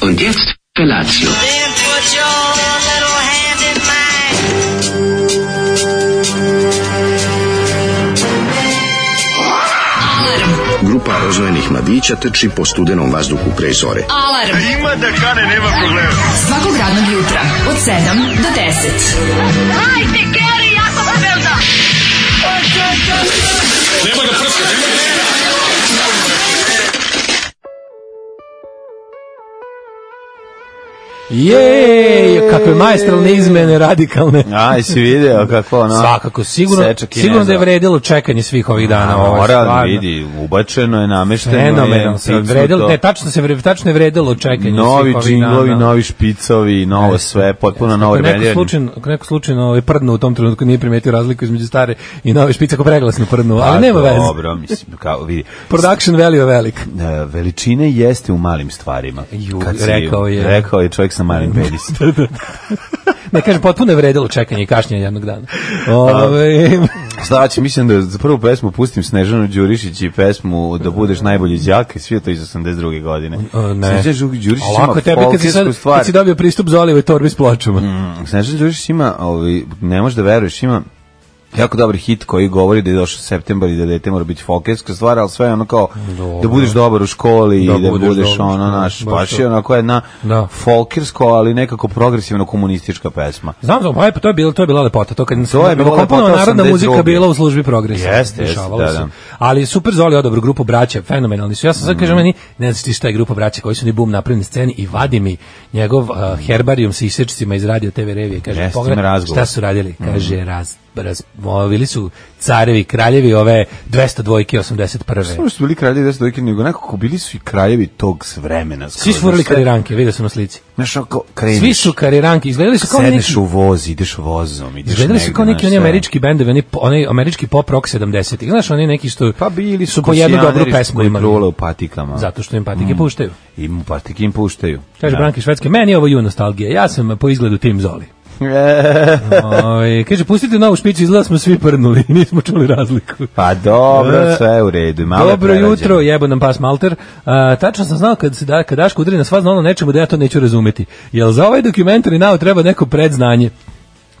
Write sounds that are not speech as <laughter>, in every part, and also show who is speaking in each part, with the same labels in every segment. Speaker 1: Und jetzt Felatio.
Speaker 2: Then put your little hand in mine.
Speaker 3: Grupa rozvojenih mladića trči po studenom vazduhu pre zore.
Speaker 4: Alarm. Ima da kane, nema problema. Svakog radnog jutra, od 7 do 10.
Speaker 5: Jej, kakve majstorne izmene radikalne.
Speaker 6: Aj, si video kako ono...
Speaker 5: Svakako, sigurno,
Speaker 6: Seča Kineza.
Speaker 5: sigurno da je vredilo čekanje svih ovih dana. ovo je
Speaker 6: Mora,
Speaker 5: stvarno.
Speaker 6: vidi, ubačeno je, namešteno
Speaker 5: Fenomenalno.
Speaker 6: je. picnuto.
Speaker 5: Vredilo, ne, tačno se vre- tačno je vredilo čekanje
Speaker 6: Novi
Speaker 5: svih ovih
Speaker 6: džinglovi,
Speaker 5: dana. da.
Speaker 6: novi špicovi, novo sve, potpuno novo
Speaker 5: Ako je neko
Speaker 6: rebeliranje.
Speaker 5: slučajno, ako je neko slučajno ovaj prdnu u tom trenutku nije primetio razliku između stare i nove špice ako preglasno prdnu, ali
Speaker 6: Pa,
Speaker 5: nema veze.
Speaker 6: Dobro, mislim, kao vidi.
Speaker 5: Production value je velik.
Speaker 6: E, Veličine jeste u malim stvarima.
Speaker 5: Ju,
Speaker 6: Kad si-
Speaker 5: rekao je.
Speaker 6: Rekao je čovjek sa malim
Speaker 5: <laughs>
Speaker 6: penisom.
Speaker 5: Ne kaže potpuno je vredilo čekanje i kašnjenje jednog dana. Ovaj
Speaker 6: Šta će, mislim da za prvu pesmu pustim Snežanu Đurišić i pesmu da budeš najbolji đak i sve to iz 82. godine.
Speaker 5: o, ne.
Speaker 6: Snežana Đurišić
Speaker 5: A
Speaker 6: ima
Speaker 5: lako je tebi kad si, sad,
Speaker 6: folkirsku stvar.
Speaker 5: kad si dobio pristup Zolive torbi s pločama.
Speaker 6: Snežana Mm, Đurišić ima, ovi, ne možeš da veruješ, ima jako dobar hit koji govori da je došao septembar i da dete mora biti folkeska stvar, ali sve je ono kao da budeš dobar u školi
Speaker 5: Da
Speaker 6: i da
Speaker 5: budeš
Speaker 6: budeš,
Speaker 5: dobar u
Speaker 6: ono
Speaker 5: školi,
Speaker 6: naš,
Speaker 5: baš
Speaker 6: baš
Speaker 5: to.
Speaker 6: je onako jedna
Speaker 5: Da.
Speaker 6: folkirsko, ali nekako progresivno komunistička pesma.
Speaker 5: Znam, znam, pa je, to je bila, to je bila lepota. To, kad se-
Speaker 6: To je bila
Speaker 5: kompletno
Speaker 6: lepota
Speaker 5: narodna
Speaker 6: 82.
Speaker 5: muzika bila u službi progresa.
Speaker 6: Jeste, jeste,
Speaker 5: Dešavalo
Speaker 6: da,
Speaker 5: se.
Speaker 6: da. Mhm.
Speaker 5: Ali super Zoli odobru grupu braća, fenomenalni su. Ja sam sad kažem, meni, ne znaš ti šta je grupa braća koji su ni bum napravili na sceni i vadi mi njegov uh, herbarijum sa isečcima iz radio TV revije. Kaže,
Speaker 6: Jeste, ima
Speaker 5: pogledaj,
Speaker 6: razgovor. Mhm.
Speaker 5: šta su radili? Kaže, raz, raz, bili su carevi, kraljevi, ove 200 dvojke 81.
Speaker 6: Samo što su bili kraljevi deset dojke, nego nekako bili su i kraljevi tog s vremena.
Speaker 5: Svi
Speaker 6: skroz.
Speaker 5: su furali
Speaker 6: Znaš, sve-
Speaker 5: kariranke, vidio sam na slici.
Speaker 6: Znaš, ono kao kreniš,
Speaker 5: Svi su kariranke, izgledali su kao neki...
Speaker 6: sedneš u voz, ideš vozom, ideš
Speaker 5: Izgledali su kao
Speaker 6: negde,
Speaker 5: neki
Speaker 6: Znači, znaš,
Speaker 5: oni
Speaker 6: sve.
Speaker 5: američki bendovi, oni, oni američki pop rock 70-ih. Znaš, oni neki što
Speaker 6: Pa bili su
Speaker 5: po jednu dobru
Speaker 6: pisijaneri
Speaker 5: pesmu
Speaker 6: koji
Speaker 5: imali.
Speaker 6: prole u patikama.
Speaker 5: Zato što im patike puštaju.
Speaker 6: I mu patike im puštaju.
Speaker 5: Kaže
Speaker 6: Da.
Speaker 5: Branke Švedske, meni je ovo ju nostalgija. Ja sam po izgledu Tim Zoli. Oj, kaže, pustite novu špicu, izgleda da smo svi prdnuli, <laughs> nismo čuli razliku.
Speaker 6: <laughs> Pa dobro,
Speaker 5: E,
Speaker 6: sve je u redu. Malo je
Speaker 5: Dobro
Speaker 6: prerađeno.
Speaker 5: jutro, jebo nam pas malter. A, tačno sam znao kad se da, kad Daško udari na sva znalo nečemu da ja to neću razumeti. Jel za ovaj dokumentari nao treba neko predznanje?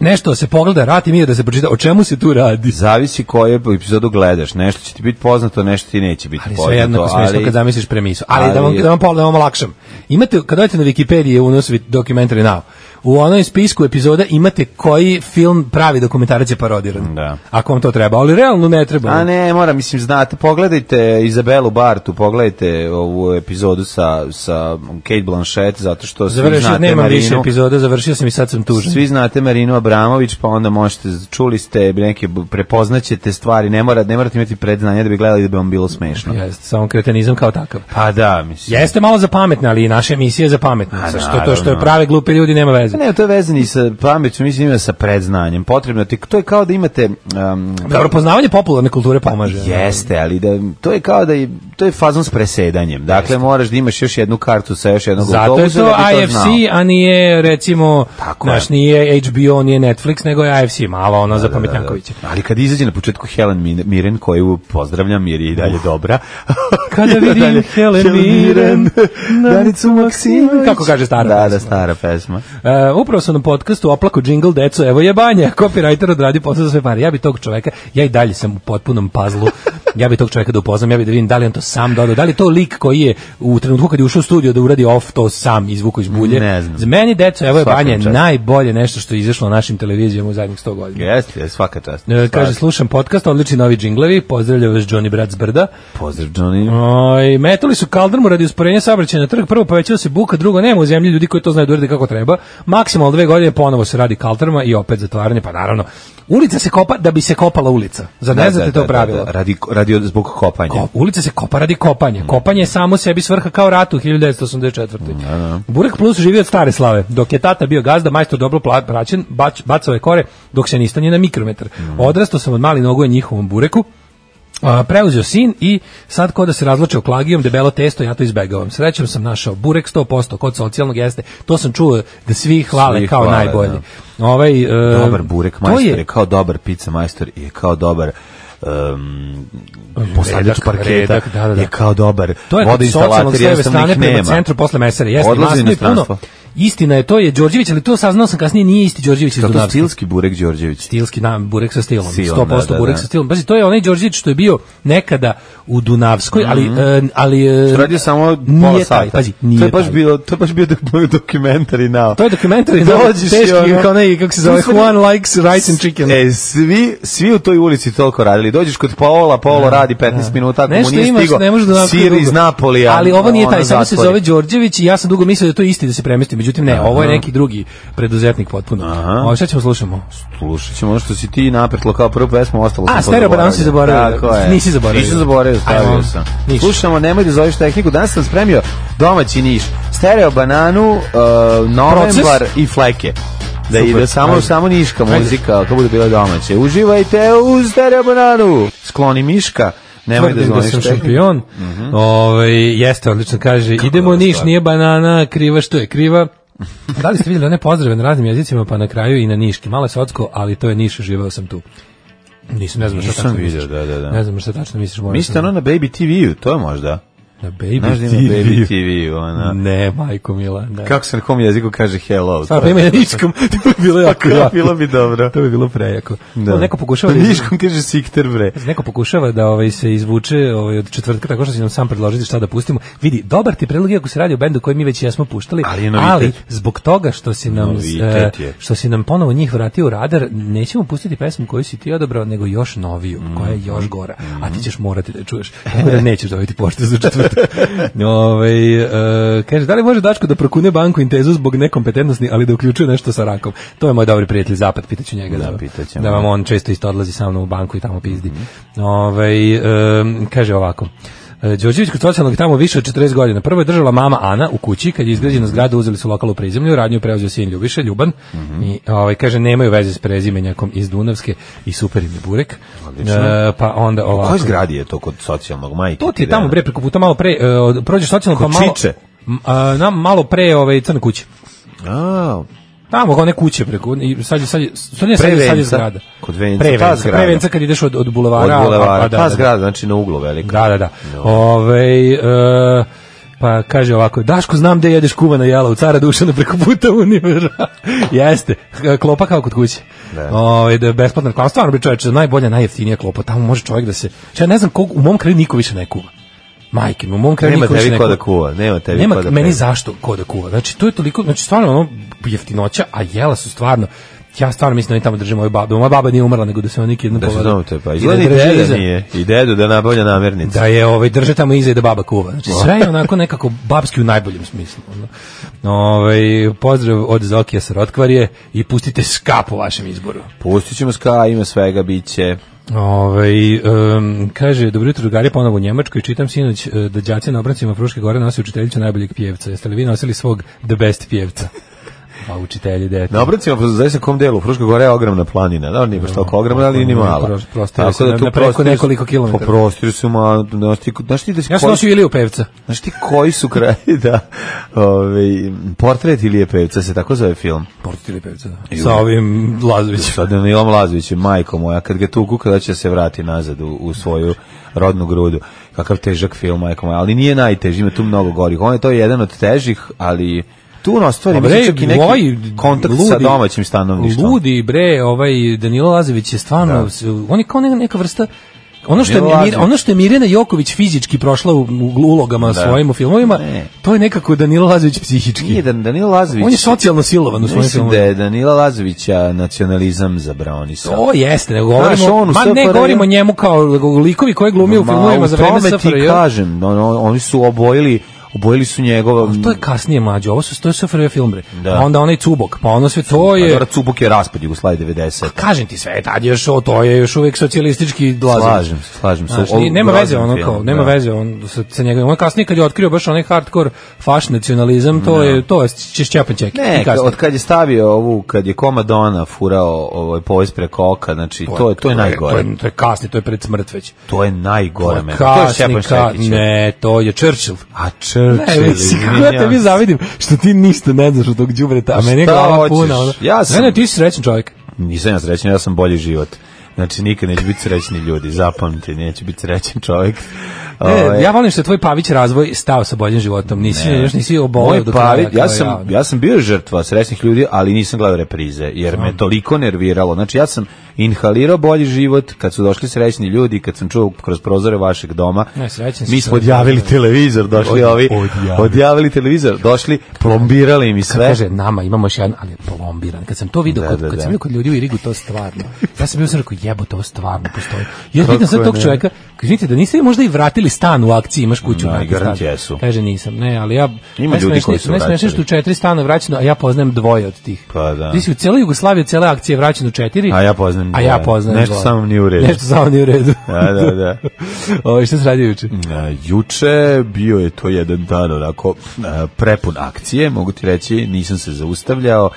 Speaker 5: Nešto da se pogleda, rati mi je da se pročita o čemu se tu radi.
Speaker 6: Zavisi koju epizodu gledaš. Nešto će ti biti poznato, nešto ti neće biti
Speaker 5: Ali
Speaker 6: poznato.
Speaker 5: sve jednako smešno
Speaker 6: Pa ali-
Speaker 5: kad zamisliš premisu. Ali, da vam,
Speaker 6: ali-
Speaker 5: da vam pol- da vam olakšam. Imate, kad odete na Wikipediji u unosu Documentary Now, u onoj spisku epizoda imate koji film pravi dokumentarac je parodiran.
Speaker 6: Da.
Speaker 5: Ako vam to treba, ali realno ne treba.
Speaker 6: A ne, mora, mislim, znate, pogledajte Izabelu Bartu, pogledajte ovu epizodu sa, sa Kate Blanchett, zato što svi
Speaker 5: završio,
Speaker 6: znate
Speaker 5: nemam
Speaker 6: Marinu.
Speaker 5: više epizoda, završio sam i sad sam tužan.
Speaker 6: Svi znate Marinu Abramović, pa onda možete, čuli ste neke, prepoznaćete stvari, ne, mora, ne morate imati predznanja da bi gledali da bi vam bilo smešno.
Speaker 5: Jeste, samo kretenizam kao takav.
Speaker 6: Pa da, mislim.
Speaker 5: Jeste malo za pametne, ali i naša emisija je za pametne.
Speaker 6: A,
Speaker 5: Sa što to što je
Speaker 6: naravno.
Speaker 5: prave glupe ljudi nema veze.
Speaker 6: Pa Ne, to je vezani sa pameću, mislim ima sa predznanjem. Potrebno ti, to je kao da imate... Um,
Speaker 5: Dobro, poznavanje popularne kulture pomaže.
Speaker 6: Jeste, ali da, to je kao da je, to je fazon s presedanjem. Dakle, moraš da imaš još jednu kartu sa još jednog
Speaker 5: Zato je
Speaker 6: autobusa
Speaker 5: to
Speaker 6: da bi to
Speaker 5: IFC,
Speaker 6: znao.
Speaker 5: a nije recimo,
Speaker 6: Tako je. Da,
Speaker 5: znaš, nije HBO, nije Netflix, nego je IFC, malo ono za pametnjakovića.
Speaker 6: Ali kad izađe na početku Helen Min- Mirren, koju pozdravljam jer je i dalje dobra.
Speaker 5: Uh. <laughs> Kada
Speaker 6: I
Speaker 5: vidim
Speaker 6: dalje,
Speaker 5: Helen Mirren,
Speaker 6: <laughs> Danicu Maksimović.
Speaker 5: Kako kaže stara
Speaker 6: da,
Speaker 5: pesma.
Speaker 6: Da, stara pesma.
Speaker 5: E, upravo sam na podcastu oplaku jingle deco, evo je banja, <laughs> copywriter odradi posao za sve pare. Ja bi tog čoveka, ja i dalje sam u potpunom pazlu, ja bi tog čoveka da upoznam, ja bi da vidim da li on to sam dodao, da li je to lik koji je u trenutku kad je ušao u studio da uradi off to sam izvuku iz bulje.
Speaker 6: Ne znam.
Speaker 5: Za meni deco, evo je
Speaker 6: Svaka
Speaker 5: banja,
Speaker 6: čast.
Speaker 5: najbolje nešto što je izašlo na našim televizijama u zadnjih 100 godina.
Speaker 6: Jeste, jeste, svaka čast.
Speaker 5: E, Kaže,
Speaker 6: Svaka.
Speaker 5: slušam podcast, odlični novi džinglevi, pozdravlja vas Johnny Brat z brda.
Speaker 6: Pozdrav, Johnny.
Speaker 5: Oj, metali su kaldrmu radi usporenja saobraćaja na trg, prvo povećava se buka, drugo nema u zemlji ljudi koji to znaju da urede kako treba. Maksimalno dve godine ponovo se radi kaldrma i opet zatvaranje, pa naravno. Ulica se kopa da bi se kopala ulica. Zar ne
Speaker 6: Da,
Speaker 5: znate
Speaker 6: da,
Speaker 5: to
Speaker 6: da,
Speaker 5: pravilo?
Speaker 6: da, da, Radi, radi od- zbog kopanja.
Speaker 5: Ko- ulica se kopa radi
Speaker 6: Mm.
Speaker 5: kopanja. Kopanje je samo sebi svrha kao rat u 1984.
Speaker 6: Da,
Speaker 5: Burek Plus živi od stare slave. Dok je tata bio gazda, majstor dobro pla- praćen, bač, bacao je kore dok se nistanje na mikrometar.
Speaker 6: Mm.
Speaker 5: Odrastao sam od mali nogu njihovom bureku. A, preuzeo sin i sad ko da se razločio klagijom, debelo testo, ja to izbegavam. Srećom sam našao burek 100% kod socijalnog jeste. To sam čuo da svi hvale
Speaker 6: Svi
Speaker 5: kao
Speaker 6: hvale, da.
Speaker 5: najbolje. Ovaj, e,
Speaker 6: dobar burek
Speaker 5: to
Speaker 6: majstor je,
Speaker 5: je-
Speaker 6: kao dobar pizza majstor i je kao dobar um,
Speaker 5: Redak,
Speaker 6: posadljač parketa
Speaker 5: redak, da, da, da.
Speaker 6: je kao dobar
Speaker 5: To je
Speaker 6: vodoinstalater,
Speaker 5: s leve
Speaker 6: jednostavno
Speaker 5: strane
Speaker 6: ih
Speaker 5: prema
Speaker 6: nema.
Speaker 5: centru posle mesara. Jeste,
Speaker 6: Odlazi
Speaker 5: masno je puno.
Speaker 6: inostranstvo.
Speaker 5: Istina je, to je Đorđević, ali to saznao sam kasnije, nije isti Đorđević iz
Speaker 6: Kao to
Speaker 5: Dunavstva.
Speaker 6: stilski burek Đorđević.
Speaker 5: stilski nam burek sa stilom, 100%
Speaker 6: Stilom, da, da,
Speaker 5: burek
Speaker 6: da.
Speaker 5: sa stilom. Pazi, to je onaj Đorđević što je bio nekada u Dunavskoj, ali e, ali e,
Speaker 6: Mhm. Što radio samo
Speaker 5: nije
Speaker 6: pola
Speaker 5: taj,
Speaker 6: sata.
Speaker 5: pazi, nije
Speaker 6: to je baš
Speaker 5: taj.
Speaker 6: bilo, to je baš bio dok- dokumentari nao.
Speaker 5: To je dokumentari
Speaker 6: Dođeš i
Speaker 5: teški,
Speaker 6: ono-
Speaker 5: kao ne, kako se zove,
Speaker 6: Mislim-
Speaker 5: Juan likes rice and chicken.
Speaker 6: E, svi, svi u toj ulici toliko radili. Dođeš kod Paola, Paolo radi 15 minuta, ako mu
Speaker 5: Da, Nešto
Speaker 6: nije
Speaker 5: imaš,
Speaker 6: stigo
Speaker 5: ne može da napravi
Speaker 6: sir
Speaker 5: dugo.
Speaker 6: iz Napolija.
Speaker 5: Ali ovo nije taj,
Speaker 6: ono,
Speaker 5: samo se
Speaker 6: zatvori.
Speaker 5: zove Đorđević i ja sam dugo mislio da je to isti da se premesti, međutim ne, ovo je
Speaker 6: Aha.
Speaker 5: neki drugi preduzetnik potpuno.
Speaker 6: Aha.
Speaker 5: Ovo šta ćemo slušamo?
Speaker 6: Slušat ćemo ono što si ti napretlo kao prvu pesmu, ostalo
Speaker 5: A,
Speaker 6: sam
Speaker 5: stereo balans si zaboravio.
Speaker 6: Tako je.
Speaker 5: Nisi zaboravio.
Speaker 6: Nisam zaboravio,
Speaker 5: Ajmo.
Speaker 6: stavio sam.
Speaker 5: Niš.
Speaker 6: Slušamo, nemoj da zoveš tehniku. Danas sam spremio domaći niš. Stereo bananu, uh, novembar i fleke. Da
Speaker 5: Super,
Speaker 6: ide samo,
Speaker 5: ajde.
Speaker 6: samo niška
Speaker 5: Ajde.
Speaker 6: muzika, kako bude bila domaće. Uživajte u stereo bananu. Skloni miška. Nemoj da
Speaker 5: Tvrdim
Speaker 6: zoveš
Speaker 5: sam
Speaker 6: tehniku.
Speaker 5: šampion. Ovaj, jeste, odlično kaže. Idemo
Speaker 6: dobra
Speaker 5: niš,
Speaker 6: stvar.
Speaker 5: nije banana, kriva što je kriva. da li ste vidjeli one pozdrave na raznim jezicima, pa na kraju i na niški? Malo je socko, ali to je niš, živeo sam tu. Nisam, ne znam šta
Speaker 6: Nisam
Speaker 5: tačno
Speaker 6: vidio,
Speaker 5: misliš.
Speaker 6: da, da, da.
Speaker 5: Ne znam šta tačno misliš. moram
Speaker 6: Mislite
Speaker 5: sam-
Speaker 6: ono na Baby TV-u, to je možda.
Speaker 5: Na baby
Speaker 6: Znaš da ima
Speaker 5: TV.
Speaker 6: Baby TV-u, ona.
Speaker 5: Ne, majko mila, ne.
Speaker 6: Kako se na kom jeziku kaže hello?
Speaker 5: Pa, pa ima i na niškom, to bi bilo jako
Speaker 6: Kako
Speaker 5: jako.
Speaker 6: <laughs> bilo bi dobro.
Speaker 5: To bi bilo prejako. Da. Neko
Speaker 6: <laughs>
Speaker 5: pokušava da
Speaker 6: Na niškom kaže sikter bre.
Speaker 5: Neko pokušava da ovaj se izvuče ovaj od četvrtka tako što će nam sam predložiti šta da pustimo. Vidi, dobar ti predlog je ako se radi o bendu koji mi već jesmo puštali,
Speaker 6: Ali je novitet.
Speaker 5: zbog toga što si nam
Speaker 6: Novitet
Speaker 5: e,
Speaker 6: je.
Speaker 5: što si nam ponovo njih vratio u radar, nećemo pustiti pesmu koju si ti odabrao, nego još noviju,
Speaker 6: Mm.
Speaker 5: koja je još gora, a ti ćeš morati da je čuješ. Tako da nećeš dobiti pošte za četvrtak.
Speaker 6: <laughs>
Speaker 5: ovaj e, kaže, da li može Dačko da prokune banku Intezu zbog nekompetentnosti, ali da uključuje nešto sa rakom? To je moj dobri prijatelj Zapad, pitaću njega da,
Speaker 6: pitaćemo.
Speaker 5: da vam on često isto odlazi sa mnom u banku i tamo pizdi. Ovaj, em, kaže ovako. e, Đorđević kod socijalnog je tamo više od 40 godina. Prvo je držala mama Ana u kući, kad je izgrađena zgrada, uzeli su lokalu prezimlju, radnju je preuzeo sin Ljubiša, Ljuban, i ovaj, kaže, nemaju veze s prezimenjakom iz Dunavske i super im je Burek. E, pa onda
Speaker 6: U
Speaker 5: ovako.
Speaker 6: kojoj zgradi je to kod socijalnog majke?
Speaker 5: To ti je tamo, bre, preko puta malo pre, e, od- prođeš socijalno, pa
Speaker 6: Kod
Speaker 5: malo...
Speaker 6: Čiče?
Speaker 5: M, a, na, malo pre ove crne kuće.
Speaker 6: A,
Speaker 5: Tamo one kuće preko i sad je sad je sad je,
Speaker 6: Pre
Speaker 5: sad je, sad je
Speaker 6: Venca.
Speaker 5: zgrada.
Speaker 6: Kod Venca,
Speaker 5: Pre
Speaker 6: ta
Speaker 5: Venca,
Speaker 6: zgrada.
Speaker 5: pre Venca kad ideš od od
Speaker 6: od
Speaker 5: bulevara,
Speaker 6: bulevara.
Speaker 5: pa da,
Speaker 6: Ta
Speaker 5: da, da.
Speaker 6: zgrada, znači na uglu velika.
Speaker 5: Da, da, da. Ovaj, e, pa kaže ovako, Daško, znam gde jedeš kuvana jela u cara Dušana preko puta univerzal. <laughs> Jeste, klopa kao kod kuće.
Speaker 6: Da.
Speaker 5: Ovaj, da je besplatna reklama, stvarno bi čoveče, najbolja, najjeftinija klopa, tamo može čovjek da se... Ja ne znam, kog, u mom kraju niko više ne kuva. Majke, mi, u mom kraju
Speaker 6: Nema
Speaker 5: niko više
Speaker 6: tebi
Speaker 5: ne
Speaker 6: ko
Speaker 5: kuva.
Speaker 6: da kuva, nema tebi
Speaker 5: Nema,
Speaker 6: ko da
Speaker 5: meni
Speaker 6: peva.
Speaker 5: zašto ko da kuva? Znači, to je toliko, znači, stvarno, ono, jeftinoća, a jela su stvarno, ja stvarno mislim da oni tamo drže moju babu. Moja baba nije umrla, nego da se ona nikad ne
Speaker 6: Da se znam to je pa.
Speaker 5: I da
Speaker 6: Izgleda i
Speaker 5: drže
Speaker 6: deda
Speaker 5: iza.
Speaker 6: nije. I dedu da nabavlja namirnice.
Speaker 5: Da je ovaj drže tamo iza i da baba kuva. Znači sve je onako nekako babski u najboljem smislu. ono. Ovaj pozdrav od Zokija Sarotkarije i pustite ska po vašem izboru.
Speaker 6: Pustit ćemo ska, ima svega, bit će.
Speaker 5: Ovaj em, kaže dobro jutro drugari ponovo u Njemačkoj čitam sinoć e, da đaci na obracima Fruške gore nose učiteljicu najboljeg pjevca. Jeste li vi nosili svog the best pjevca? Pa učitelji dete.
Speaker 6: Na obracima, pa znaš na kom delu, Fruška Gora je ogromna planina, da, nije baš toliko ogromna, ali
Speaker 5: pa
Speaker 6: ni mala.
Speaker 5: Pros- prostire se na- na preko
Speaker 6: prostiru-
Speaker 5: nekoliko kilometara.
Speaker 6: Pa prostiru su, ma, znaš ti, znaš ti da si
Speaker 5: Ja sam
Speaker 6: koji-
Speaker 5: nosio Iliju pevca.
Speaker 6: Znaš ti koji su kraji da ovaj portret Ilije Pevca se tako zove film.
Speaker 5: Portili pevca.
Speaker 6: da.
Speaker 5: Sa ovim Lazovićem.
Speaker 6: Sa Danilom Lazovićem, majko moja, kad ga tuku kada će da se vrati nazad u, u svoju rodnu grudu. Kakav težak film, majko moja, ali nije najteži, ima tu mnogo gorih. On je to jedan od težih, ali tu na stvari
Speaker 5: Pa
Speaker 6: mislim čak i neki
Speaker 5: ovaj
Speaker 6: kontakt sa
Speaker 5: ludi-
Speaker 6: domaćim stanovništvom.
Speaker 5: Ludi bre, ovaj Danilo Lazović je stvarno s- on je kao neka, neka vrsta Ono što, je,
Speaker 6: Da. Danilo
Speaker 5: Mir-
Speaker 6: Lazović. Da.
Speaker 5: ono što je Mirjana Joković fizički prošla u, u ulogama svojim u filmovima,
Speaker 6: Ne.
Speaker 5: to je nekako Danilo Lazović psihički.
Speaker 6: Nije Dan- Danilo Lazović.
Speaker 5: on je socijalno silovan u svojim
Speaker 6: Mislim da
Speaker 5: filmovima.
Speaker 6: je Danila Lazovića nacionalizam zabranio.
Speaker 5: To jeste, nego govorimo,
Speaker 6: Znaš, on u
Speaker 5: ma ne
Speaker 6: SFRJ
Speaker 5: govorimo njemu kao likovi koji glumi u
Speaker 6: Ma,
Speaker 5: filmovima
Speaker 6: u
Speaker 5: za vreme
Speaker 6: tome ti
Speaker 5: SFRJ.
Speaker 6: kažem, on, on- oni su obojili, obojili su njegova...
Speaker 5: To je kasnije mlađe, ovo su to je SFRJ film bre.
Speaker 6: Da.
Speaker 5: Pa Onda onaj Cubok, pa ono sve to
Speaker 6: Pa
Speaker 5: je...
Speaker 6: dobro, Cubuk je raspad Jugoslavije 90.
Speaker 5: Kažem ti sve, tad je još o, to je još uvijek socijalistički Lazović.
Speaker 6: Slažem se, slažem se.
Speaker 5: Znaš,
Speaker 6: Ovo
Speaker 5: nije- nema veze
Speaker 6: grozan
Speaker 5: ono
Speaker 6: film,
Speaker 5: kao, nema
Speaker 6: da.
Speaker 5: veze on sa, sa njegovim. On kasnije kad je otkrio baš onaj hardcore faš nacionalizam, to je to je češćapan čeki.
Speaker 6: Da. Ne,
Speaker 5: I kasnije.
Speaker 6: od kad je stavio ovu, kad je Komadona furao ovaj povez preko oka, znači to je to je
Speaker 5: To
Speaker 6: najgore.
Speaker 5: je, to je kasnije, to je pred smrt već.
Speaker 6: To je najgore meni. To je
Speaker 5: Kasni,
Speaker 6: Šepan
Speaker 5: ka,
Speaker 6: Šekić.
Speaker 5: ne, to je Churchill.
Speaker 6: A Churchill,
Speaker 5: Ne, mislim, kako ja
Speaker 6: izvinjavam
Speaker 5: tebi
Speaker 6: se.
Speaker 5: zavidim što ti ništa ne znaš od tog đubreta, a meni je
Speaker 6: Šta
Speaker 5: glava
Speaker 6: hoćeš?
Speaker 5: puna. ono.
Speaker 6: Ja sam-
Speaker 5: Ne, ne, ti si srećan čovjek.
Speaker 6: Nisam ja srećan, ja sam bolji život. Znači, nikad neće biti srećni ljudi, zapamte, neće biti srećen čovjek.
Speaker 5: Ne,
Speaker 6: Ovaj,
Speaker 5: E, ja volim što je tvoj Pavić razvoj stao sa boljim životom. Nisi još nisi oboleo
Speaker 6: Moj
Speaker 5: do
Speaker 6: pavi,
Speaker 5: kraja. kao
Speaker 6: ja sam, ja sam bio žrtva srećnih ljudi, ali nisam gledao reprize, jer me toliko nerviralo. Znači, ja sam inhalirao bolji život kad su došli srećni ljudi, kad sam čuo kroz prozore vašeg doma.
Speaker 5: Ne, srećni su
Speaker 6: mi smo
Speaker 5: čovjek.
Speaker 6: odjavili televizor, došli
Speaker 5: Od-
Speaker 6: ovi,
Speaker 5: odjavili.
Speaker 6: odjavili televizor, došli, plombirali mi sve.
Speaker 5: kaže nama imamo još jedan ali je plombiran kad sam to video
Speaker 6: Da,
Speaker 5: kod,
Speaker 6: da,
Speaker 5: kad
Speaker 6: da.
Speaker 5: sam video kod ljudi u Irigu to stvarno ja sam bio sam rekao jebote ovo stvarno postoji ja
Speaker 6: Kako
Speaker 5: pitam sad tog
Speaker 6: ne?
Speaker 5: čovjeka kažite da niste možda i vratili stan u akciji imaš kuću
Speaker 6: Da,
Speaker 5: vrati
Speaker 6: i garant
Speaker 5: stan.
Speaker 6: jesu.
Speaker 5: kaže nisam ne ali ja
Speaker 6: Ima ljudi koji su
Speaker 5: najsmešnije što
Speaker 6: vraćali.
Speaker 5: u četiri stana vraćeno a ja poznajem dvoje od tih
Speaker 6: Pa da.
Speaker 5: ti si u celoj Jugoslaviji od cele akcije vraćeno četiri
Speaker 6: A ja poznajem
Speaker 5: a ja
Speaker 6: dvoje.
Speaker 5: poznajem
Speaker 6: Nešto
Speaker 5: dvoje.
Speaker 6: sa mnom nije u redu.
Speaker 5: nešto samo nije u redu <laughs>
Speaker 6: Da, da, da.
Speaker 5: Ovo, šta se radi juče?
Speaker 6: E, Juče bio je to jedan dan onako e, prepun akcije, mogu ti reći, nisam se zaustavljao.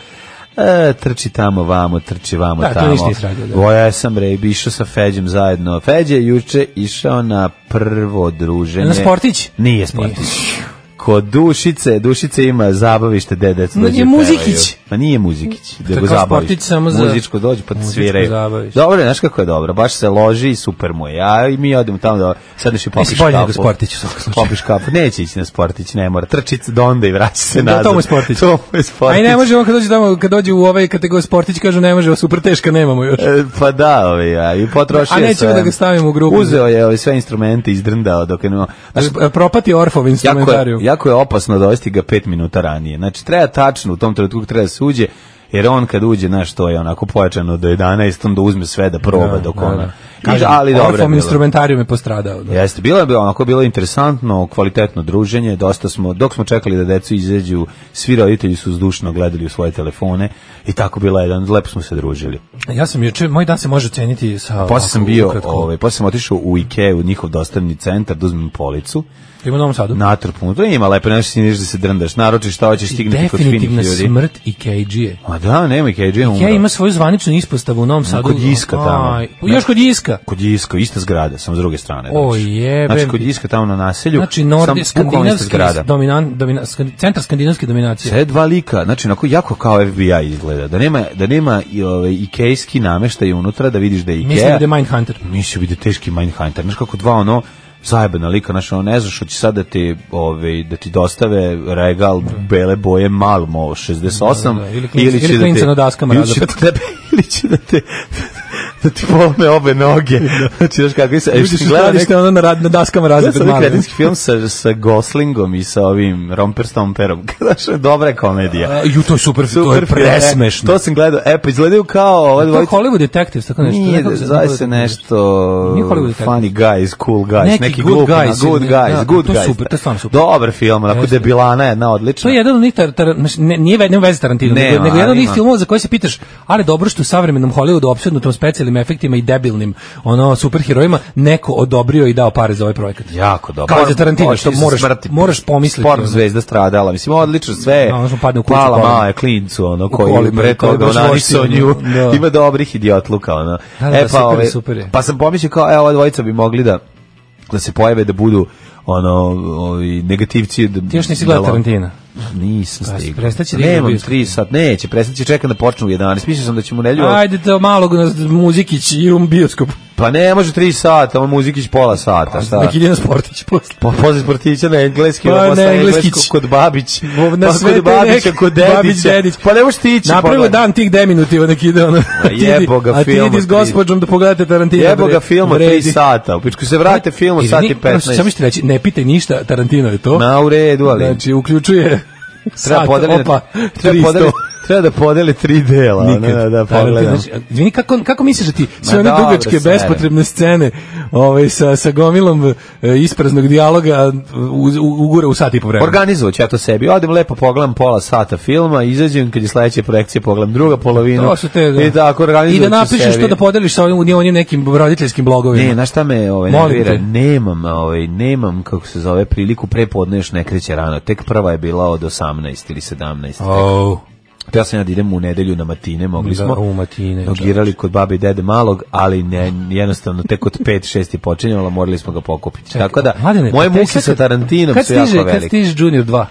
Speaker 6: E, trči tamo, vamo, trči vamo,
Speaker 5: Da, to
Speaker 6: tamo.
Speaker 5: ništa nisi radio, da.
Speaker 6: Voja sam, bre, išao sa Feđem zajedno. Feđe je juče išao na prvo druženje.
Speaker 5: Na sportić?
Speaker 6: Nije sportić. Kod Dušice, Dušice ima zabavište gde deca
Speaker 5: No,
Speaker 6: dođu
Speaker 5: je
Speaker 6: i pevaju.
Speaker 5: Muzikić.
Speaker 6: Ma nije Muzikić,
Speaker 5: je
Speaker 6: nego
Speaker 5: kao
Speaker 6: zabavište.
Speaker 5: sportić samo za-
Speaker 6: Muzičko dođu pa
Speaker 5: Muzičko
Speaker 6: sviraju.
Speaker 5: zabavište.
Speaker 6: Dobro, znaš kako je dobro, baš se loži i super mu je. Ja i mi odemo tamo da sedneš i popiš
Speaker 5: Mislim,
Speaker 6: kapu.
Speaker 5: bolje nego sportić u svakom slučaju.
Speaker 6: Popiš kapu, neće ići na sportić, ne mora. Trčic do onda i vraća se
Speaker 5: Da,
Speaker 6: nazad.
Speaker 5: to mu je sportić.
Speaker 6: <laughs> To mu je sportić.
Speaker 5: A i ne može on kad dođe tamo, kad dođe u ovaj kategorij sportić, kažu ne može, ovo super teška nemamo još.
Speaker 6: E, Pa da, ovaj, ja, i potrošio
Speaker 5: A nećemo
Speaker 6: sve.
Speaker 5: da ga stavimo u grupu.
Speaker 6: Uzeo je ovaj, sve instrumente, izdrndao dok je... nema- Znaš,
Speaker 5: Znaš, e, propati orfov
Speaker 6: jako
Speaker 5: instrumentariju.
Speaker 6: je, jako je opasno dovesti ga pet minuta ranije. Znači, treba tačno u tom trenutku kako treba da se uđe, jer on kad uđe, znaš, to je onako pojačano do 11, onda uzme sve da proba dok ona... Kaže, ali dobro je
Speaker 5: Orfov
Speaker 6: bilo.
Speaker 5: instrumentarium je postradao. Da.
Speaker 6: Jeste, bilo je bilo onako bilo je interesantno, kvalitetno druženje, dosta smo dok smo čekali da decu izađu, svi roditelji su zdušno gledali u svoje telefone i tako bila jedan lepo smo se družili.
Speaker 5: Ja sam juče, moj dan se može oceniti sa...
Speaker 6: Posle sam
Speaker 5: ovako,
Speaker 6: bio,
Speaker 5: ukratko.
Speaker 6: ovaj, posle sam otišao u Ikea, u njihov dostavni centar, da uzmem policu,
Speaker 5: Ima u Novom Sadu.
Speaker 6: natrpnu, to ima lepo, nešto si niš da se drndaš, naročiš šta hoćeš stignuti kod finih
Speaker 5: Definitivna
Speaker 6: ljudi.
Speaker 5: smrt i E. KG-e.
Speaker 6: A da, nema Ikea, je
Speaker 5: Ja
Speaker 6: umro.
Speaker 5: E ima svoju zvaničnu ispostavu u Novom Sadu.
Speaker 6: kod Jiska tamo.
Speaker 5: Aj, još kod Jiska.
Speaker 6: Kod Jiska, ista zgrada, samo s druge strane.
Speaker 5: O,
Speaker 6: znači.
Speaker 5: jebem
Speaker 6: Znači, kod
Speaker 5: ti.
Speaker 6: Jiska tamo na naselju,
Speaker 5: Znači,
Speaker 6: samo
Speaker 5: norde,
Speaker 6: bukvalno ista
Speaker 5: skandinavski,
Speaker 6: zgrada.
Speaker 5: dominan, domina, skand- centar skandinavske dominacije.
Speaker 6: Sve dva lika, znači onako jako kao FBI izgleda. Da nema da nema i ovaj ikejski nameštaj unutra da vidiš da je Ikea.
Speaker 5: Mislim da je Mindhunter.
Speaker 6: Mislim da je teški Mindhunter. Znaš kako dva ono zajebana lika, znaš, ono ne znaš što će sad da ti, ovaj, da ti dostave regal bele boje Malmo 68
Speaker 5: Da, da, da, ili klin- ili klinca na daskama
Speaker 6: ili će da
Speaker 5: razapet.
Speaker 6: te, <laughs> ili će da te da ti polome obe noge. Znači, znaš kako je, e,
Speaker 5: Vidiš
Speaker 6: što
Speaker 5: u
Speaker 6: gleda
Speaker 5: Da. skladište,
Speaker 6: neko,
Speaker 5: ono na, rad, na daskama razapet
Speaker 6: Gledao sam
Speaker 5: malo.
Speaker 6: onaj kretinski film sa, sa Goslingom i sa ovim Romper Stomperom. <laughs> Znaš, dobra je komedija.
Speaker 5: A, Ju, to je super, E, to je
Speaker 6: Super film, e,
Speaker 5: presmešno.
Speaker 6: To sam gledao. E, pa izgledaju kao
Speaker 5: To
Speaker 6: ova
Speaker 5: je
Speaker 6: dvojica.
Speaker 5: Hollywood Detectives, tako nešto.
Speaker 6: Nije,
Speaker 5: Nekako se-
Speaker 6: zove
Speaker 5: nekako
Speaker 6: se
Speaker 5: se-
Speaker 6: nešto
Speaker 5: Nije Hollywood Detectives.
Speaker 6: funny guys, cool guys, neki,
Speaker 5: Neki good
Speaker 6: glupi,
Speaker 5: guys,
Speaker 6: good
Speaker 5: ne,
Speaker 6: guys,
Speaker 5: da,
Speaker 6: good
Speaker 5: to je
Speaker 6: guys.
Speaker 5: super, to je stvarno super.
Speaker 6: Dobar film, onako
Speaker 5: Jeste.
Speaker 6: debilana jedna,
Speaker 5: To
Speaker 6: odlična.
Speaker 5: je jedan od njih, tar, tar, znaš, ne, nije ve- nema veze Tarantino,
Speaker 6: Nema,
Speaker 5: nego, nego jedan od
Speaker 6: ali
Speaker 5: njih
Speaker 6: ima.
Speaker 5: filmova za koje se pitaš, ali dobro što u savremenom Hollywoodu opsednutom specijalnim efektima i debilnim ono, superherojima neko odobrio i dao pare za ovaj projekat.
Speaker 6: Jako dobro.
Speaker 5: Kao i za Tarantino,
Speaker 6: Hoće
Speaker 5: što
Speaker 6: se
Speaker 5: moraš-
Speaker 6: smrtiti.
Speaker 5: moraš pomisliti,
Speaker 6: Porno
Speaker 5: ono.
Speaker 6: zvezda stradala. Mislim, odlično sve.
Speaker 5: Da, ono što padne u kuću,
Speaker 6: Pala
Speaker 5: pala.
Speaker 6: mala je klincu, ono,
Speaker 5: koli,
Speaker 6: koji
Speaker 5: bre,
Speaker 6: pre
Speaker 5: koji
Speaker 6: toga
Speaker 5: baš
Speaker 6: onani
Speaker 5: loši,
Speaker 6: sa nju.
Speaker 5: ono, da.
Speaker 6: <laughs> Ima dobrih idiotluka, ono.
Speaker 5: Da, da,
Speaker 6: E,
Speaker 5: da, super je,
Speaker 6: ove,
Speaker 5: super je.
Speaker 6: Pa sam pomislio kao, evo, ova dvojica bi mogli da da se pojave da budu ono ovi negativci da,
Speaker 5: Ti još nisi
Speaker 6: da
Speaker 5: gledao
Speaker 6: lo-
Speaker 5: Tarantina.
Speaker 6: nisam
Speaker 5: Pa,
Speaker 6: stigao
Speaker 5: prestaće da igra
Speaker 6: nemam
Speaker 5: bioskop.
Speaker 6: 3 sat neće prestaće čekam da počnu u 11 mislio sam da ćemo nelju
Speaker 5: Ajde do malog nas- muzikić i u bioskop.
Speaker 6: pa ne može 3 sata on muzikić pola sata šta
Speaker 5: Pa, Neki Ljena Sportić posle.
Speaker 6: Pa posle sportića na engleski,
Speaker 5: Pa,
Speaker 6: pa,
Speaker 5: na
Speaker 6: posle
Speaker 5: engleskić.
Speaker 6: engleskog kod Babić,
Speaker 5: Na
Speaker 6: pa
Speaker 5: sve te
Speaker 6: kod Babića,
Speaker 5: neke-
Speaker 6: kod
Speaker 5: Babić,
Speaker 6: Dedića.
Speaker 5: Dedić. da-
Speaker 6: Pa ne možeš ti ići.
Speaker 5: Napravio
Speaker 6: pogledaj.
Speaker 5: dan tih deminutiva nek ide ono. A <laughs> ti idi-
Speaker 6: jebo ga
Speaker 5: A ti
Speaker 6: film
Speaker 5: idi
Speaker 6: od
Speaker 5: s
Speaker 6: tri-
Speaker 5: gospođom da pogledate Tarantino.
Speaker 6: Jebo
Speaker 5: bre.
Speaker 6: ga film od 3
Speaker 5: Vredi.
Speaker 6: sata. U pičku se vrate film od
Speaker 5: Izvini,
Speaker 6: sati
Speaker 5: prosto, Samo
Speaker 6: 15.
Speaker 5: ću ti reći, ne pitaj ništa, Tarantino je to.
Speaker 6: Na u redu, ali
Speaker 5: Znači, uključuje
Speaker 6: treba
Speaker 5: sat,
Speaker 6: podeli,
Speaker 5: opa,
Speaker 6: treba
Speaker 5: 300.
Speaker 6: podeli, treba da podeli tri dela, ono,
Speaker 5: Nikad.
Speaker 6: da, da
Speaker 5: Tarantino,
Speaker 6: pogledam.
Speaker 5: znači, Izvini, kako, kako misliš da ti sve
Speaker 6: Ma da
Speaker 5: one
Speaker 6: dobro,
Speaker 5: dugačke,
Speaker 6: sve.
Speaker 5: bespotrebne scene ovaj, sa, sa gomilom e, ispraznog dijaloga eh, u, u, ugura u sat i po vremena?
Speaker 6: Organizovat ću ja to sebi. Odem lepo, pogledam pola sata filma, izađem kad je sledeća projekcija, pogledam druga polovinu.
Speaker 5: To su te, da.
Speaker 6: I tako organizovat
Speaker 5: I da
Speaker 6: ću
Speaker 5: napišeš
Speaker 6: sebi.
Speaker 5: to da podeliš sa onim, onim nekim roditeljskim blogovima.
Speaker 6: Ne, znaš šta me ovaj,
Speaker 5: Molim
Speaker 6: nervira?
Speaker 5: te.
Speaker 6: Nemam, ovaj, nemam, kako se zove, priliku prepodne još ne kreće rano. Tek prva je bila od 18 ili 17.
Speaker 5: Oh.
Speaker 6: Ja sam ja da idem u nedelju na matine, mogli
Speaker 5: Da,
Speaker 6: smo.
Speaker 5: u matine,
Speaker 6: Dogirali kod babi i dede malog, ali ne, jednostavno tek od 5-6 je počinjalo, morali smo ga pokupiti. Tako da,
Speaker 5: Mladene,
Speaker 6: moje
Speaker 5: pa tek
Speaker 6: muke
Speaker 5: sad
Speaker 6: sa
Speaker 5: kad-
Speaker 6: Tarantinom
Speaker 5: kad
Speaker 6: su jako
Speaker 5: stiže- Kad
Speaker 6: velike.
Speaker 5: stiže Junior 2?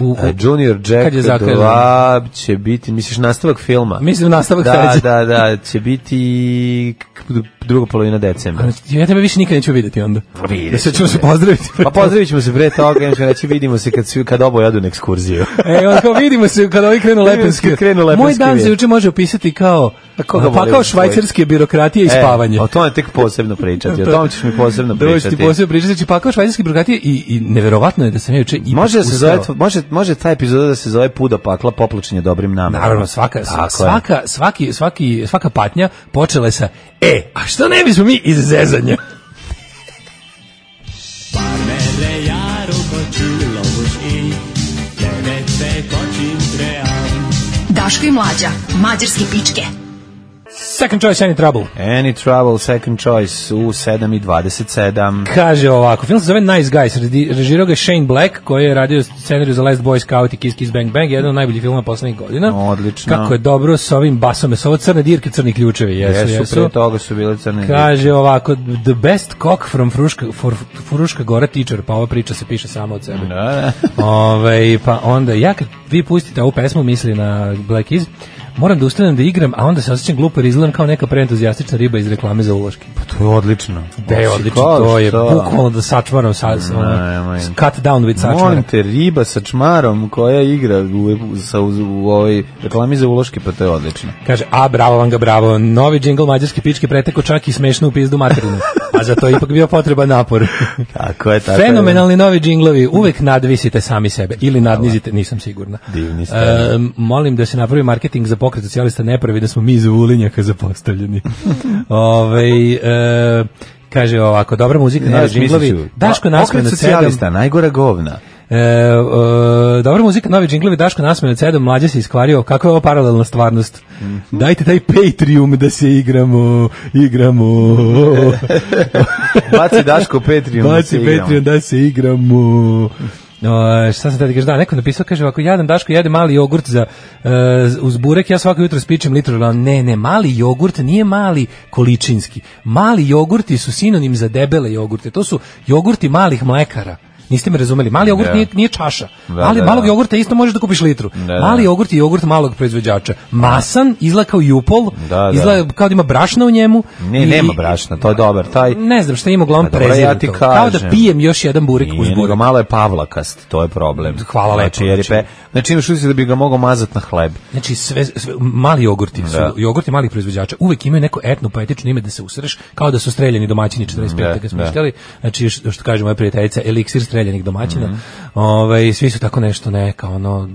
Speaker 5: U- u-
Speaker 6: E, Junior Jack
Speaker 5: kad je zakazano?
Speaker 6: 2 će biti, misliš, nastavak filma?
Speaker 5: Mislim, nastavak
Speaker 6: da,
Speaker 5: sledeće.
Speaker 6: da, da, će biti k- druga polovina decembra.
Speaker 5: Ja tebe više nikad neću vidjeti onda.
Speaker 6: Pa vidjet
Speaker 5: Da se ćemo
Speaker 6: ćemo
Speaker 5: se pozdraviti.
Speaker 6: Pa pozdravit ćemo se pre toga, ja ću reći vidimo se kad, svi, kad oboje odu na ekskurziju.
Speaker 5: <laughs> E, on kao vidimo se kada ovi krenu
Speaker 6: <laughs> Vidimo se
Speaker 5: lepenski.
Speaker 6: kad krenu lepenski
Speaker 5: Moj dan za
Speaker 6: vijest.
Speaker 5: juče može opisati kao
Speaker 6: A koga
Speaker 5: pa
Speaker 6: voli
Speaker 5: kao
Speaker 6: u svoj-
Speaker 5: švajcarske birokratije i spavanje.
Speaker 6: E, o tome tek posebno
Speaker 5: <laughs>
Speaker 6: pričati, o tome ćeš mi posebno
Speaker 5: Da hoćeš
Speaker 6: pričati.
Speaker 5: ti posebno pričati, znači pa kao švajcarske birokratije i, i neverovatno je da sam ja juče ipak
Speaker 6: Može da se
Speaker 5: ustao.
Speaker 6: zove, može, može ta epizoda da se zove Pudo pakla poplučenje dobrim namerama.
Speaker 5: Naravno, svaka,
Speaker 6: Tako je.
Speaker 5: svaka, svaki, svaki, svaka patnja počela je sa, e, a što ne bismo mi iz zezanja?
Speaker 4: Daško i mlađa. Mađarske pičke.
Speaker 5: Second choice, any trouble.
Speaker 6: Any Trouble, Second Choice u 7 i 27.
Speaker 5: Kaže ovako, film se zove Nice Guys, redi- režirao ga je Shane Black, koji je radio scenariju za Last Boy Scout i Kiss Kiss Bang Bang, jedan od najboljih filmova poslednjih godina.
Speaker 6: Odlično.
Speaker 5: Kako je dobro s ovim basom, s ovo crne dirke, crni ključevi, jesu,
Speaker 6: Jesu,
Speaker 5: jesu.
Speaker 6: pre toga su bile crne
Speaker 5: Kaže ovako, the best cock from Fruška, for, Fruška Gora teacher, pa ova priča se piše sama od sebe.
Speaker 6: Da, da.
Speaker 5: Ove, pa onda, ja kad vi pustite ovu pesmu, misli na Black Keys, moram da ustanem da igram, a onda se osjećam glupo jer izgledam kao neka preentuzijastična riba iz reklame za uloške.
Speaker 6: To je odlično.
Speaker 5: Da je
Speaker 6: Oči,
Speaker 5: Pa odlično,
Speaker 6: kao
Speaker 5: to je
Speaker 6: što.
Speaker 5: bukvalno da sačvarom sa, sa
Speaker 6: nemoj.
Speaker 5: cut down with sačvarom.
Speaker 6: Molim te, riba sa čmarom koja igra u, sa, u, u ovoj reklami za uloške, pa to je odlično.
Speaker 5: Kaže, a bravo vam ga, bravo, novi džingl mađarske pičke preteko čak i smešnu u pizdu <laughs> materinu, a za to je ipak bio potreban napor.
Speaker 6: Tako je, tako
Speaker 5: Fenomenalni novi džinglovi, uvek nadvisite sami sebe ili nadnizite, nisam sigurna.
Speaker 6: Divni ste.
Speaker 5: E, molim da se napravi marketing za pokret socijalista ne pravi da smo mi iz Vulinjaka
Speaker 6: <laughs>
Speaker 5: zapostavljeni. Ovaj e, kaže ovako, dobra muzika, novi
Speaker 6: da
Speaker 5: džinglovi. Daško nasmeo na
Speaker 6: socijalista, najgora govna.
Speaker 5: E, e, dobra muzika, novi džinglovi, Daško nasmeo od sedam, mlađe se iskvario, kako je ovo paralelna stvarnost?
Speaker 6: Mhm.
Speaker 5: Dajte taj Patreon da se igramo,
Speaker 6: <laughs>
Speaker 5: igramo.
Speaker 6: Baci <laughs> Daško Petrijum.
Speaker 5: Baci Patreon da se igramo. O, šta sam tada kaže, da, neko je napisao, kaže ovako, jadan Daško jede mali jogurt za, e, uz burek, ja svako jutro spičem litru, ali ne, ne, mali jogurt nije mali količinski. Mali jogurti su sinonim za debele jogurte, to su jogurti malih mlekara. Niste me razumeli, mali jogurt
Speaker 6: Da.
Speaker 5: nije, nije čaša.
Speaker 6: Da,
Speaker 5: mali,
Speaker 6: da, da.
Speaker 5: Malog jogurta isto možeš da kupiš litru.
Speaker 6: da.
Speaker 5: Mali jogurt je jogurt malog proizvođača. Masan, izgleda kao jupol,
Speaker 6: Da, da.
Speaker 5: izgleda kao da ima brašna u njemu.
Speaker 6: Ne,
Speaker 5: i-
Speaker 6: nema brašna, to je dobar. Taj,
Speaker 5: ne znam šta ima, uglavnom
Speaker 6: Pa dobro,
Speaker 5: prezirem
Speaker 6: ja ti
Speaker 5: to. Kao da
Speaker 6: kažem.
Speaker 5: pijem još jedan burik uz
Speaker 6: Nije, nego
Speaker 5: burik.
Speaker 6: malo je pavlakast, to je problem.
Speaker 5: Hvala
Speaker 6: znači,
Speaker 5: lepo,
Speaker 6: Jer je pe,
Speaker 5: znači.
Speaker 6: znači imaš utisak da bi ga mogao mazat na hleb.
Speaker 5: Znači, sve, sve, mali jogurti su,
Speaker 6: Da.
Speaker 5: jogurti malih proizvođača uvek imaju neko etno poetično ime da se usreš, kao da su streljani domaćini 45.
Speaker 6: Da,
Speaker 5: Da, kad smo
Speaker 6: da.
Speaker 5: šteli. Znači, š- što kaže moja prijateljica, eliksir streljanih
Speaker 6: Mhm.
Speaker 5: domaćina. Ovaj, svi su tako nešto neka, ono,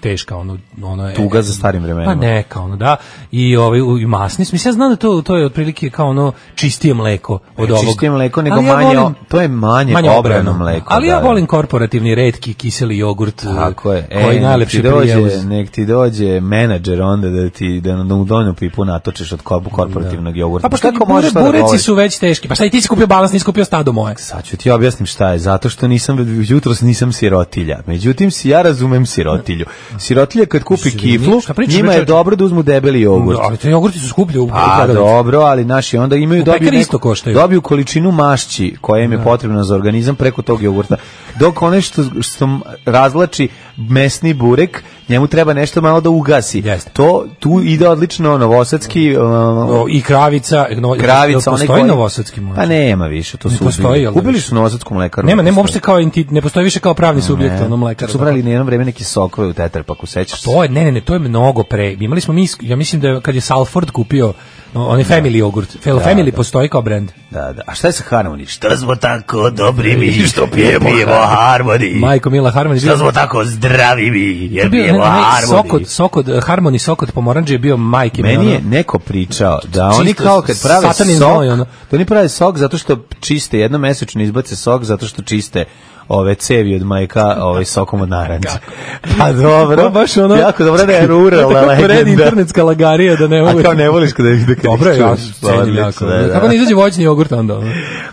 Speaker 5: teška, ono, ono
Speaker 6: Tuga za starim vremenima.
Speaker 5: Pa neka, ono, da. I, ovaj, u- i masni. su. Mislim, ja znam da to, to je otprilike kao ono čistije mleko od ovog.
Speaker 6: E, Čistije mleko, nego
Speaker 5: Ali ja
Speaker 6: manje,
Speaker 5: volim-
Speaker 6: to je manje, manje obrano mleko.
Speaker 5: Ali
Speaker 6: da,
Speaker 5: ja
Speaker 6: da.
Speaker 5: volim korporativni redki kiseli jogurt
Speaker 6: Tako je. E,
Speaker 5: koji
Speaker 6: nek
Speaker 5: najlepši
Speaker 6: ti dođe,
Speaker 5: prijevuz.
Speaker 6: Nek ti dođe menadžer onda da ti da na donju pipu natočiš od korpu korporativnog jogurta.
Speaker 5: Da. Pa pošto
Speaker 6: Kako
Speaker 5: kako
Speaker 6: možeš to da
Speaker 5: bureci
Speaker 6: govoriš?
Speaker 5: su već teški. Pa sad i ti si kupio balans, nisi kupio stado moje.
Speaker 6: Sad ću ti objasnim šta je, zato što nisam, jutros nisam sirotilja. Međutim, si ja razumem sirotilju. Sirotilja kad kupi
Speaker 5: Sirotilja?
Speaker 6: kiflu,
Speaker 5: Šta pričaš,
Speaker 6: njima je
Speaker 5: čoveče?
Speaker 6: dobro da uzmu debeli jogurt.
Speaker 5: Ali te jogurti su skuplji u
Speaker 6: A,
Speaker 5: prodavnici.
Speaker 6: Pa dobro, ali naši onda imaju
Speaker 5: U
Speaker 6: dobiju,
Speaker 5: pekari isto koštaju. Da.
Speaker 6: dobiju količinu mašći koja im je potrebna za organizam preko tog jogurta. Dok one što, što razlači mesni burek, njemu treba nešto malo da ugasi.
Speaker 5: Jeste.
Speaker 6: To, tu ide odlično novosadski um,
Speaker 5: O, I kravica, no,
Speaker 6: kravica. onaj
Speaker 5: postoji
Speaker 6: koji-
Speaker 5: novosadski možda?
Speaker 6: Pa nema više, to
Speaker 5: Ne
Speaker 6: su
Speaker 5: postoji,
Speaker 6: ubili.
Speaker 5: jel da
Speaker 6: Ubili
Speaker 5: više?
Speaker 6: su novosadsku mlekaru.
Speaker 5: Nema, nema
Speaker 6: Ne
Speaker 5: uopšte kao enti, ne postoji više kao pravni subjekt,
Speaker 6: postoji.
Speaker 5: ono mlekar.
Speaker 6: Čak Su pravili na jedno vreme neke sokove u tetrapaku, sećaš se?
Speaker 5: To je, ne, ne, ne, to je mnogo pre. Imali smo mi, isk- ja mislim da je, kad je Salford kupio no, onaj family jogurt, Fel- family postoji kao brend.
Speaker 6: Da, da. A šta je sa Harmony? Šta smo tako dobri mi što pijemo, pijemo Harmony?
Speaker 5: Majko Mila Harmon je bio-
Speaker 6: Da smo tako zdravi mi,
Speaker 5: to je bio ne, onaj sokot, sokot, eh, Harmony sokot pomoranđe je bio majke. mi,
Speaker 6: Meni
Speaker 5: ono.
Speaker 6: je neko pričao da oni
Speaker 5: Čisto
Speaker 6: kao kad prave
Speaker 5: satanin
Speaker 6: sok,
Speaker 5: znoj, ono.
Speaker 6: da oni prave sok zato što čiste, jednom mesečno izbace sok zato što čiste ove cevi od majka ovaj sokom od naranđa.
Speaker 5: <laughs>
Speaker 6: Pa dobro,
Speaker 5: Pa baš ono-
Speaker 6: jako dobro da je
Speaker 5: Znate
Speaker 6: ruralna
Speaker 5: kako vredi
Speaker 6: legenda.
Speaker 5: internetska lagarija da ne
Speaker 6: A
Speaker 5: mogu.
Speaker 6: kao ne voliš kada ih da kad
Speaker 5: Dobro,
Speaker 6: ih
Speaker 5: ja
Speaker 6: čuješ, pa
Speaker 5: cenim
Speaker 6: odlično,
Speaker 5: jako.
Speaker 6: da, da.
Speaker 5: Kako ne izađe voćni jogurt onda? ono?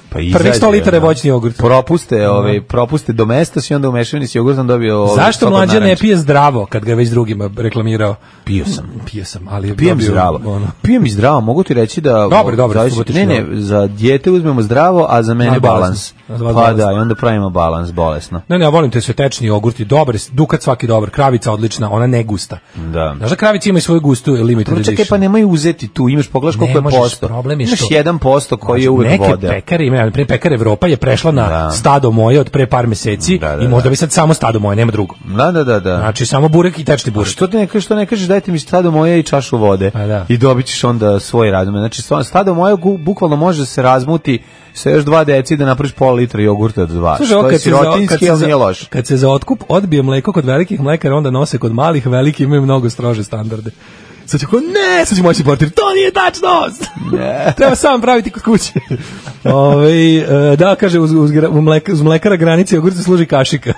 Speaker 6: Pa
Speaker 5: Prvih 100 litara je
Speaker 6: ono.
Speaker 5: voćni jogurt.
Speaker 6: Propuste, ovaj, propuste domestos i onda umešavani s jogurtom dobio... ovaj,
Speaker 5: Zašto
Speaker 6: sok od
Speaker 5: mlađa ne
Speaker 6: naranče.
Speaker 5: pije zdravo kad ga je već drugima reklamirao?
Speaker 6: Pio sam.
Speaker 5: <clears throat> Pio sam, ali je
Speaker 6: Pijem
Speaker 5: dobio,
Speaker 6: zdravo.
Speaker 5: ono,
Speaker 6: Pijem i zdravo, mogu ti reći da...
Speaker 5: Dobro, dobro,
Speaker 6: zavisi-
Speaker 5: subotični
Speaker 6: Ne, ne, za dijete uzmemo zdravo, a za mene
Speaker 5: A,
Speaker 6: balans.
Speaker 5: balans. A za vas
Speaker 6: Pa
Speaker 5: balans.
Speaker 6: da, i onda pravimo balans, bolesno.
Speaker 5: Ne, ne, ja volim te svetečni jogurti, dobar, dukat svaki dobar, kravica odlična, ona ne gusta.
Speaker 6: Da.
Speaker 5: Znaš da kravica ima i svoju gustu da limited
Speaker 6: Dobro, čekaj,
Speaker 5: edition.
Speaker 6: pa nemoj uzeti tu, imaš pogledaš koliko
Speaker 5: Ne
Speaker 6: je
Speaker 5: možeš,
Speaker 6: posto.
Speaker 5: problem je
Speaker 6: imaš
Speaker 5: što-
Speaker 6: 1% koji je uvek
Speaker 5: Neke
Speaker 6: vode.
Speaker 5: pekare, ima, pre pekare Evropa je prešla na
Speaker 6: Da.
Speaker 5: stado moje od pre par meseci
Speaker 6: Da, da,
Speaker 5: i možda
Speaker 6: da.
Speaker 5: bi sad samo stado moje, nema drugo.
Speaker 6: Da, da, da, da.
Speaker 5: Znači, samo burek i tečni burek.
Speaker 6: Što te ne kažeš, što ne kažeš, dajte mi stado moje i čašu vode
Speaker 5: Pa da.
Speaker 6: i dobit ćeš onda svoj radume. Znači, stvarno, stado moje gu- bukvalno može da se razmuti sa još dva deci da napraviš pola litra jogurta od dva.
Speaker 5: Slušaj, ovo
Speaker 6: što je
Speaker 5: kad se, za, kad,
Speaker 6: sirotinski,
Speaker 5: se
Speaker 6: ali
Speaker 5: za,
Speaker 6: nije loš.
Speaker 5: kad se za otkup odbije mleko kod velikih mlekara, onda nose kod malih, veliki imaju mnogo strože standarde. Sad ću kao, ne, sad ću moći da portir, to nije tačno! <laughs> Treba sam praviti kod kuće. Ove, e, da, kaže, uz, uz, gra- u mleka, uz mlekara granice jogurt se služi kašika.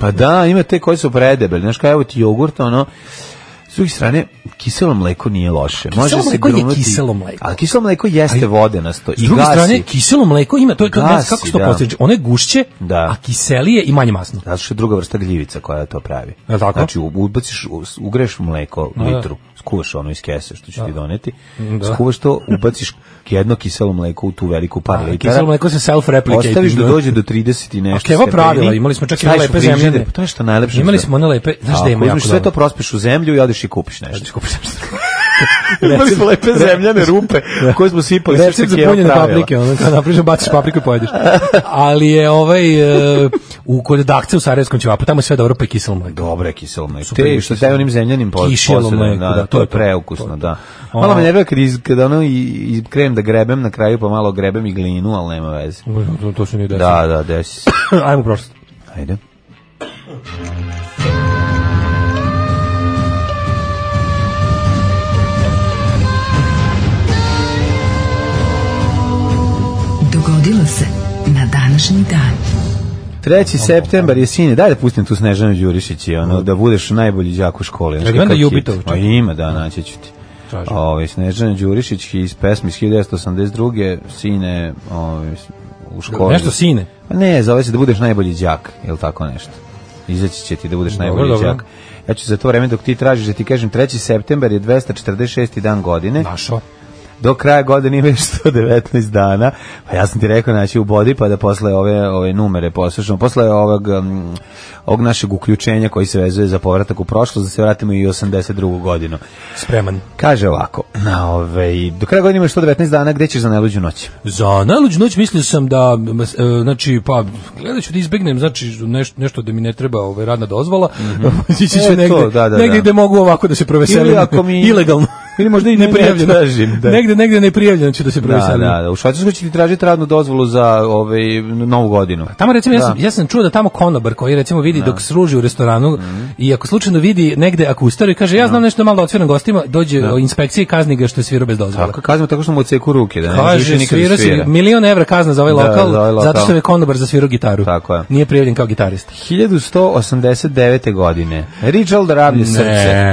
Speaker 6: Pa da, ima te koji su predebeli. Znaš kao, evo ti jogurt, ono, s druge strane, kiselo mleko nije loše. Može se
Speaker 5: mleko je
Speaker 6: grumnuti-
Speaker 5: kiselo mleko.
Speaker 6: Ali kiselo mleko jeste vodenasto.
Speaker 5: S
Speaker 6: I
Speaker 5: druge
Speaker 6: gasi.
Speaker 5: strane, kiselo mleko ima, to je, to, ne znam
Speaker 6: Gasi,
Speaker 5: kako se to
Speaker 6: da.
Speaker 5: postiže, ono je gušće,
Speaker 6: Da.
Speaker 5: a kiselije i manje masno.
Speaker 6: Zato što je druga vrsta gljivica koja to pravi.
Speaker 5: Jel tako?
Speaker 6: Znači, u- ubaciš, u- ugreš mleko
Speaker 5: Da.
Speaker 6: litru, skuvaš ono iz kese što ću ti doneti,
Speaker 5: Da.
Speaker 6: skuvaš to, ubaciš jedno kiselo mleko u tu veliku par
Speaker 5: A,
Speaker 6: litara.
Speaker 5: kiselo mleko se self-replicating.
Speaker 6: Da, Ostaviš da
Speaker 5: da.
Speaker 6: dođe do 30 i nešto.
Speaker 5: A keva
Speaker 6: stepeni,
Speaker 5: pravila, imali smo čak i
Speaker 6: staviš u
Speaker 5: lepe
Speaker 6: frižider,
Speaker 5: zemljane.
Speaker 6: Pa to je nešto najlepše.
Speaker 5: Imali
Speaker 6: što-
Speaker 5: smo one lepe, znaš da ima
Speaker 6: Ako
Speaker 5: jako
Speaker 6: uzmeš sve to pa-
Speaker 5: dobro. Znači,
Speaker 6: prospiš u zemlju i odeš i kupiš <laughs> nešto.
Speaker 5: Imali smo lepe
Speaker 6: zemljane rupe koje smo sipali.
Speaker 5: Recept za punjenje paprike, ono kad napriš baciš papriku i pojedeš. Ali je ovaj e, u kod dakce u Sarajevskom ćevapu, tamo je sve dobro pa je kiselo mleko.
Speaker 6: Dobre kiselo mleko.
Speaker 5: Super
Speaker 6: Te
Speaker 5: je
Speaker 6: što
Speaker 5: kiselo.
Speaker 6: daje onim zemljanim po-
Speaker 5: Kišjelo
Speaker 6: posadom,
Speaker 5: mleko,
Speaker 6: da,
Speaker 5: da,
Speaker 6: to je
Speaker 5: to, to,
Speaker 6: preukusno,
Speaker 5: to.
Speaker 6: da.
Speaker 5: Ono-
Speaker 6: Malo me nervira kad iz kad ono i, i krenem da grebem na kraju pa malo grebem i glinu, ali nema veze.
Speaker 5: To, to se nije desilo.
Speaker 6: Da, da, desi. se.
Speaker 5: <laughs> Ajmo prošlo.
Speaker 6: Ajde.
Speaker 4: Dogodilo se na današnji dan.
Speaker 6: 3. septembar je sine. Daj da pustim tu Snežanu Đurišić i ono, da budeš najbolji đak u školi. Znaš
Speaker 5: Jel ima
Speaker 6: kakav
Speaker 5: da
Speaker 6: hit?
Speaker 5: Jupitovu
Speaker 6: Pa
Speaker 5: čak?
Speaker 6: ima, da, naći ću ti.
Speaker 5: Traži.
Speaker 6: Ove, Snežana Đurišić iz pesmi iz 1982. Sine ove, u školi.
Speaker 5: Nešto sine.
Speaker 6: Pa ne, zove se da budeš najbolji đak, je li tako nešto? Izaći će ti da budeš najbolji
Speaker 5: dobro.
Speaker 6: đak. Ja ću za to vreme dok ti tražiš da ti kažem 3. september je 246. dan godine.
Speaker 5: Našao.
Speaker 6: Do kraja godine imaš 119 dana. Pa ja sam ti rekao naći u bodi pa da posle ove ove numere poslušamo. Posle ovog um, ovog našeg uključenja koji se vezuje za povratak u prošlost, da se vratimo i u 82. godinu.
Speaker 5: Spreman.
Speaker 6: Kaže ovako, na ovaj, do kraja godine imaš 119 dana, gde ćeš za najluđu noć?
Speaker 5: Za najluđu noć mislio sam da, m, s- e, znači, pa, gledat ću da izbegnem, znači, neš, nešto da mi ne treba ovaj, radna dozvola, <laughs> ići ću
Speaker 6: E, to,
Speaker 5: negde,
Speaker 6: da, da,
Speaker 5: negde
Speaker 6: da.
Speaker 5: gde mogu ovako da se proveselim,
Speaker 6: Ili ako mi-
Speaker 5: ilegalno.
Speaker 6: <laughs> ili
Speaker 5: <laughs>
Speaker 6: možda i ne
Speaker 5: neprijavljeno.
Speaker 6: tražim, da.
Speaker 5: Negde, negde neprijavljeno ću da se
Speaker 6: Da,
Speaker 5: proveselim.
Speaker 6: da, da, u Švajcarskoj će ti tražiti radnu dozvolu za ovaj, novu godinu.
Speaker 5: Tamo recimo ja sam,
Speaker 6: Da.
Speaker 5: ja sam čuo da tamo konobar koji recimo vidi dok služi u restoranu
Speaker 6: Mhm.
Speaker 5: i ako slučajno vidi negde akustaru i kaže ja znam nešto malo da odsviram gostima, dođe o inspekcija i kazni ga što je svirao bez dozvole.
Speaker 6: Tako kaznimo tako što mu odseku ruke, da ne može više
Speaker 5: Kaže,
Speaker 6: nikad da
Speaker 5: svirao
Speaker 6: svira.
Speaker 5: sam milion evra kazna za ovaj
Speaker 6: Da,
Speaker 5: lokal,
Speaker 6: za ovaj lokal.
Speaker 5: zato što je konobar zasvirao gitaru.
Speaker 6: Tako je.
Speaker 5: Nije prijavljen kao gitarista.
Speaker 6: 1189. godine. Richard Ravlje srce.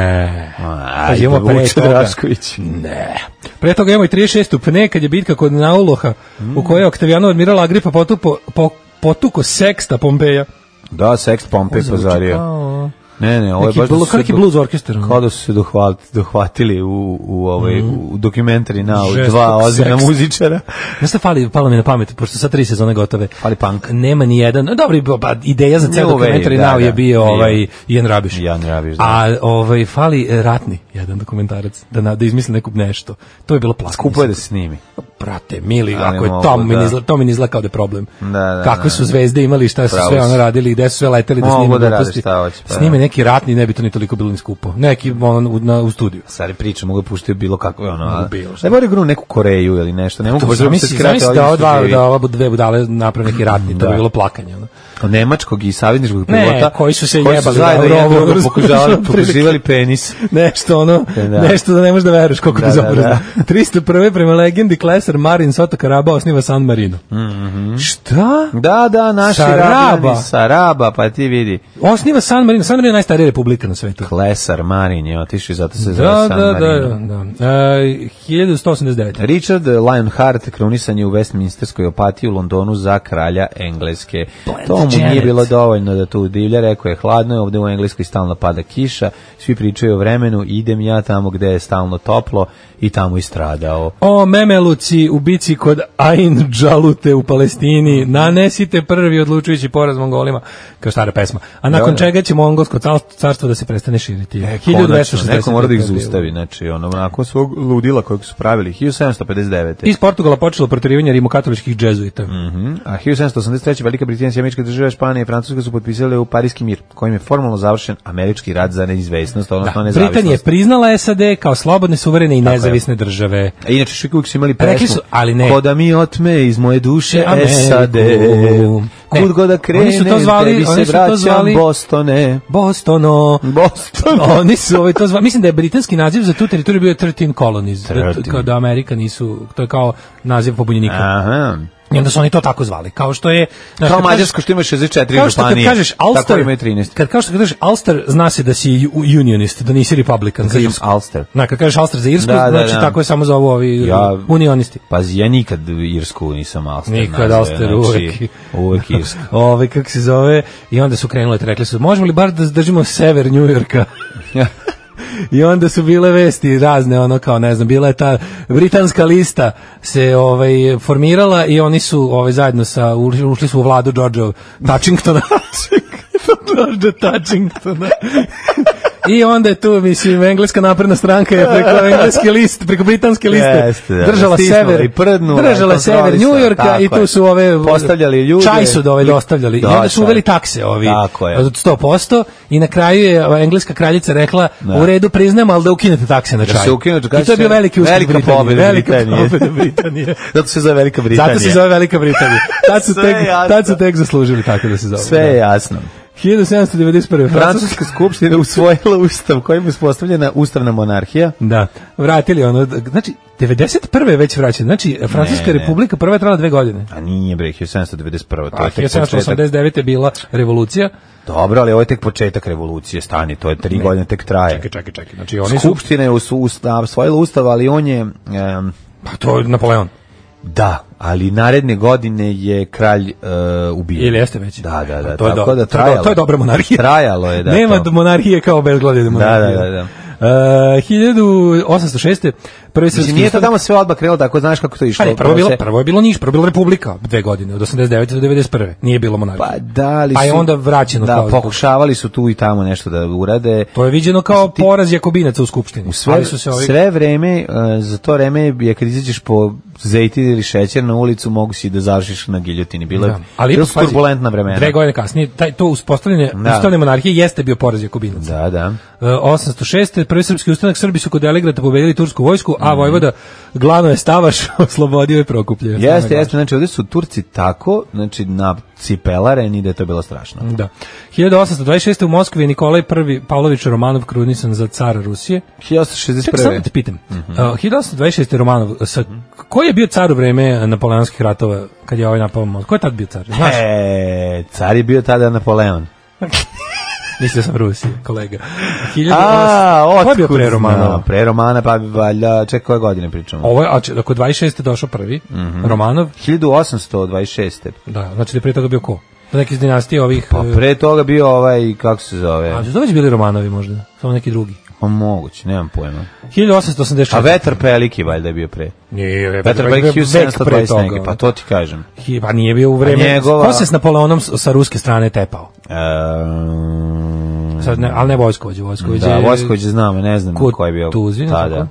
Speaker 6: Pa
Speaker 5: Pazi, imamo pre toga.
Speaker 6: Rašković.
Speaker 5: Ne. Pre toga imamo i 36. pne kad je bitka kod Nauloha u kojoj je Oktavijanov admiral Agripa potupo, po, potuko seksta Pompeja.
Speaker 6: Da, Sext Pompej pozario.
Speaker 5: Kao-
Speaker 6: Ne, ne, ovo je
Speaker 5: Neki,
Speaker 6: baš... da
Speaker 5: blu,
Speaker 6: su se
Speaker 5: neki
Speaker 6: do-
Speaker 5: blues orkestar. ono.
Speaker 6: Kao da su se dohvat, dohvatili u, u, ovaj, u dokumentari na
Speaker 5: Žestog
Speaker 6: dva ozbiljna
Speaker 5: Sext.
Speaker 6: muzičara.
Speaker 5: Znaš šta fali, palo mi na pamet, pošto su sad tri sezone gotove.
Speaker 6: Fali punk.
Speaker 5: Nema ni jedan. No, Dobri, pa ideja za ceo
Speaker 6: New
Speaker 5: dokumentari
Speaker 6: Wave, da,
Speaker 5: Now
Speaker 6: da.
Speaker 5: je bio
Speaker 6: Bio.
Speaker 5: ovaj Ian Rabiš.
Speaker 6: Ian Rabiš, da.
Speaker 5: A ovaj fali e, ratni jedan dokumentarac da na, da izmisli neku nešto. To je bilo plasno.
Speaker 6: Kupo je da se snimi.
Speaker 5: Brate, mili,
Speaker 6: Ali
Speaker 5: ako je
Speaker 6: mogu,
Speaker 5: to mi
Speaker 6: da.
Speaker 5: izla, to mi ne izgleda kao da je problem.
Speaker 6: Da, da,
Speaker 5: Kakve
Speaker 6: da.
Speaker 5: su zvezde imali, šta su
Speaker 6: Pravo
Speaker 5: sve
Speaker 6: si.
Speaker 5: ono radili, gde su sve leteli da
Speaker 6: Mogu
Speaker 5: snime
Speaker 6: da rade
Speaker 5: gluposti.
Speaker 6: šta hoće, pa da.
Speaker 5: snime neki ratni, ne bi to ni toliko bilo ni skupo. Neki ono u, na, u studiju.
Speaker 6: Stari priča, mogu da puštaju bilo kakve ono. a-
Speaker 5: bilo šta.
Speaker 6: Ne mora igru u neku Koreju ili nešto, ne mogu baš da se
Speaker 5: Zamisli,
Speaker 6: skrate
Speaker 5: zamisli
Speaker 6: ovdje
Speaker 5: da ova
Speaker 6: što
Speaker 5: dva,
Speaker 6: živi.
Speaker 5: da ova dve budale naprave neki ratni, to
Speaker 6: Da.
Speaker 5: bi bilo plakanje. Ono. <laughs>
Speaker 6: Od nemačkog i savjetničkog
Speaker 5: da- Ne,
Speaker 6: pilota
Speaker 5: koji su se
Speaker 6: koji su
Speaker 5: jebali
Speaker 6: zajedno
Speaker 5: na
Speaker 6: jedan
Speaker 5: rovu,
Speaker 6: <laughs> drugom
Speaker 5: <laughs>
Speaker 6: pokušavali
Speaker 5: otprilike.
Speaker 6: pokušivali penis
Speaker 5: nešto ono,
Speaker 6: Da.
Speaker 5: nešto da ne možeš da veruješ koliko
Speaker 6: Da,
Speaker 5: da, bezobrazno.
Speaker 6: da,
Speaker 5: 301. prema legendi Klesar Marin Soto Karaba osniva San Marino. Šta?
Speaker 6: da da naši
Speaker 5: Saraba.
Speaker 6: rabljani, saraba pa ti vidi
Speaker 5: Osniva San Marino. San Marino najstarija republika na svetu.
Speaker 6: Klesar Marin je otišao i zato se
Speaker 5: Da,
Speaker 6: zove San
Speaker 5: da, da,
Speaker 6: Marino.
Speaker 5: da. E, 1189.
Speaker 6: Richard Lionheart krunisan je u Westminsterskoj opatiji u Londonu za kralja Engleske. to mu nije
Speaker 5: Janet.
Speaker 6: bilo dovoljno da tu divlja, rekao je hladno je, ovde u Engleskoj stalno pada kiša, svi pričaju o vremenu, idem ja tamo gde je stalno toplo i tamo i stradao.
Speaker 5: O Memeluci u bici kod Ain Džalute u Palestini nanesite prvi odlučujući poraz Mongolima kao stara pesma. A nakon
Speaker 6: da. E,
Speaker 5: čega će mongolsko cal- carstvo da se prestane širiti.
Speaker 6: Konačno, neko mora da ih
Speaker 5: 1265 je bilo.
Speaker 6: zustavi, znači ono, onako svog ludila kojeg su pravili, 1759.
Speaker 5: Iz Portugala počelo proterivanje rimokatoličkih džezuita.
Speaker 6: Mhm. A 1783. Velika Britanija, Sjemenička država, Španija i Francuska su potpisale u Parijski mir, kojim je formalno završen američki rad za neizvesnost, odnosno
Speaker 5: Da,
Speaker 6: nezavisnost.
Speaker 5: Britanija je priznala SAD kao slobodne, suverene i
Speaker 6: Tako je.
Speaker 5: nezavisne države.
Speaker 6: A inače što uvijek su imali pesmu.
Speaker 5: Rekli su, ali ne.
Speaker 6: Ko da mi otme iz moje duše
Speaker 5: Ameriku.
Speaker 6: SAD.
Speaker 5: Ne.
Speaker 6: Kud god da krenem,
Speaker 5: Oni su to zvali-
Speaker 6: tebi se
Speaker 5: oni su to
Speaker 6: vraćam,
Speaker 5: zvali-
Speaker 6: Bostone.
Speaker 5: Bostono.
Speaker 6: Boston.
Speaker 5: <laughs> Oni su ovaj to zva, mislim da je britanski naziv za tu teritoriju bio 13 colonies, da,
Speaker 6: 13.
Speaker 5: kao da Amerika nisu, to je kao naziv pobunjenika.
Speaker 6: Aha.
Speaker 5: I onda su oni to tako zvali. Kao što je... znaš,
Speaker 6: Kao
Speaker 5: kad kažeš-
Speaker 6: Mađarsko što ima 64 županije.
Speaker 5: Kao što kad kažeš
Speaker 6: Tako
Speaker 5: Alster,
Speaker 6: ima 13.
Speaker 5: kad kao što kad kažeš Alster, zna se da si ju- unionist, da nisi republikan za
Speaker 6: kažem
Speaker 5: Irsku.
Speaker 6: Ulster.
Speaker 5: Na, kad kažeš Alster za Irsku,
Speaker 6: Da, da,
Speaker 5: znači
Speaker 6: da.
Speaker 5: tako je samo za ovo ovi
Speaker 6: Ja-
Speaker 5: unionisti.
Speaker 6: Pazi, ja nikad u Irsku nisam Alster.
Speaker 5: Nikad
Speaker 6: nazvao, znači,
Speaker 5: Ulster, uvek.
Speaker 6: Uvek Irska.
Speaker 5: <laughs> Ove, kako se zove, i onda su krenule, rekli su, možemo li bar da držimo sever Njujorka? I onda su bile vesti razne, ono kao ne znam, bila je ta britanska lista se ovaj formirala i oni su ovaj zajedno sa ušli- ušli su u vladu Georgea Touchingtona. George Touchingtona. I onda je tu, mislim, engleska napredna stranka je preko engleske liste, preko britanske liste
Speaker 6: Jeste, da.
Speaker 5: držala
Speaker 6: Stisnula
Speaker 5: sever,
Speaker 6: i prdnula,
Speaker 5: držala sever
Speaker 6: kontrolisala,
Speaker 5: New Yorka
Speaker 6: tako
Speaker 5: i tu
Speaker 6: je.
Speaker 5: su ove...
Speaker 6: Postavljali ljude.
Speaker 5: Čaj su dove dostavljali. I
Speaker 6: Da,
Speaker 5: onda su
Speaker 6: čaj.
Speaker 5: uveli takse ovi
Speaker 6: Tako je.
Speaker 5: od 100% i na kraju je ova engleska kraljica rekla u redu priznamo, ali da ukinete takse na čaj.
Speaker 6: se ukinu, da
Speaker 5: I to je bio
Speaker 6: kažete,
Speaker 5: veliki uspjeh
Speaker 6: velika
Speaker 5: Britanije.
Speaker 6: pobjeda
Speaker 5: velika
Speaker 6: Britanije.
Speaker 5: pobjeda
Speaker 6: <laughs>
Speaker 5: Britanije.
Speaker 6: Zato se zove Velika Britanija.
Speaker 5: Zato se zove Velika Britanija. Tad su,
Speaker 6: Sve
Speaker 5: tek,
Speaker 6: je jasno.
Speaker 5: tad su tek zaslužili tako da se zove.
Speaker 6: Sve je jasno.
Speaker 5: Da. 1791. Francuska.
Speaker 6: Francuska skupština usvojila ustav kojim je uspostavljena ustavna monarhija.
Speaker 5: Da, vratili ono, znači, 91. je već vraćeno, znači, Francuska
Speaker 6: Ne, ne.
Speaker 5: republika prva je trajala dve godine.
Speaker 6: A nije bre, 1791. To
Speaker 5: A
Speaker 6: je tek početak.
Speaker 5: 1789. je bila revolucija.
Speaker 6: Dobro, ali ovo je tek početak revolucije, stani, to je tri godine tek traje.
Speaker 5: Čekaj, čekaj, čekaj, znači oni su,
Speaker 6: Skupština je usu- usta- usvojila ustav, ali on je... em,
Speaker 5: pa to je Napoleon.
Speaker 6: da, ali naredne godine je kralj e, ubijen.
Speaker 5: Ili jeste već?
Speaker 6: Da, da, da.
Speaker 5: A to je do-
Speaker 6: tako da
Speaker 5: to je do-
Speaker 6: trajalo.
Speaker 5: to je dobra monarhija.
Speaker 6: Trajalo je, da.
Speaker 5: Nema
Speaker 6: to.
Speaker 5: monarhije kao bezglavljene monarhije.
Speaker 6: da, da, da.
Speaker 5: E, 1806. Prvi srpski
Speaker 6: Mislim, nije to
Speaker 5: ustav-
Speaker 6: tamo sve odmah krenulo, tako znaš kako to
Speaker 5: Pa
Speaker 6: je išlo.
Speaker 5: ne, prvo je bilo,
Speaker 6: se-
Speaker 5: prvo je bilo Niš, prvo je bila Republika dve godine, od 89. do 91. Nije bilo monarhije.
Speaker 6: Pa da, ali
Speaker 5: Pa je
Speaker 6: su-
Speaker 5: onda vraćeno
Speaker 6: Da,
Speaker 5: kao-
Speaker 6: pokušavali su tu i tamo nešto da urade.
Speaker 5: to je viđeno kao
Speaker 6: Ti-
Speaker 5: poraz Jakobinaca u Skupštini.
Speaker 6: U sve,
Speaker 5: ali su se ovi...
Speaker 6: sve vreme, e, za to vreme, je kad izađeš po zejtin ili šećer na ulicu, mogu si da završiš na giljotini. Bilo, je-
Speaker 5: Da. Ali
Speaker 6: bilo
Speaker 5: ipak,
Speaker 6: su
Speaker 5: pazi,
Speaker 6: turbulentna vremena.
Speaker 5: Dve godine kasnije, taj, to uspostavljanje
Speaker 6: Da.
Speaker 5: ustavne monarhije jeste bio poraz Jakobinaca.
Speaker 6: Da, da.
Speaker 5: E, 806. prvi srpski ustanak Srbi su kod Elegrata pobedili tursku vojsku,
Speaker 6: Mhm.
Speaker 5: a Vojvoda glavno je stavaš, <laughs> oslobodio je Prokuplje.
Speaker 6: Jeste, jeste, znači ovde su Turci tako, znači na cipelareni da je to bilo strašno.
Speaker 5: Da. 1826. u Moskvi je Nikolaj I Pavlović Romanov krunisan za cara Rusije. Čekaj, samo da
Speaker 6: 1861.
Speaker 5: te pitam.
Speaker 6: Mhm.
Speaker 5: Uh, 1826. Romanov, sa, koji je bio car u vreme napoleonskih ratova kad je ovaj napao Moskvu? Ko je tad bio car? Znaš,
Speaker 6: E, car je bio tada Napoleon.
Speaker 5: mislio sam Rusije, kolega. 1800
Speaker 6: A,
Speaker 5: Ko je bio
Speaker 6: otkud
Speaker 5: pre
Speaker 6: znam?
Speaker 5: Romanova?
Speaker 6: Pre Romana, pa bi valjda, čekaj koje godine pričamo.
Speaker 5: Ovo je, a če- ako je 26. došao prvi,
Speaker 6: Mhm.
Speaker 5: Romanov,
Speaker 6: 1826.
Speaker 5: da, znači da je pre toga bio ko? Da neki iz dinastije ovih...
Speaker 6: Pa
Speaker 5: e,
Speaker 6: pre toga bio ovaj, kako se
Speaker 5: A
Speaker 6: zove?
Speaker 5: su to već da bili Romanovi možda, samo neki drugi.
Speaker 6: Pa moguće, nemam pojma.
Speaker 5: 1884.
Speaker 6: A Pa vetar peliki valjda je bio pre.
Speaker 5: Nije,
Speaker 6: Vetar peliki 1720 neke, pa to ti kažem.
Speaker 5: Hi- Pa nije bio u vreme.
Speaker 6: A njegova-
Speaker 5: Ko se s Napoleonom s- sa ruske strane tepao?
Speaker 6: Ehm,
Speaker 5: Sad ne, ali ne Vojskovođe, Vojskovođe.
Speaker 6: Da, Vosković znamo, ne znam
Speaker 5: Kut-
Speaker 6: ko je bio.
Speaker 5: Tuzin,
Speaker 6: Da,
Speaker 5: tako?
Speaker 6: da.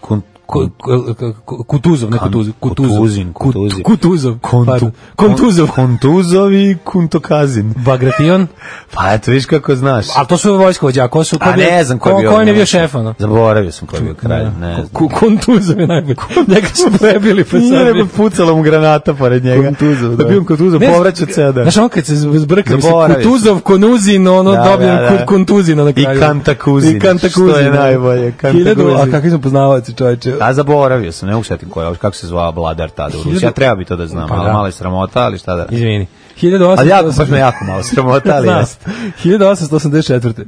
Speaker 6: Kun-
Speaker 5: Ku- ku- ku- ku- Kutuzov, ne Kutuzov. Kutuzov.
Speaker 6: Kutuzin,
Speaker 5: Kut-
Speaker 6: Kutuzin.
Speaker 5: Kutuzov.
Speaker 6: Kontu,
Speaker 5: pardon. Kontuzov.
Speaker 6: Kontuzovi, Kuntokazin.
Speaker 5: Bagration.
Speaker 6: Pa eto, viš kako znaš.
Speaker 5: Ali to su vojskovođe, a ko su... ko
Speaker 6: A
Speaker 5: je bio-
Speaker 6: ne znam ko je bio.
Speaker 5: Ko je ne bio šef, ono? da.
Speaker 6: Zaboravio sam ko je bio kralj, ne znam.
Speaker 5: Ku- Kontuzov je najbolji. Njega su prebili po
Speaker 6: Nije
Speaker 5: Srbiji.
Speaker 6: nego pucala mu granata pored njega.
Speaker 5: Kuntuzov,
Speaker 6: da. bi on Kuntuzov
Speaker 5: Ne,
Speaker 6: povraćao ceda.
Speaker 5: Znaš, on kad se da. zbrka, mislim,
Speaker 6: Zaboravio sam.
Speaker 5: Kutuzov, Konuzin, ono,
Speaker 6: Da,
Speaker 5: da,
Speaker 6: da,
Speaker 5: dobijem
Speaker 6: da.
Speaker 5: Kut- Kontuzina na
Speaker 6: I
Speaker 5: kraju.
Speaker 6: Kantakuzin,
Speaker 5: I Kantakuzin.
Speaker 6: što je
Speaker 5: da.
Speaker 6: najbolje, Kantakuzin.
Speaker 5: Hiljadu, a kakvi smo poznavaci, čoveče.
Speaker 6: A zaboravio sam, ne usetim koja, kako se zvala vladar tada u Rusiji.
Speaker 5: Hiljadu-
Speaker 6: Ja treba bi to da znam,
Speaker 5: Pa
Speaker 6: ali
Speaker 5: da.
Speaker 6: mala je sramota, ali šta da...
Speaker 5: Izvini. 1800...
Speaker 6: Ali jako, baš me jako malo sramota,
Speaker 5: <laughs>
Speaker 6: ali
Speaker 5: Znam.
Speaker 6: jeste.
Speaker 5: 1884.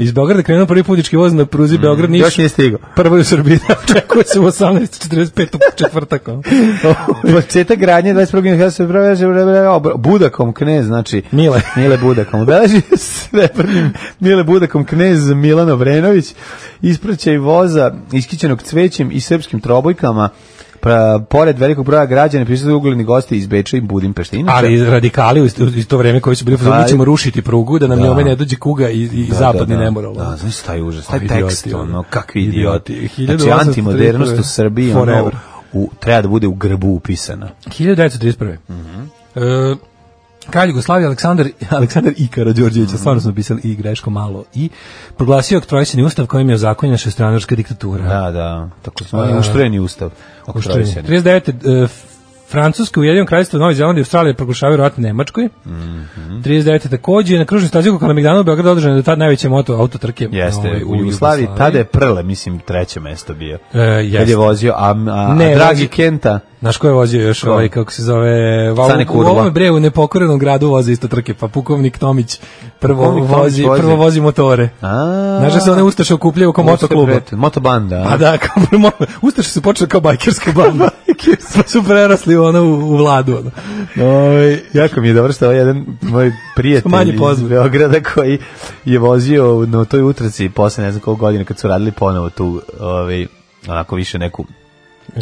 Speaker 5: Iz Beograda krenuo prvi putnički voz na pruzi Beograd Niš.
Speaker 6: Još nije
Speaker 5: <laughs>
Speaker 6: stigao.
Speaker 5: Prvo je u Srbiji, da, čekuje se u 1845. u četvrtak. ono.
Speaker 6: Početak gradnje 21. juna se preveze Budakom knez, znači
Speaker 5: Mile.
Speaker 6: <laughs> Mile Budakom. Obeleži srebrnim Mile Budakom knez Milan Obrenović ispraćaj voza iskićenog cvećem i srpskim trobojkama pra, pored velikog broja građana prisutuju ugledni gosti iz Beča i Budimpešte. Inače,
Speaker 5: Ali radikali u isto, isto vreme koji su bili,
Speaker 6: Da,
Speaker 5: da, mi ćemo
Speaker 6: i-
Speaker 5: rušiti prugu, da nam
Speaker 6: Da.
Speaker 5: njome ne dođe kuga i, i
Speaker 6: Da,
Speaker 5: Pa zapadni
Speaker 6: da, da.
Speaker 5: nemoral.
Speaker 6: Da, znaš taj užas,
Speaker 5: A,
Speaker 6: taj
Speaker 5: idioti,
Speaker 6: tekst,
Speaker 5: ono.
Speaker 6: ono, kakvi
Speaker 5: Idioti.
Speaker 6: idioti. Znači,
Speaker 5: 1831
Speaker 6: antimodernost u Srbiji, ono,
Speaker 5: Forever.
Speaker 6: u, treba da bude u grbu upisana.
Speaker 5: 1931. E, Kralj Jugoslavije Aleksandar, <laughs> Aleksandar I. Karadžorđević, mm stvarno smo pisali i greško malo, i proglasio oktrojstveni ustav kojim je ozakonjena šestranarska diktatura.
Speaker 6: Da, da, tako smo i uštrojeni ustav.
Speaker 5: Oštrije.
Speaker 6: Oktrojstveni.
Speaker 5: 39. E, Francuska, Ujedinjeno kraljevstvo, Novi Zeland i Australija proglašavaju rat Nemačkoj. Mm
Speaker 6: Mhm.
Speaker 5: -hmm. 39. takođe je na kružnom stazi oko Kalemegdana u Beogradu održana je do tad najveća moto autotrke.
Speaker 6: Jeste,
Speaker 5: ovaj,
Speaker 6: u Jugoslaviji, tada je Prle, mislim, treće mesto bio.
Speaker 5: E, jeste.
Speaker 6: Kad je vozio, a, a,
Speaker 5: Ne,
Speaker 6: a Dragi
Speaker 5: vozi-
Speaker 6: Kenta,
Speaker 5: Znaš ko je vozio još
Speaker 6: Ko?
Speaker 5: ovaj, kako se zove, va,
Speaker 6: Cane
Speaker 5: u, u
Speaker 6: Kurla.
Speaker 5: ovome bre, u nepokorenom gradu voze isto trke, pa pukovnik Tomić prvo,
Speaker 6: Pukovnik Tomić
Speaker 5: vozi,
Speaker 6: vozi.
Speaker 5: prvo vozi motore.
Speaker 6: A.
Speaker 5: Znaš da se one ustaše okupljaju oko motokluba.
Speaker 6: Ustaše, Motobanda.
Speaker 5: A da, kao prvo, Ustaše su počeli kao bajkerska
Speaker 6: <laughs>
Speaker 5: banda. pa su prerasli ono u, u vladu. Ono.
Speaker 6: Oj, jako mi je dobro što ovaj jedan moj prijatelj
Speaker 5: Manje
Speaker 6: iz
Speaker 5: poznat.
Speaker 6: Beograda koji je vozio na toj utrci posle ne znam koliko godina kad su radili ponovo tu ovaj, onako više neku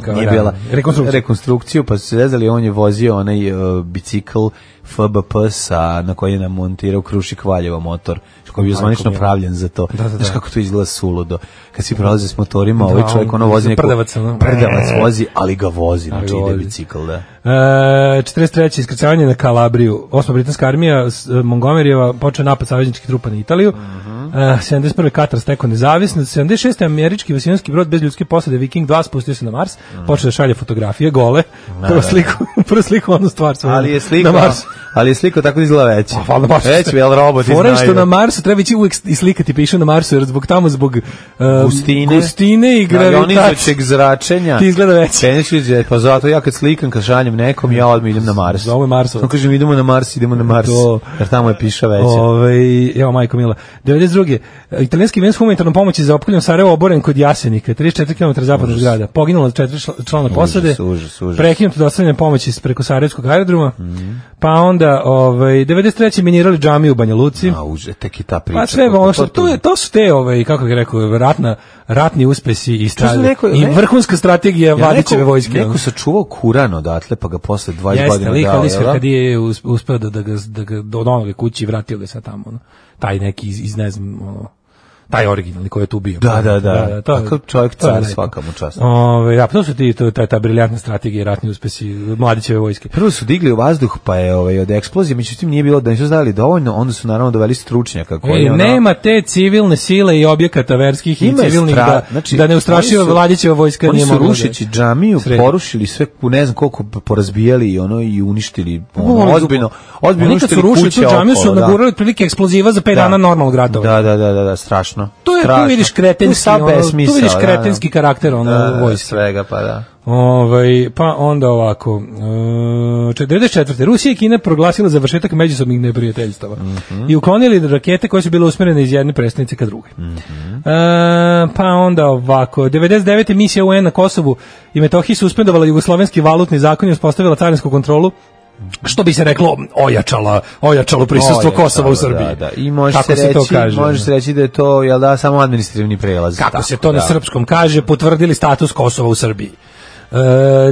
Speaker 5: Kao,
Speaker 6: nije
Speaker 5: da,
Speaker 6: bila
Speaker 5: rekonstrukcija.
Speaker 6: rekonstrukciju, pa su se vezali, on je vozio onaj uh, bicikl FBP sa, na koji je namontirao Krušik Valjevo motor, koji je bio zvanično
Speaker 5: mila.
Speaker 6: pravljen za to.
Speaker 5: da,
Speaker 6: Znaš
Speaker 5: da.
Speaker 6: kako to izgleda suludo. Kad si prolaze s motorima, ovaj
Speaker 5: Da,
Speaker 6: čovjek ono
Speaker 5: on
Speaker 6: vozi neku...
Speaker 5: prdavac, ono. E.
Speaker 6: Prdavac vozi, ali ga vozi,
Speaker 5: Ali
Speaker 6: znači
Speaker 5: ga
Speaker 6: ide
Speaker 5: vozi.
Speaker 6: bicikl, da.
Speaker 5: E, 43. iskrcavanje na Kalabriju. Osma britanska armija s- e, Montgomeryjeva počeo napad savezničkih trupa na Italiju.
Speaker 6: Mhm.
Speaker 5: e, 71. Katar stekao nezavisnost. 76. američki vasijanski brod bez ljudske posade Viking 2 spustio se na Mars.
Speaker 6: Mhm.
Speaker 5: Počeo da šalje fotografije gole. Prvo sliku, <laughs> prvo sliku onu stvar. svoju
Speaker 6: Da, Ali je slika,
Speaker 5: Na Marsu.
Speaker 6: ali je slika tako izgleda veći.
Speaker 5: Pa, valjda baš.
Speaker 6: Već jel da- robot
Speaker 5: Fora je
Speaker 6: iznajde.
Speaker 5: što na Marsu treba ići uvek i slikati, pišu na Marsu, jer zbog tamo, zbog uh,
Speaker 6: Gustine. Da,
Speaker 5: gustine i gravitacije.
Speaker 6: Ionizujućeg zračenja.
Speaker 5: Ti izgleda veći.
Speaker 6: Teniški pa zato ja kad slikam, kad šaljem nekom, ja odmah idem na Mars.
Speaker 5: Za ovo je Marsovac.
Speaker 6: Samo kažem, idemo na Mars, idemo na Mars.
Speaker 5: To.
Speaker 6: Jer tamo je piša veća.
Speaker 5: Ove, Ovaj, evo majko mila. 92. Italijanski avion s humanitarnom pomoći za opkoljeno Sarajevo oboren kod Jasenika, 34 km zapadnog grada. Poginulo četiri čl- člana posade.
Speaker 6: užas, Mhm. užas.
Speaker 5: Prekinuto dostavljanje pomoći s- preko Sarajevskog aerodroma. Pa onda, ovaj 93. minirali džamiju u Banja Luci.
Speaker 6: A uže, tek i ta priča.
Speaker 5: Pa sve ono što to je to su te ovaj kako bih rekao ratna ratni uspesi i
Speaker 6: sam
Speaker 5: strade
Speaker 6: rekao,
Speaker 5: i
Speaker 6: ne-
Speaker 5: vrhunska strategija
Speaker 6: Ja,
Speaker 5: Vladićeve
Speaker 6: neko-
Speaker 5: vojske. ono.
Speaker 6: Neko sačuvao Kuran odatle, pa ga posle 20
Speaker 5: Jeste,
Speaker 6: godina
Speaker 5: lik
Speaker 6: dao,
Speaker 5: Ali
Speaker 6: jel da?
Speaker 5: kad je us- uspeo da, da ga, da ga do onoga kući i vratio ga sa tamo, ono. taj neki iz, iz ne znam, ono, taj originalni koji je tu bio.
Speaker 6: Da, da, da.
Speaker 5: to je-
Speaker 6: Takav čovjek
Speaker 5: to je
Speaker 6: car,
Speaker 5: lepo.
Speaker 6: svaka mu čast.
Speaker 5: Ove, da, pa to su ti, to, ta, ta briljantna strategija, ratni uspesi, mladićeve vojske.
Speaker 6: Prvo su digli u vazduh, pa je ovaj, od eksplozije, međutim nije bilo da nisu znali dovoljno, onda su naravno doveli stručnjaka. koji
Speaker 5: Ej,
Speaker 6: je ono-
Speaker 5: E, nema te civilne sile i objekata verskih i
Speaker 6: Ima je
Speaker 5: civilnih
Speaker 6: stra- znači,
Speaker 5: da, da ne ustrašiva
Speaker 6: oni su-
Speaker 5: vladićeva vojska.
Speaker 6: Oni
Speaker 5: nije
Speaker 6: su
Speaker 5: mogla da-
Speaker 6: rušeći džamiju
Speaker 5: Sredi.
Speaker 6: porušili sve, ku- ne znam koliko p- porazbijali i ono i uništili. Ono,
Speaker 5: Pa Oni-
Speaker 6: ozbiljno, ozbiljno
Speaker 5: Oni kad su
Speaker 6: uništili
Speaker 5: rušili tu
Speaker 6: kuće
Speaker 5: džamiju su
Speaker 6: okolo, da.
Speaker 5: nagurali otprilike eksploziva za 5
Speaker 6: Da.
Speaker 5: dana normalnog ratova.
Speaker 6: Da, da, da, da, da, strašno.
Speaker 5: To je, tu
Speaker 6: strašno.
Speaker 5: vidiš kretenski,
Speaker 6: Tu je sav
Speaker 5: ono,
Speaker 6: besmisao,
Speaker 5: tu vidiš
Speaker 6: da, da.
Speaker 5: kretenski karakter ono,
Speaker 6: Da, da, da,
Speaker 5: vojske.
Speaker 6: svega, pa da.
Speaker 5: Ovaj, pa onda ovako. E, 94. Rusija i Kina proglasila završetak međusobnih neprijateljstava
Speaker 6: Mhm.
Speaker 5: i uklonili rakete koje su bile usmerene iz jedne prestonice ka druge.
Speaker 6: Mhm.
Speaker 5: E, pa onda ovako. 99. misija UN na Kosovu i Metohiji suspendovala jugoslovenski valutni zakon i uspostavila carinsku kontrolu što bi se reklo ojačala ojačalo prisustvo
Speaker 6: Ojačalo,
Speaker 5: Kosova u Srbiji.
Speaker 6: Da, da. I može
Speaker 5: Kako
Speaker 6: se reći,
Speaker 5: to kaže.
Speaker 6: može se reći da je to jel da samo administrativni prelaz.
Speaker 5: kako
Speaker 6: Tako,
Speaker 5: se to
Speaker 6: da.
Speaker 5: na srpskom kaže, potvrdili status Kosova u Srbiji. E,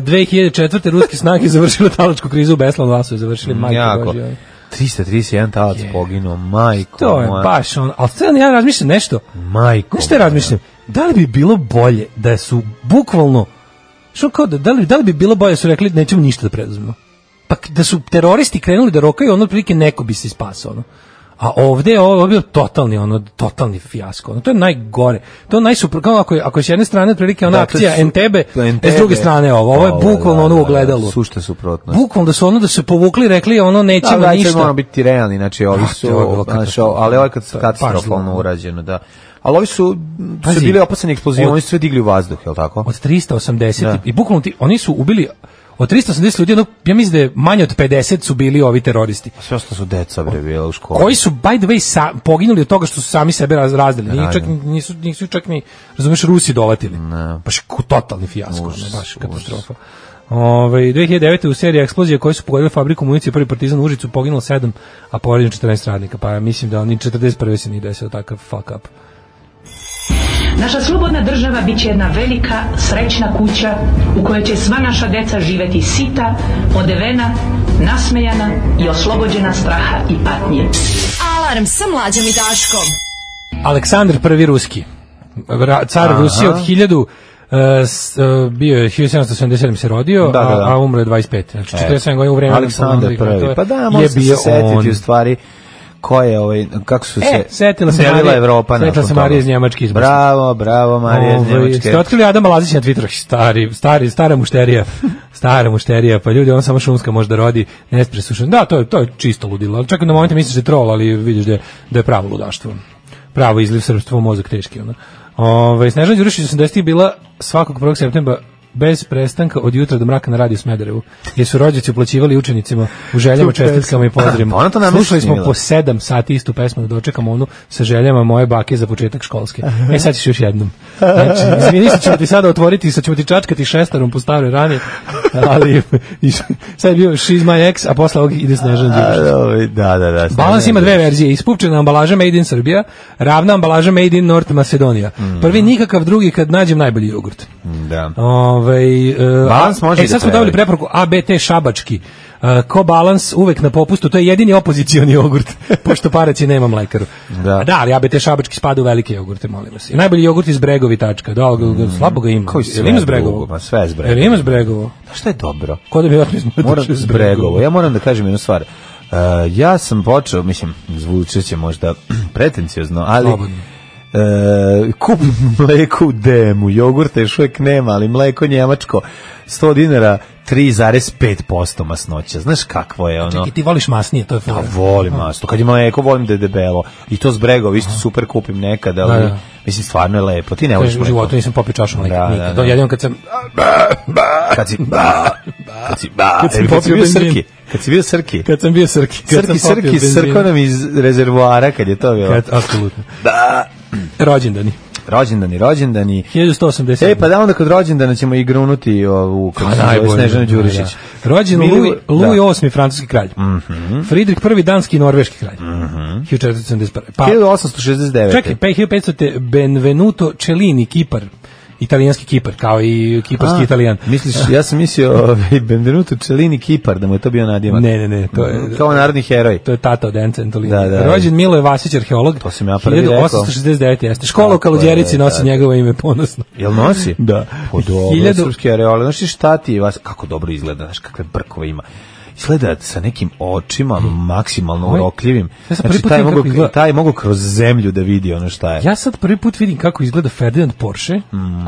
Speaker 5: 2004. ruske snage završile talačku krizu u Beslanu, a su je završili majke
Speaker 6: Mm, Jako.
Speaker 5: Božje.
Speaker 6: 331 talac poginuo, majko
Speaker 5: To je
Speaker 6: moja.
Speaker 5: baš on. Ali sad ja razmišljam nešto.
Speaker 6: Majko.
Speaker 5: Znaš šta
Speaker 6: moja.
Speaker 5: razmišljam? Da li bi bilo bolje da su bukvalno što kao da, da, li, da li bi bilo bolje da su rekli nećemo ništa da preduzmemo? Pa k- da su teroristi krenuli da rokaju, ono otprilike neko bi se spasao. Ono. A ovde je ovo bio totalni ono totalni fijasko. Ono, to je najgore. To je najsupro kao ako je, ako je s jedne strane otprilike ona
Speaker 6: Dakle,
Speaker 5: akcija
Speaker 6: su-
Speaker 5: Entebe,
Speaker 6: Entebbe.
Speaker 5: e, s druge strane ovo. Ovo je bukvalno
Speaker 6: da,
Speaker 5: ono
Speaker 6: da,
Speaker 5: u
Speaker 6: da,
Speaker 5: ogledalu.
Speaker 6: Sušta suprotnost.
Speaker 5: Bukvalno da su ono da su se povukli i rekli ono
Speaker 6: Da,
Speaker 5: nećemo
Speaker 6: da,
Speaker 5: ništa.
Speaker 6: moramo biti realni, znači ovi
Speaker 5: Ah,
Speaker 6: su,
Speaker 5: to je bilo Pa,
Speaker 6: znači,
Speaker 5: katastrofalno.
Speaker 6: ali ovo je kad
Speaker 5: To je baš
Speaker 6: katastrofalno
Speaker 5: zlo.
Speaker 6: urađeno, da. Ali ovi su, su
Speaker 5: Pazi,
Speaker 6: bili opasani eksplozijom,
Speaker 5: od-
Speaker 6: oni su sve digli u vazduh, je li tako?
Speaker 5: od 380
Speaker 6: Da.
Speaker 5: i bukvalno ti, oni su ubili od 380 ljudi, ono, ja mislim da je manje od 50 su bili ovi teroristi.
Speaker 6: Sve ostalo su deca bre bila u školi.
Speaker 5: Koji su, by the way, sa, poginuli od toga što su sami sebe raz- razdali. Nije čak, nisu, nisu čak ni, razumeš, Rusi dovatili. Baš ku- totalni fijasko, ono, baš katastrofa. Ovaj, Ove, 2009. u seriji eksplozije koje su pogodile fabriku municije prvi partizan u Užicu poginulo 7, a povređeno 14 radnika. Pa ja mislim da oni 41. se nije desio takav fuck up.
Speaker 1: Naša slobodna država bit će jedna velika, srećna kuća u kojoj će sva naša deca živeti sita, odevena, nasmejana i oslobođena straha i patnje.
Speaker 4: Alarm sa mlađom i Daškom.
Speaker 5: Aleksandar I Ruski, Ra- car Rusije od 1000 e, s- e, bio je 1777 se rodio,
Speaker 6: Da, da, da.
Speaker 5: a, a umro je 25. Znači 47 godina u vremenu.
Speaker 6: Aleksandar prvi. Pa da,
Speaker 5: je
Speaker 6: može se
Speaker 5: bio
Speaker 6: setiti
Speaker 5: on.
Speaker 6: u stvari ko je ovaj kako su se
Speaker 5: E, setila se
Speaker 6: selila
Speaker 5: Marija-
Speaker 6: Evropa
Speaker 5: setila
Speaker 6: nakon
Speaker 5: se Marija
Speaker 6: toga.
Speaker 5: iz Njemačke iz Bosne.
Speaker 6: Bravo, bravo Marija iz
Speaker 5: Ovaj,
Speaker 6: Njemačke.
Speaker 5: Ste otkrili Adama Lazića na Twitteru? Stari, stari, stara mušterija. <laughs> Stara mušterija. Pa ljudi, on samo šumska može da rodi nespresušen. Da, to je, to je čisto ludilo. ali Čak i na momentu misliš da je troll, ali vidiš da je, da je pravo ludaštvo. Pravo izliv srpstvo u mozak teški. Ono. Ove, Snežana Đurišić 80 bila svakog 1. septembra bez prestanka od jutra do mraka na radiju Smederevu, jer su rođaci uplaćivali učenicima u željama, čestitkama i pozdravima.
Speaker 6: Pa ona to namjerno
Speaker 5: Slušali smo
Speaker 6: snimila.
Speaker 5: po sedam sati istu pesmu da dočekamo onu sa željama moje bake za početak školske. E sad ćeš još jednom. Znači, izvini, sad ćemo ti sada otvoriti, sad ćemo ti čačkati šestarom po staroj rani, ali sad je bio She's my ex, a posle ovog ide Snežana Đurišić.
Speaker 6: A, ovaj, Da, da, da.
Speaker 5: Balans ima dve
Speaker 6: Snežana Đurišić.
Speaker 5: verzije, ispupčena ambalaža Made in Srbija, ravna ambalaža Made in North Macedonia. Prvi nikakav, drugi kad nađem najbolji jogurt.
Speaker 6: Da.
Speaker 5: Ovaj e,
Speaker 6: Balans
Speaker 5: a-
Speaker 6: može
Speaker 5: e,
Speaker 6: i da
Speaker 5: sad smo
Speaker 6: prevari.
Speaker 5: dobili preporuku ABT Šabački. E, ko balans uvek na popustu, to je jedini opozicioni jogurt, <laughs> pošto paraci nema mlekaru.
Speaker 6: Da.
Speaker 5: A da, ali ABT Šabački spada u velike jogurte, molim vas. I najbolji jogurt iz Bregovi tačka. Da, ali ga- slabo ga ima.
Speaker 6: Mm, Koji sve
Speaker 5: Jel ima iz Bregovo?
Speaker 6: drugo? Ma sve iz Bregovo.
Speaker 5: Jel ima iz Bregovo?
Speaker 6: Pa šta je dobro?
Speaker 5: Ko da bi otmi smo
Speaker 6: Moram
Speaker 5: otišli iz
Speaker 6: Bregovo. Ja moram da kažem jednu stvar. Uh, ja sam počeo, mislim, zvučit će možda <clears throat> pretenciozno, ali
Speaker 5: Slobodno.
Speaker 6: e, kupim mleko u DM-u, jogurta još uvijek nema, ali mleko njemačko, 100 dinara, 3,5% masnoća. Znaš kakvo je ono?
Speaker 5: Čekaj, ti voliš masnije, to je
Speaker 6: Ja
Speaker 5: fora.
Speaker 6: volim masno. Kad je mleko, volim da je debelo. I to s bregova, isto super kupim nekad, ali
Speaker 5: Da, da.
Speaker 6: mislim, stvarno je lepo. Ti ne
Speaker 5: Kaže,
Speaker 6: voliš
Speaker 5: u
Speaker 6: mleko.
Speaker 5: životu nisam popio čašu mleka.
Speaker 6: Da, da,
Speaker 5: nikad.
Speaker 6: da.
Speaker 5: Jedino kad sam...
Speaker 6: Kad
Speaker 5: <laughs>
Speaker 6: si ba, kad si ba,
Speaker 5: Kad si
Speaker 6: E,
Speaker 5: popio
Speaker 6: bio
Speaker 5: benzin.
Speaker 6: srki, kad si bio srki.
Speaker 5: Kad sam bio srki. Kad
Speaker 6: Srki,
Speaker 5: sam popio
Speaker 6: srki,
Speaker 5: benzin.
Speaker 6: srko nam iz rezervoara kad je to bilo.
Speaker 5: Kad, apsolutno.
Speaker 6: Da.
Speaker 5: Rođendani.
Speaker 6: Rođendani, rođendani.
Speaker 5: 1180.
Speaker 6: E, pa da onda kod rođendana ćemo i grunuti ovu, kako
Speaker 5: Pa
Speaker 6: se zove,
Speaker 5: najbolje.
Speaker 6: Snežanu Đurišić.
Speaker 5: Da. Rođen
Speaker 6: Mili-
Speaker 5: Louis,
Speaker 6: da. Mhm.
Speaker 5: Louis VIII, francuski kralj. Fridrik I, danski i norveški kralj. 1471. Pa,
Speaker 6: 1869.
Speaker 5: čekaj, pa je 1500. te Benvenuto Cellini, Kipar. Italijanski Kipar, kao i kiparski
Speaker 6: A,
Speaker 5: italijan.
Speaker 6: Misliš, ja sam mislio ovaj, Benvenuto Cellini Kipar, da mu je to bio nadimak. Mm,
Speaker 5: Ne, ne, ne, to je-
Speaker 6: Kao narodni heroj.
Speaker 5: To je tata od Ence Antolina.
Speaker 6: Da, da.
Speaker 5: Rođen Miloje Vasić, arheolog.
Speaker 6: To sam ja prvi rekao.
Speaker 5: 1869. Jeste. Škola u
Speaker 6: Tako je,
Speaker 5: Kaluđerici nosi
Speaker 6: da.
Speaker 5: njegovo ime ponosno.
Speaker 6: Jel nosi?
Speaker 5: Da.
Speaker 6: Po dobro,
Speaker 5: Hiljadu-
Speaker 6: srpski areole. Znaš ti šta ti je vas, kako dobro izgleda, znaš kakve brkove ima. Izgleda sa nekim očima maksimalno
Speaker 5: Ovaj-
Speaker 6: urokljivim.
Speaker 5: Ja sam prvi
Speaker 6: Znači,
Speaker 5: put
Speaker 6: taj je
Speaker 5: vidim
Speaker 6: mogao,
Speaker 5: kako izgleda.
Speaker 6: taj je mogao kroz zemlju da vidi ono šta je.
Speaker 5: Ja sad prvi put vidim kako izgleda Ferdinand Porsche,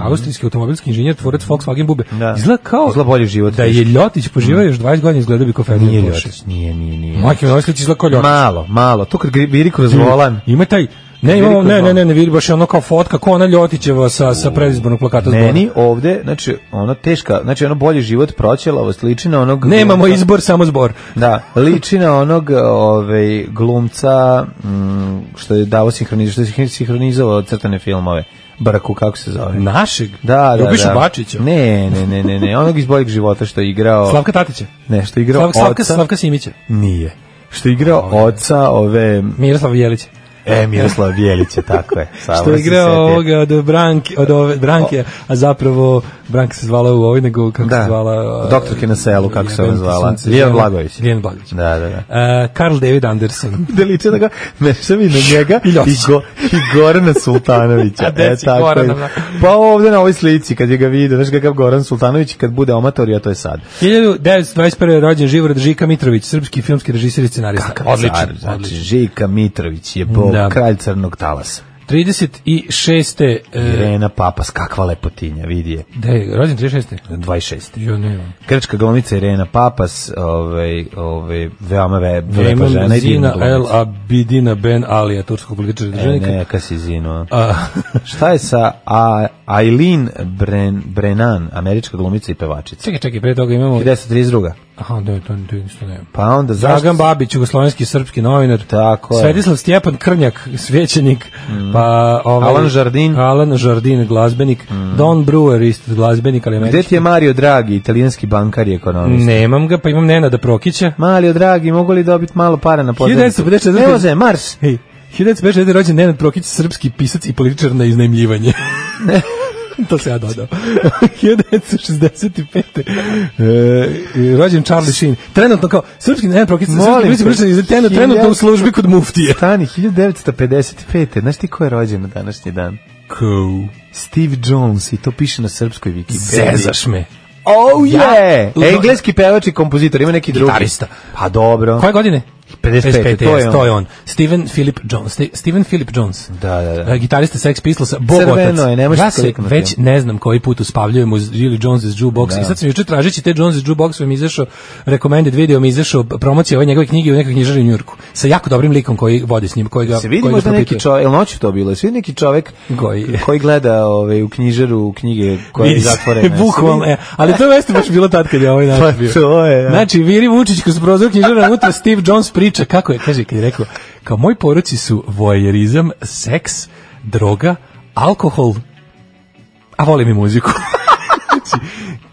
Speaker 5: austrijski automobilski inženjer, tvorac Volkswagen Bube.
Speaker 6: Mhm. Da.
Speaker 5: Izgleda kao
Speaker 6: Izgleda bolji život,
Speaker 5: da je
Speaker 6: teški.
Speaker 5: Ljotić poživao još 20 godina izgleda bi kao Ferdinand
Speaker 6: Nije
Speaker 5: Porsche.
Speaker 6: ljotić, nije, nije, nije.
Speaker 5: Majke mi, ovaj sliči izgleda kao Ljotić.
Speaker 6: Malo, malo. To kad gri- viri kroz volan.
Speaker 5: Ima taj Ne,
Speaker 6: Vidi
Speaker 5: imamo,
Speaker 6: kod
Speaker 5: ne, ne,
Speaker 6: volan.
Speaker 5: ne, ne, vidi baš je ono kao fotka, kao ona Ljotićeva sa, sa predizbornog plakata. s
Speaker 6: Meni ovde, znači, ono teška, znači, ono bolji život proćelavo, sliči na onog...
Speaker 5: Bona. Nemamo izbor, samo zbor.
Speaker 6: Da, liči na onog ovaj, glumca mm, što je davo sinhroniz, što je sinhronizovao crtane filmove. Brku, kako se zove?
Speaker 5: Našeg?
Speaker 6: Da, da,
Speaker 5: Ljubiša
Speaker 6: da.
Speaker 5: Bačića?
Speaker 6: Ne, ne, ne, ne, ne, onog iz boljeg života što je igrao...
Speaker 5: Slavka Tatića?
Speaker 6: Ne, što je igrao
Speaker 5: Slavka, Slavka,
Speaker 6: oca...
Speaker 5: Slavka Simića?
Speaker 6: Nije. Što je igrao oca ove...
Speaker 5: Miroslav Jelić?
Speaker 6: E, Miroslava Bjelića, tako je. Samo
Speaker 5: što je
Speaker 6: sam
Speaker 5: igrao
Speaker 6: setio.
Speaker 5: ovoga od Branke, od ove, Branke, a zapravo Branka se zvala u ovoj, nego kako
Speaker 6: Da.
Speaker 5: se zvala...
Speaker 6: Doktorke na selu, kako se ona zvala? e, Ljiljana
Speaker 5: Lijan
Speaker 6: Blagojević.
Speaker 5: Lijan Blagojević.
Speaker 6: Da, da, da.
Speaker 5: E, Karl David
Speaker 6: <laughs>
Speaker 5: Anderson.
Speaker 6: da liče na ga, mešam i na njega
Speaker 5: I
Speaker 6: i,
Speaker 5: Ljotića.
Speaker 6: go, i Gorana <laughs> Sultanovića. E,
Speaker 5: A gde si Gorana, bra?
Speaker 6: Pa ovde na ovoj slici, kad je ga vidio, znaš kakav Goran Sultanović, kad bude omator, ja to je sad.
Speaker 5: 1921. je rođen Živorad Žika Mitrović, srpski filmski režiser i scenarista.
Speaker 6: Car, znači, Žika znači, Mitrović je bog,
Speaker 5: Da.
Speaker 6: kralj crnog talasa.
Speaker 5: 36. E,
Speaker 6: Irena Papas, kakva lepotinja, vidi je.
Speaker 5: da je, rođen 36.
Speaker 6: 26.
Speaker 5: Jo, ne, on.
Speaker 6: Grčka glumica Irena Papas, ovaj, ovaj, veoma ve, lepa
Speaker 5: Vremena
Speaker 6: žena. i divna
Speaker 5: Zina El
Speaker 6: glumica.
Speaker 5: Abidina Ben Alija, turskog političara i
Speaker 6: E,
Speaker 5: državnika.
Speaker 6: ne, jaka si Zino.
Speaker 5: A, <laughs>
Speaker 6: Šta je sa A- Aileen Bren, Brennan, američka glumica i pevačica?
Speaker 5: čekaj, čekaj, pre toga imamo...
Speaker 6: 1932.
Speaker 5: Aha, ne, to, to ništa nema.
Speaker 6: Pa onda zašto?
Speaker 5: Dragan Babić, jugoslovenski srpski novinar.
Speaker 6: Tako je. Mm.
Speaker 5: Svetislav Stjepan Krnjak, svećenik. Pa, ovaj,
Speaker 6: Alan Jardin.
Speaker 5: Alan Jardin, glazbenik. Don Brewer, isto glazbenik, ali
Speaker 6: Gde
Speaker 5: američki.
Speaker 6: ti je Mario Draghi, italijanski bankar i ekonomist?
Speaker 5: Nemam ga, pa imam Nenada Prokića.
Speaker 6: Mario Draghi, mogu li dobiti malo para na pozornicu?
Speaker 5: 1954.
Speaker 6: Evo za Mars.
Speaker 5: Ej, 1954. rođen Nenad Prokić, srpski pisac i političar na iznajmljivanje. <laughs> to se ja dodao. <laughs> 1965. E, rođen Charlie Sheen. Trenutno kao srpski Nenad Prokić,
Speaker 6: Molim
Speaker 5: srpski
Speaker 6: te.
Speaker 5: pisac i političar na iznajmljivanje, trenutno u službi kod muftije.
Speaker 6: Stani, 1955. Znaš ti ko je rođen na današnji dan?
Speaker 5: Cool.
Speaker 6: Steve Jones i to piše na srpskoj Wikipediji.
Speaker 5: Zezaš me.
Speaker 6: Oh yeah!
Speaker 5: Ja-
Speaker 6: Engleski pevač i kompozitor, ima neki drugi.
Speaker 5: Gitarista.
Speaker 6: Pa dobro.
Speaker 5: Koje godine?
Speaker 6: 55, to je on.
Speaker 5: to je on. Steven Philip Jones. Ste- Steven Philip Jones.
Speaker 6: Da, da, da.
Speaker 5: E, Gitarista Sex Pistols, Bog
Speaker 6: Crveno
Speaker 5: otac.
Speaker 6: je, ne možeš
Speaker 5: ja se
Speaker 6: kliknuti.
Speaker 5: već ne znam koji put uspavljujem uz Jilly Jones iz Jukebox.
Speaker 6: Da.
Speaker 5: I sad sam juče tražeći te Jones iz Jukebox, mi je izašao recommended video, mi je izašao promocija ove njegove knjige u nekoj knjižari u Njurku. Sa jako dobrim likom koji vodi s njim, koji ga
Speaker 6: se vidi
Speaker 5: Pa, koji ga
Speaker 6: možda neki
Speaker 5: propituje.
Speaker 6: čovjek, jel noću to bilo, jel se vidi neki čovjek
Speaker 5: Koji-
Speaker 6: koji gleda ovaj, u knjižaru knjige koje je
Speaker 5: Vidi se,
Speaker 6: zatvorene.
Speaker 5: <laughs> Bukvalno, e, ali to jeste baš bilo tad kad je
Speaker 6: <laughs>
Speaker 5: ovaj naš
Speaker 6: Pa
Speaker 5: bio.
Speaker 6: to je, da.
Speaker 5: Znači, Viri Vučić kroz prozor knjižara unutra Steve Jones priča kako je, kaže, kad je rekao, kao moj poruci su vojerizam, seks, droga, alkohol, a volim i muziku. <laughs> Znači,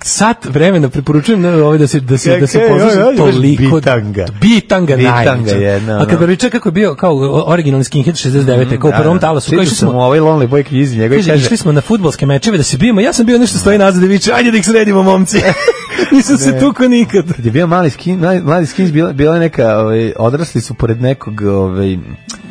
Speaker 5: sat vremena preporučujem ne, ovaj da se da se da se
Speaker 6: Čekaj,
Speaker 5: posluša
Speaker 6: oj, oj, baš
Speaker 5: toliko
Speaker 6: bitanga.
Speaker 5: bitanga,
Speaker 6: Bitanga
Speaker 5: najveća.
Speaker 6: jedna,
Speaker 5: a kad
Speaker 6: ono. Mm, da,
Speaker 5: priča kako je bio kao originalni skinhead 69 kao u prvom talasu kao
Speaker 6: Sjećao
Speaker 5: išli
Speaker 6: sam
Speaker 5: smo
Speaker 6: u ovoj ovaj Lonely Boy knjizi, njegove
Speaker 5: Kaže,
Speaker 6: kaže,
Speaker 5: išli smo na fudbalske mečeve da se bijemo, ja sam bio nešto stoji nazad i viče, ajde da ih sredimo, momci.
Speaker 6: <laughs>
Speaker 5: Nisam se tuko nikad.
Speaker 6: kad je bio mali skin, mladi, mladi skins, bila, bila je neka, ovaj, odrasli su pored nekog ovaj,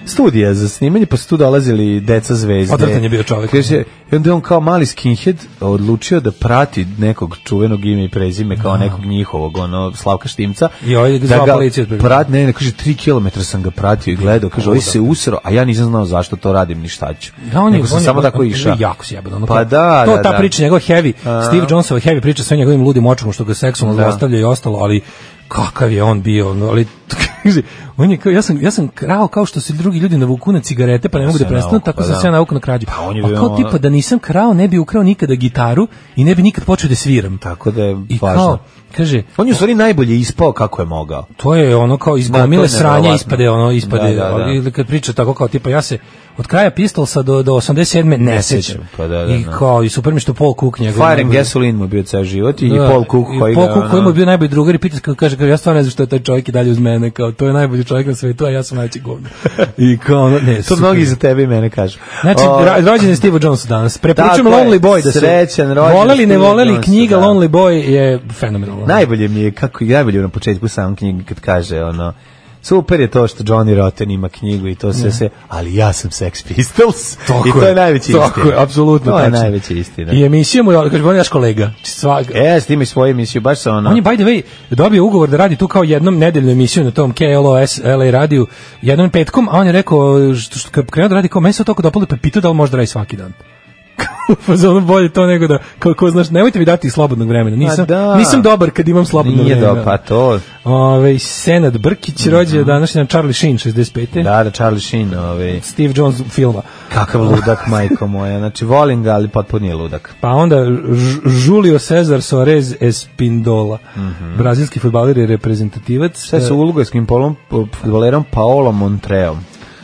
Speaker 6: studija za snimanje, pa su tu dolazili deca zvezde.
Speaker 5: Odvratan Pa je bio čovek.
Speaker 6: Kaže, I onda je on kao mali skinhead odlučio da prati nekog čuvenog ime i prezime, kao nekog njihovog, ono, Slavka Štimca.
Speaker 5: Da.
Speaker 6: Da
Speaker 5: I ovaj ga zvao policija otprilike.
Speaker 6: prat, ne, ne, kaže, tri kilometra sam ga pratio i gledao, kaže, ovi se usro, a ja nisam znao zašto to radim, ni šta ću.
Speaker 5: Da,
Speaker 6: Nego sam samo tako išao.
Speaker 5: Jako sjebano. ono
Speaker 6: Pa
Speaker 5: kao-
Speaker 6: da,
Speaker 5: to,
Speaker 6: da,
Speaker 5: ta
Speaker 6: da.
Speaker 5: priča, njegov heavy, Steve Jonesova heavy priča sa njegovim ludim očima što ga seksualno
Speaker 6: Da.
Speaker 5: zlostavlja i ostalo, ali kakav je on bio, ono, ali <laughs> kaže, on je kao, ja sam, ja sam krao kao što se drugi ljudi navuku na cigarete, pa ne mogu
Speaker 6: se
Speaker 5: da prestanu,
Speaker 6: navuku,
Speaker 5: tako
Speaker 6: pa
Speaker 5: sam
Speaker 6: da.
Speaker 5: se ja navuku na krađu.
Speaker 6: Pa on je
Speaker 5: A
Speaker 6: bio
Speaker 5: kao
Speaker 6: ono-
Speaker 5: tipa da nisam krao, ne bi ukrao nikada gitaru i ne bi nikad počeo da sviram.
Speaker 6: Tako da je
Speaker 5: I
Speaker 6: važno.
Speaker 5: kao, kaže,
Speaker 6: On je u stvari najbolje ispao kako je mogao.
Speaker 5: To je ono kao iz
Speaker 6: Da, to je
Speaker 5: gomile sranja
Speaker 6: neverovatno.
Speaker 5: ispade ono ispade
Speaker 6: Da, da, da.
Speaker 5: ali ili kad priča tako kao tipa ja se od kraja Pistolsa do do 87 ne, sećam.
Speaker 6: sećam, pa da, da,
Speaker 5: I
Speaker 6: da.
Speaker 5: kao i super mi što Paul Cook njegov.
Speaker 6: Fire and
Speaker 5: njegov-
Speaker 6: Gasoline mu je bio ceo život i,
Speaker 5: Da,
Speaker 6: Paul Cook koji
Speaker 5: i
Speaker 6: ga...
Speaker 5: Paul Cook koji
Speaker 6: ono-
Speaker 5: mu je bio najbolji drugar i pita kako kaže kao ja stvarno ne znam što je taj čovjek i dalje uz mene kao to je najbolji čovjek na svetu a ja sam najveći
Speaker 6: <laughs>
Speaker 5: govno. I kao ono, ne,
Speaker 6: To
Speaker 5: super.
Speaker 6: mnogi za tebe i mene kažu.
Speaker 5: Znači,
Speaker 6: O,
Speaker 5: ra- rođen je Steve Jones danas. Preporučujem
Speaker 6: Tako je,
Speaker 5: Lonely Boy da se...
Speaker 6: srećan rođendan
Speaker 5: Voleli, ne
Speaker 6: Steve
Speaker 5: voleli,
Speaker 6: Jonesa,
Speaker 5: knjiga
Speaker 6: da.
Speaker 5: Lonely Boy je fenomenalna.
Speaker 6: najbolje mi je, kako i najbolje na početku sam knjigi kad kaže ono, super je to što Johnny Rotten ima knjigu i to sve se, ali ja sam Sex
Speaker 5: <laughs>
Speaker 6: Pistols i to je najveća istina.
Speaker 5: Tako je, apsolutno.
Speaker 6: To je
Speaker 5: tačno.
Speaker 6: najveća istina.
Speaker 5: I emisija mu je, kaže, on je naš kolega. Znači, Svag,
Speaker 6: E, s tim i svoju emisiju, baš sam ono...
Speaker 5: On je, by the way, dobio ugovor da radi tu kao jednom nedeljnu emisiju na tom KLOS LA radiju, jednom petkom, a on je rekao, što, što, kad krenuo da radi, kao, meni se to toliko dopalo, pa je pitao da li može da radi svaki dan. <laughs> pa za ono bolje to nego da, kao, ko znaš, nemojte mi dati slobodnog vremena, nisam,
Speaker 6: da.
Speaker 5: nisam dobar kad imam slobodno
Speaker 6: nije
Speaker 5: vremena.
Speaker 6: do, pa to...
Speaker 5: Ove, Senad Brkić rođe današnji dan Charlie Sheen, 65.
Speaker 6: Da, da, Charlie Sheen, ovaj,
Speaker 5: Steve Jones filma.
Speaker 6: kakav
Speaker 5: <laughs>
Speaker 6: ludak, majko moja. Znači, volim ga, ali potpuno je ludak.
Speaker 5: Pa onda Ž- Julio Cesar Soares Espindola, brazilski futbaler i reprezentativac.
Speaker 6: Mhm. Sve sa ulugojskim polom, futbolerom Paolo Montreom.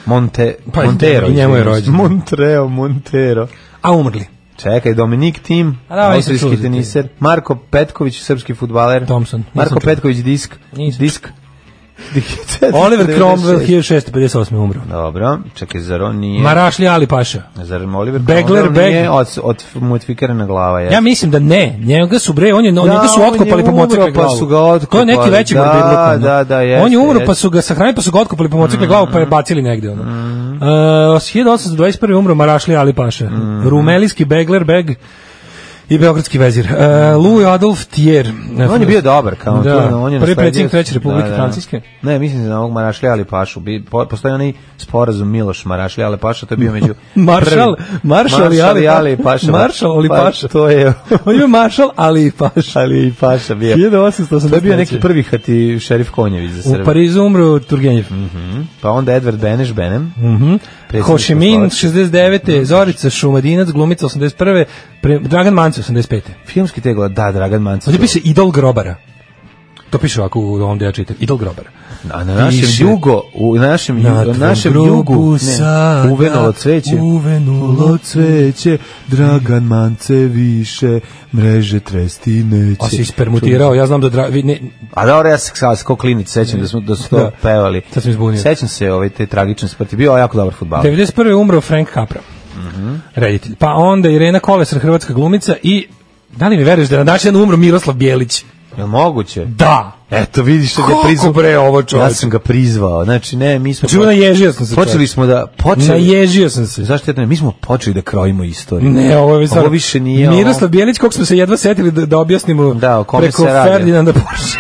Speaker 6: Monte,
Speaker 5: Pa,
Speaker 6: Montero.
Speaker 5: i njemu je
Speaker 6: izvinjavam se.
Speaker 5: rođen.
Speaker 6: Montreo, Montero.
Speaker 5: eh, A umrli.
Speaker 6: Čekaj, Dominik Tim,
Speaker 5: A da, nisam čuo
Speaker 6: austrijski
Speaker 5: za
Speaker 6: teniser, Marko Petković, srpski futbaler.
Speaker 5: Thompson, nisam
Speaker 6: Marko
Speaker 5: čuo.
Speaker 6: Petković, disk.
Speaker 5: Nisam
Speaker 6: Disk.
Speaker 5: Oliver
Speaker 6: <laughs> 96.
Speaker 5: Cromwell 1658 umro.
Speaker 6: Dobro, čekaj, zar on nije...
Speaker 5: Marašli Ali Paša.
Speaker 6: Zar Oliver
Speaker 5: Begler,
Speaker 6: Cromwell nije
Speaker 5: Begler.
Speaker 6: od, od modifikirana glava?
Speaker 5: Ja mislim da ne, njega su bre, on je
Speaker 6: Da,
Speaker 5: njega su
Speaker 6: on je
Speaker 5: otkopali po
Speaker 6: umro,
Speaker 5: mocikle
Speaker 6: pa
Speaker 5: glavu.
Speaker 6: su ga otkopali.
Speaker 5: To je neki veći
Speaker 6: Da,
Speaker 5: morbidluk, ono.
Speaker 6: da, da, jeste,
Speaker 5: On je umro
Speaker 6: jeste. Mm.
Speaker 5: pa su ga sahranili pa su ga otkopali po mocikle glavu pa je bacili negde ono. Mm. Uh,
Speaker 6: Mm.
Speaker 5: 1821 umro Marašli Ali Paša. Rumelijski begler beg I beogradski vezir. E, Louis Adolf Thier.
Speaker 6: On je bio dobar, kao
Speaker 5: Da.
Speaker 6: tu, on
Speaker 5: Prvi
Speaker 6: je nasledio- Da,
Speaker 5: predsjednik Treće Republike Francuske.
Speaker 6: Ne, mislim da na ovog Marašlija Ali Pašu. Bi, po, postoji onaj sporazum Miloš Marašlija Ali Paša, to je bio među...
Speaker 5: <laughs> Maršal-
Speaker 6: prvim.
Speaker 5: Maršal i Ali Pa- Maršal Ali
Speaker 6: Pa,
Speaker 5: Paša.
Speaker 6: To je...
Speaker 5: On je maršal, ali znači i paš.
Speaker 6: Ali i Paša bio.
Speaker 5: 1883.
Speaker 6: To je bio neki prvi hati šerif Konjević za
Speaker 5: U
Speaker 6: Srbiju.
Speaker 5: Parizu umro Turgenjev.
Speaker 6: Pa onda Edward Beneš Benem. Mhm.
Speaker 5: Ho Chi Minh 69. Zorica Šumadinac, glumica 81. Pre, Dragan Mance 85.
Speaker 6: Filmski tegla, da, Dragan Mancic.
Speaker 5: Ovdje piše Idol grobara. To piše ovako u ovom gde ja čitam. Idol grobara.
Speaker 6: A na našem
Speaker 5: Piše-
Speaker 6: jugo, u našem, ju,
Speaker 5: Na
Speaker 6: na našem
Speaker 5: tvom grobu
Speaker 6: jugu,
Speaker 5: sada
Speaker 6: ne, uvenulo cveće.
Speaker 5: uvenulo
Speaker 6: cveće, Dragan Mance više, mreže tresti neće.
Speaker 5: A si ispermutirao, ja znam da... Dra, vi, ne,
Speaker 6: A dobro, ja se kao kao klinic sećam da smo da su to
Speaker 5: Da.
Speaker 6: pevali.
Speaker 5: Sad sam izbunio.
Speaker 6: Sećam se ove te tragične smrti. Bio je jako dobar fudbaler.
Speaker 5: 91. je umro Frank Capra.
Speaker 6: Mhm.
Speaker 5: Reditelj. Pa onda Irena Kolesar, hrvatska glumica i... Da li mi veruješ da je na današnji dan umro Miroslav Bjelić?
Speaker 6: Jel moguće?
Speaker 5: Da!
Speaker 6: Eto, vidiš da ga
Speaker 5: Kako
Speaker 6: prizvao.
Speaker 5: bre ovo
Speaker 6: Ja
Speaker 5: čovječ?
Speaker 6: sam ga prizvao. Znači ne, mi smo
Speaker 5: Znači, ono, naježio sam se.
Speaker 6: počeli
Speaker 5: čovječ.
Speaker 6: smo da počeli
Speaker 5: Naježio sam se.
Speaker 6: Zašto ja to ne? Mi smo počeli da krojimo istoriju.
Speaker 5: Ne, ovo je
Speaker 6: ovo
Speaker 5: stvarno-
Speaker 6: više nije. ovo-
Speaker 5: Miroslav Bjelić, kog smo se jedva setili da, da objasnimo
Speaker 6: Da, o kome
Speaker 5: preko
Speaker 6: se radi.
Speaker 5: Ferdinanda
Speaker 6: <laughs>
Speaker 5: Porsche.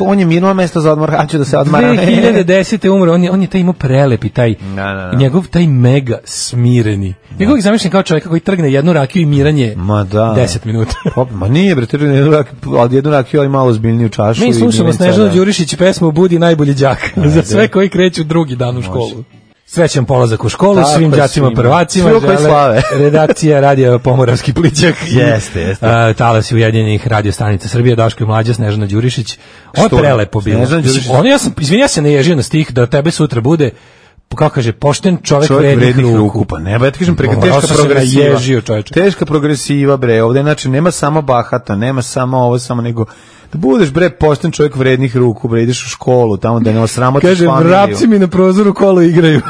Speaker 6: on je mirno mesto za odmor, hoću da se odmaram. <laughs>
Speaker 5: 2010. umro, on je, on je taj imao prelepi, taj,
Speaker 6: Da, da, da.
Speaker 5: njegov taj mega smireni. Ja ga uvijek zamišljam kao čovjeka koji trgne jednu rakiju i miranje
Speaker 6: Ma da.
Speaker 5: 10 minuta.
Speaker 6: Pop, ma nije bre, trgne jednu rakiju, ali jednu rakiju ali malo zbiljniju čašu.
Speaker 5: Mi
Speaker 6: i
Speaker 5: slušamo
Speaker 6: dnevnica,
Speaker 5: Snežanu
Speaker 6: da.
Speaker 5: Đurišić pesmu Budi najbolji đak za sve koji kreću drugi dan u školu. Srećan polazak u školu,
Speaker 6: Tako
Speaker 5: svim
Speaker 6: je,
Speaker 5: đacima
Speaker 6: svima.
Speaker 5: prvacima,
Speaker 6: Svi koji slave.
Speaker 5: <laughs> redakcija Radio Pomoravski plićak.
Speaker 6: Jeste, jeste.
Speaker 5: Uh, talas Ujedinjenih radio stanica Srbije, Daško i Mlađa, Snežana Đurišić. Ovo je
Speaker 6: Što?
Speaker 5: prelepo bilo.
Speaker 6: Snežana Đurišić.
Speaker 5: Mislim, Ono ja sam, izvini, ja se ne ježio na stih da tebe sutra bude, kako kaže, pošten čovek,
Speaker 6: Čovjek vrednih
Speaker 5: ovaj ruku.
Speaker 6: ruku, pa ne, ba, ja ti kažem, preka
Speaker 5: Ovo,
Speaker 6: teška
Speaker 5: sam se
Speaker 6: progresiva.
Speaker 5: naježio, čoveče.
Speaker 6: Teška progresiva, bre, ovde, znači, nema samo bahata, nema samo ovo, samo nego, da budeš, bre, pošten čovjek vrednih ruku, bre, ideš u školu, tamo da ne osramotiš
Speaker 5: Kaže,
Speaker 6: familiju.
Speaker 5: vrapci mi na prozoru kolo
Speaker 6: <laughs>
Speaker 5: igraju.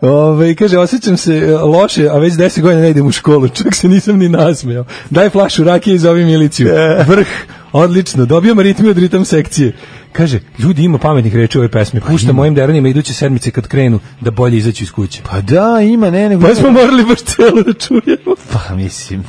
Speaker 5: Ove, kaže, osjećam se e, loše, a već 10 godina ne idem u školu, čak se nisam ni nasmejao. Daj flašu rakije i zovi miliciju.
Speaker 6: E.
Speaker 5: Vrh, odlično, dobijam ritmi od ritam sekcije. Kaže, ljudi ima pametnih reči u ovoj pesmi,
Speaker 6: Pa
Speaker 5: pušta mojim deranima iduće sedmice kad krenu da bolje izaći iz kuće.
Speaker 6: Pa da, ima, ne, nego...
Speaker 5: Pa smo morali baš celo da čujemo.
Speaker 6: Pa, mislim,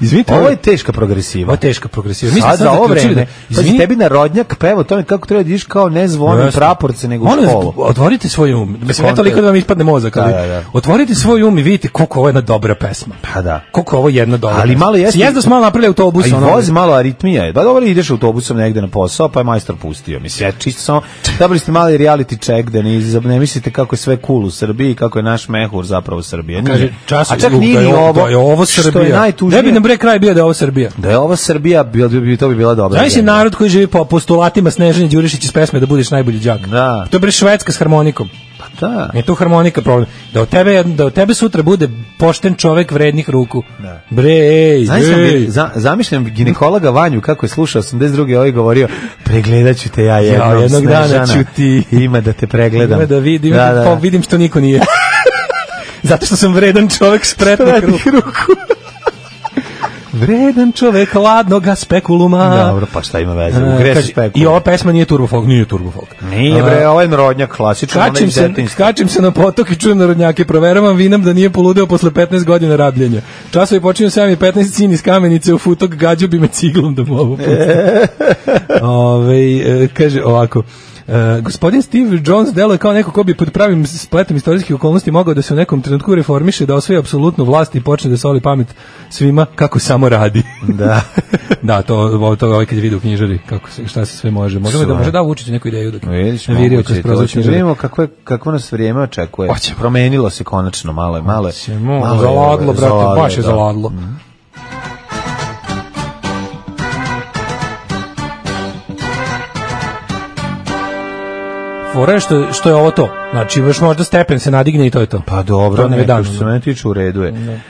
Speaker 5: Izvinite,
Speaker 6: ovo je teška progresiva.
Speaker 5: ovo je teška progresiva.
Speaker 6: Sad, za ovo
Speaker 5: zaključili da- Pa
Speaker 6: vreme, pazi,
Speaker 5: izvini,
Speaker 6: tebi narodnjak peva o tome kako treba da ideš kao ne zvonim
Speaker 5: Jasno.
Speaker 6: praporce, nego u
Speaker 5: Molim vas,
Speaker 6: školu.
Speaker 5: Otvorite svoj um. Mislim, ne
Speaker 6: Kontra-
Speaker 5: toliko da vam ispadne mozak, ali
Speaker 6: Da, da, da.
Speaker 5: otvorite svoj um i vidite koliko ovo je jedna dobra pesma.
Speaker 6: Pa da.
Speaker 5: Koliko ovo je jedna dobra.
Speaker 6: Ali
Speaker 5: pesma.
Speaker 6: malo jeste-
Speaker 5: Sjezda smo malo napravili autobus.
Speaker 6: A i
Speaker 5: ono-
Speaker 6: vozi malo aritmija je. Da dobro ideš autobusom negde na posao, pa je majstor pustio. Mislim, ja čisto samo, dobili ste mali reality check da ne, iz- ne mislite kako je sve cool u Srbiji, kako je naš mehur zapravo Srbija. Nije.
Speaker 5: Kaže, čas,
Speaker 6: A čak nije
Speaker 5: da
Speaker 6: ni
Speaker 5: je,
Speaker 6: ovo,
Speaker 5: da je ovo Srbija.
Speaker 6: što je najtužnije.
Speaker 5: Ne bi nam bre kraj bio da je ovo Srbija.
Speaker 6: Da je ovo Srbija, bil, bi, to bi bila dobra.
Speaker 5: Zamisli
Speaker 6: zemlja.
Speaker 5: narod koji živi po postulatima Snežane Đurišić iz pesme da budeš najbolji đak.
Speaker 6: Da.
Speaker 5: To je bre švedska s harmonikom.
Speaker 6: Pa da.
Speaker 5: Nije tu harmonika problem. Da od tebe, da od tebe sutra bude pošten čovek vrednih ruku.
Speaker 6: Da.
Speaker 5: Bre, ej,
Speaker 6: Zamišljam,
Speaker 5: ej.
Speaker 6: gi- za, zamišljam ginekologa Vanju kako je slušao 82. ovaj govorio pregledat ću te ja jednom,
Speaker 5: jednog dana
Speaker 6: Snežana.
Speaker 5: ću ti-
Speaker 6: Ima da te pregledam.
Speaker 5: Ima da vidim, da,
Speaker 6: da.
Speaker 5: Pa vidim što niko
Speaker 6: <laughs>
Speaker 5: nije. Zato što sam vredan čovek spretnih
Speaker 6: Spretnih
Speaker 5: ruku. vredan čovek ladnoga spekuluma.
Speaker 6: Dobro, pa šta ima veze?
Speaker 5: E,
Speaker 6: U gresu
Speaker 5: kaže, I ova pesma nije turbofog, nije turbofog.
Speaker 6: Nije bre, ovo je narodnjak klasičan, onaj
Speaker 5: Kačim
Speaker 6: iz
Speaker 5: se,
Speaker 6: detinjstva.
Speaker 5: kačim se na potok i čujem narodnjake, proveravam vinam da nije poludeo posle 15 godina rabljenja. Časovi počinju 7 i 15 cin iz kamenice u futok, gađu bi me ciglom da mu ovo
Speaker 6: <laughs>
Speaker 5: pucam. Ovaj, e, kaže ovako, e, gospodin Steve Jones deluje kao neko ko bi pod pravim spletom istorijskih okolnosti mogao da se u nekom trenutku reformiše, da osvoji apsolutnu vlast i počne da soli pamet svima kako samo radi.
Speaker 6: <laughs> Da.
Speaker 5: <laughs> da, to, ovo- to je ovaj kad je vidio u knjižari, kako, se- šta se sve može. Možemo da
Speaker 6: Sve.
Speaker 5: može da vučiti neku ideju dok
Speaker 6: Vidiš,
Speaker 5: navirio
Speaker 6: moguće
Speaker 5: kroz
Speaker 6: je to.
Speaker 5: prozor
Speaker 6: Hoćemo da
Speaker 5: knjižare.
Speaker 6: Vidimo kako, je, kako nas vrijeme očekuje.
Speaker 5: Hoćemo.
Speaker 6: Promenilo se konačno, malo je, malo je.
Speaker 5: Ćemo,
Speaker 6: malo je,
Speaker 5: zaladlo, brate,
Speaker 6: zaladlo,
Speaker 5: baš je
Speaker 6: da.
Speaker 5: zaladlo. Fora je što, što je ovo to. Znači, još možda stepen se nadigne i to je to.
Speaker 6: Pa dobro,
Speaker 5: To nam je Da.
Speaker 6: ne,
Speaker 5: dano,
Speaker 6: što se
Speaker 5: da.
Speaker 6: mene tiče u redu je.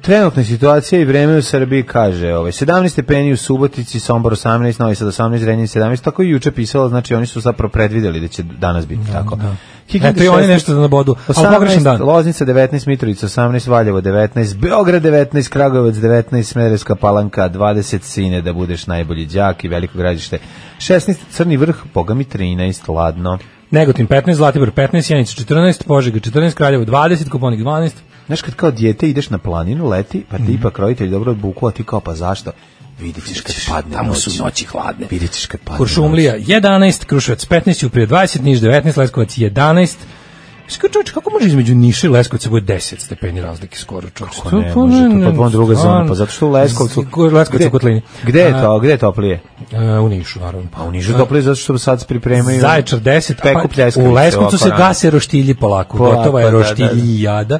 Speaker 6: Trenutna situacija i vreme u Srbiji kaže, ovaj 17 stepeni u Subotici, Sombor 18, Novi Sad 18, Zrenjanin 17, tako je juče pisalo, znači oni su zapravo predvideli da će danas biti tako. Kikinda
Speaker 5: da. Eto i oni
Speaker 6: 16,
Speaker 5: nešto da nabodu, ali
Speaker 6: 18,
Speaker 5: pogrešan dan.
Speaker 6: Loznica 19, Mitrovica 18, Valjevo 19, Beograd 19, Kragujevac 19, Smederevska Palanka 20, Sine da budeš najbolji đak i Veliko Gradište 16, Crni vrh, Boga mi 13, ladno.
Speaker 5: Negotin 15, Zlatibor 15, Janica 14, Požega 14, Kraljevo 20, Koponik 12,
Speaker 6: Znaš, kad kao dijete ideš na planinu, leti, pa ti ipak roditelj dobro odbuku, a ti kao, pa zašto? Vidit ćeš kad padne
Speaker 7: Tamo
Speaker 6: noć.
Speaker 7: su noći hladne.
Speaker 6: Vidit ćeš kad padne
Speaker 5: Kuršumlija 11, Kruševac 15, Uprije 20, Niš 19, Leskovac 11. Skoro čovječ, kako može između Niša i Leskovca bude 10 stepeni razlike skoro čovječ?
Speaker 6: Pa ne, može, to je potpuno druga zona, pa zato što u Leskovcu...
Speaker 5: Leskovac u
Speaker 6: Gde-
Speaker 5: Kotlini.
Speaker 6: Gde je to, gde je toplije?
Speaker 5: E, u Nišu, naravno.
Speaker 6: Pa u Nižu toplije zato što sad se pripremaju...
Speaker 5: Zaječar 10, a
Speaker 6: peku
Speaker 5: pa,
Speaker 6: pljeskavice
Speaker 5: u Leskovcu
Speaker 6: ovako
Speaker 5: se
Speaker 6: na-
Speaker 5: gase roštilji polako,
Speaker 6: Polako,
Speaker 5: gotova je
Speaker 6: da, Mhm. da, da.
Speaker 5: roštiljijada.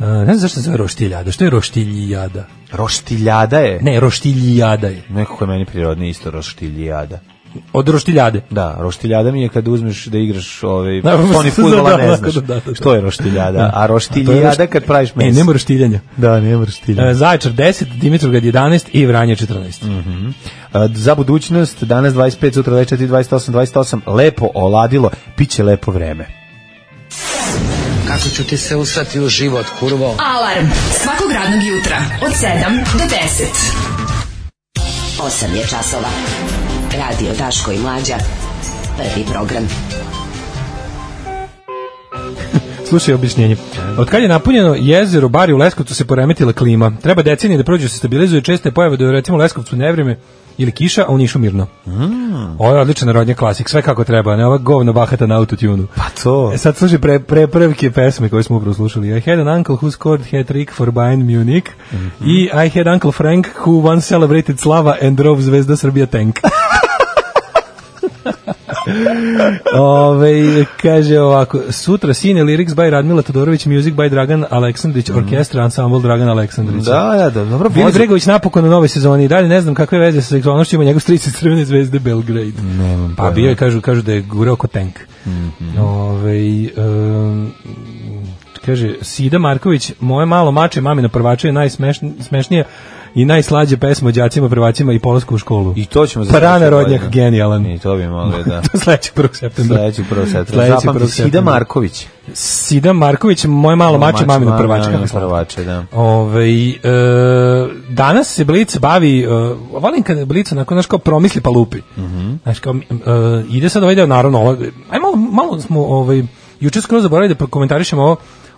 Speaker 5: E, Ne znam zašto se zove roštiljada, što je roštiljijada?
Speaker 6: Roštiljada je.
Speaker 5: Ne, roštiljijada je,
Speaker 6: Nekako je meni prirodni isto roštiljada.
Speaker 5: od roštiljade.
Speaker 6: Da, roštiljada mi je kad uzmeš da igraš ovaj
Speaker 5: Da,
Speaker 6: Tony
Speaker 5: da,
Speaker 6: fudbala
Speaker 5: da,
Speaker 6: ne znaš.
Speaker 5: da, da, da.
Speaker 6: Što je roštiljada? A
Speaker 5: To je
Speaker 6: roštiljada
Speaker 5: rošt-
Speaker 6: kad praviš
Speaker 5: E,
Speaker 6: meso.
Speaker 5: nema roštiljanja.
Speaker 6: Da, nema roštiljada.
Speaker 5: E, Zaječar 10, Dimitrovgrad 11 i Vranje 14.
Speaker 6: A, Za budućnost danas 25, sutra 24, 28, 28 lepo oladilo, piće lepo vreme.
Speaker 7: Kako ću ti se usrati u život, kurvo?
Speaker 4: Alarm svakog radnog jutra od 7 do 10.
Speaker 8: 8 je časova. Radio Daško i Mlađa. Prvi program.
Speaker 5: Slušaj objašnjenje. Od kad je napunjeno jezero Bari u Leskovcu se poremetila klima. Treba decenije da prođu se stabilizuje česte pojave da je recimo u Leskovcu nevreme ili kiša, a u Nišu mirno. Ovo je odličan narodnja klasik, sve kako treba, ne ova govno bahata na autotunu.
Speaker 6: Pa to.
Speaker 5: E sad slušaj pre, pre prvke pesme koje smo upravo slušali. I had an uncle who scored hat-trick for Bayern Munich i I had uncle Frank who once celebrated Slava and drove Zvezda Srbija tank. Ove, kaže ovako, sutra sine lyrics by Radmila Todorović, music by Dragan Aleksandrić, orkestra, ensemble Dragan Aleksandrić.
Speaker 6: Da, da, da, dobro.
Speaker 5: Vili
Speaker 6: može-
Speaker 5: Bregović napokon u nove sezoni i dalje ne znam kakve veze sa seksualnošću ima njegov stric iz Crvene zvezde Belgrade. pa bio je, kažu, kažu da je gurao ko tank. Ovaj, em, kaže, Sida Marković, moje malo mače mamino prvače je najsmešnija i najslađe pesma o đacima, prvacima i polasku u školu.
Speaker 6: I
Speaker 5: <laughs>
Speaker 6: to ćemo za
Speaker 5: Parana
Speaker 6: sledeću
Speaker 5: rodnjak,
Speaker 6: godinu.
Speaker 5: Pa genijalan.
Speaker 6: I to bi
Speaker 5: <laughs>
Speaker 6: mogli, da.
Speaker 5: Sledeći 1. septembra.
Speaker 6: Sledeći prvo setra.
Speaker 5: Sledeći da.
Speaker 6: Zapamti,
Speaker 5: 1.
Speaker 6: Sida
Speaker 5: septembra.
Speaker 6: Marković.
Speaker 5: Sida Marković, moje malo mače, mamino prvače. kako je
Speaker 6: Mamino
Speaker 5: slatko.
Speaker 6: prvače, da.
Speaker 5: Ove, e, danas se Blic bavi, e, volim kada Blic onako, znaš, kao promisli pa lupi.
Speaker 6: Mhm.
Speaker 5: Znaš, kao, e, ide sad ovaj deo, naravno, ovo, aj malo, malo smo, ovaj, juče skoro zaboravili da prokomentarišemo ovo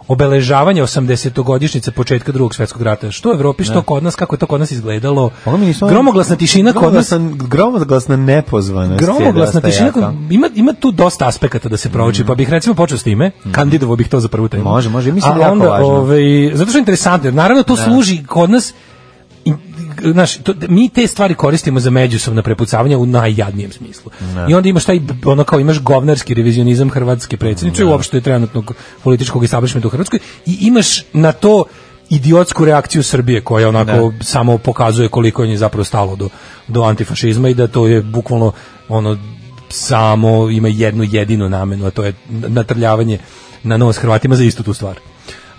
Speaker 5: obeležavanje 80-godišnjice početka drugog svetskog rata. Što u Evropi, što kod nas, kako je to kod nas izgledalo.
Speaker 6: Ono Da. mi nismo-
Speaker 5: Gromoglasna tišina kod nas.
Speaker 6: Gromoglasan- Gromoglasna nepozvanost. je
Speaker 5: Gromoglasna
Speaker 6: dosta
Speaker 5: tišina,
Speaker 6: jaka. Mhm.
Speaker 5: ima, ima tu dosta aspekata da se prouči, pa bih recimo počeo s time, kandidovao bih to za prvu temu.
Speaker 6: Može, može, mislim
Speaker 5: A
Speaker 6: da je jako
Speaker 5: onda,
Speaker 6: važno. Da.
Speaker 5: Ovaj, zato što je interesantno, jer naravno to služi kod nas, i, znaš, to, mi te stvari koristimo za međusobna prepucavanja u najjadnijem smislu. I onda imaš taj, ono kao imaš govnarski revizionizam Hrvatske predsjednice i uopšte trenutnog političkog establishmenta u Hrvatskoj i imaš na to idiotsku reakciju Srbije koja onako samo pokazuje koliko je njoj zapravo stalo do, do antifašizma i da to je bukvalno ono samo ima jednu jedinu namenu, a to je natrljavanje na nos Hrvatima za istu tu stvar.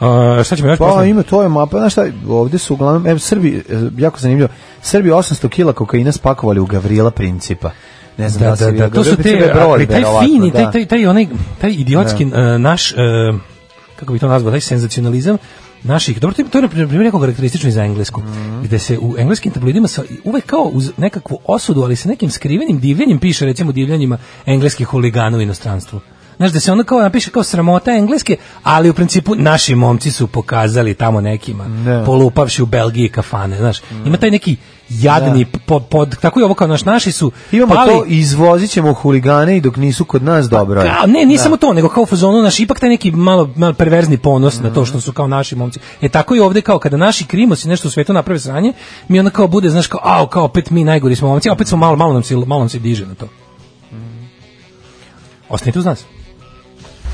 Speaker 5: Uh, šta ćemo još
Speaker 6: Pa
Speaker 5: posle?
Speaker 6: ima to je mapa, znaš šta, ovde su uglavnom, em, Srbi, e, jako zanimljivo, Srbi 800 kila kokaina spakovali u Gavrila Principa. Ne znam da,
Speaker 5: da,
Speaker 6: li si
Speaker 5: da,
Speaker 6: vidio,
Speaker 5: da, to su
Speaker 6: Gavrila Princip
Speaker 5: te,
Speaker 6: je brod,
Speaker 5: ali taj
Speaker 6: verovatno,
Speaker 5: fini,
Speaker 6: da.
Speaker 5: taj, taj, taj, onaj, taj idiotski e, naš, e, kako bi to nazvao, taj senzacionalizam naših, dobro, to je- to je na primjer jako karakteristično i za englesku, gde se u engleskim tabloidima sa, uvek kao uz nekakvu osudu, ali sa nekim skrivenim divljenjem piše, recimo divljenjima engleskih huligana u inostranstvu. Znaš, da se ono kao napiše kao sramota engleske, ali u principu naši momci su pokazali tamo nekima, polupavši u Belgiji kafane, znaš. Ima taj neki jadni pod, pod, tako je ovo kao naš, naši su
Speaker 6: Imamo
Speaker 5: pali, Pa
Speaker 6: to, izvozit ćemo huligane i dok nisu kod nas dobro. je.
Speaker 5: Kao, ne, nije samo to, nego kao u fazonu naš ipak taj neki malo malo perverzni ponos na to što su kao naši momci. E tako i ovde kao kada naši krimosi nešto u svetu naprave sranje, mi onda kao bude znaš kao au kao opet mi najgori smo momci, a opet smo malo malo nam se malo nam se diže na to. Mm. Ostanite uz nas.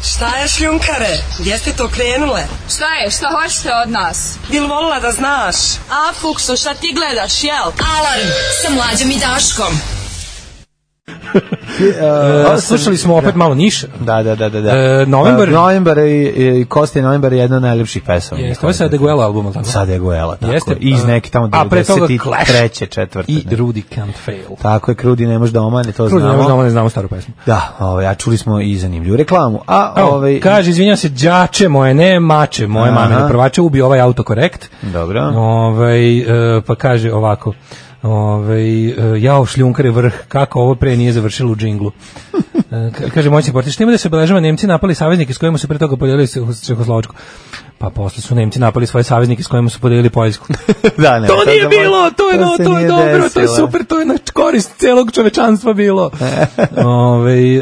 Speaker 9: Šta je šljunkare? Gdje ste to krenule?
Speaker 10: Šta je, šta hoćete od nas?
Speaker 9: Bil volila da znaš?
Speaker 10: A, Fukso, šta ti gledaš, jel?
Speaker 4: Alarm sa Mlađom i Daškom.
Speaker 6: E,
Speaker 5: E, slušali smo opet malo Niša.
Speaker 6: Da, da, da, da. da.
Speaker 5: E, Novembar-
Speaker 6: E, novembar i, i Kosti Novembar je jedna od najljepših pesama.
Speaker 5: Jeste, ovo je sada Guela album, ali tako?
Speaker 6: Sada je Guela, tako
Speaker 5: Jeste,
Speaker 6: je. Iz
Speaker 5: e,
Speaker 6: neke tamo
Speaker 5: a pre toga
Speaker 6: 93.
Speaker 5: Clash.
Speaker 6: četvrte.
Speaker 5: I
Speaker 6: ne.
Speaker 5: Rudy Can't Fail.
Speaker 6: Tako je, Krudi ne može da omane, to
Speaker 5: Rudy,
Speaker 6: znamo.
Speaker 5: ne znamo, ne znamo staru pesmu.
Speaker 6: Da, ovaj, a čuli smo i zanimljivu reklamu. A,
Speaker 5: Evo,
Speaker 6: ovaj,
Speaker 5: kaže, izvinjam se, đače moje, ne mače moje
Speaker 6: Aha.
Speaker 5: mamine prvače, ubi ovaj autokorekt.
Speaker 6: Dobro.
Speaker 5: Ovaj, e, pa kaže ovako, Ove, jao šljunkare vrh, kako ovo pre nije završilo u džinglu. E, ka- Kaže moćni portiš, što ima da se obeležava Nemci napali saveznike s kojima su pre toga podelili Čeh- Čehoslovačku. Pa posle su Nemci napali svoje saveznike s kojima su podelili Poljsku.
Speaker 6: da, ne,
Speaker 5: to
Speaker 6: sad
Speaker 5: nije
Speaker 6: za-
Speaker 5: bilo, to je, no,
Speaker 6: se
Speaker 5: to je
Speaker 6: nije
Speaker 5: dobro, to je
Speaker 6: desilo.
Speaker 5: super, to je na korist celog čovečanstva
Speaker 6: <laughs>
Speaker 5: bilo. Ove, e,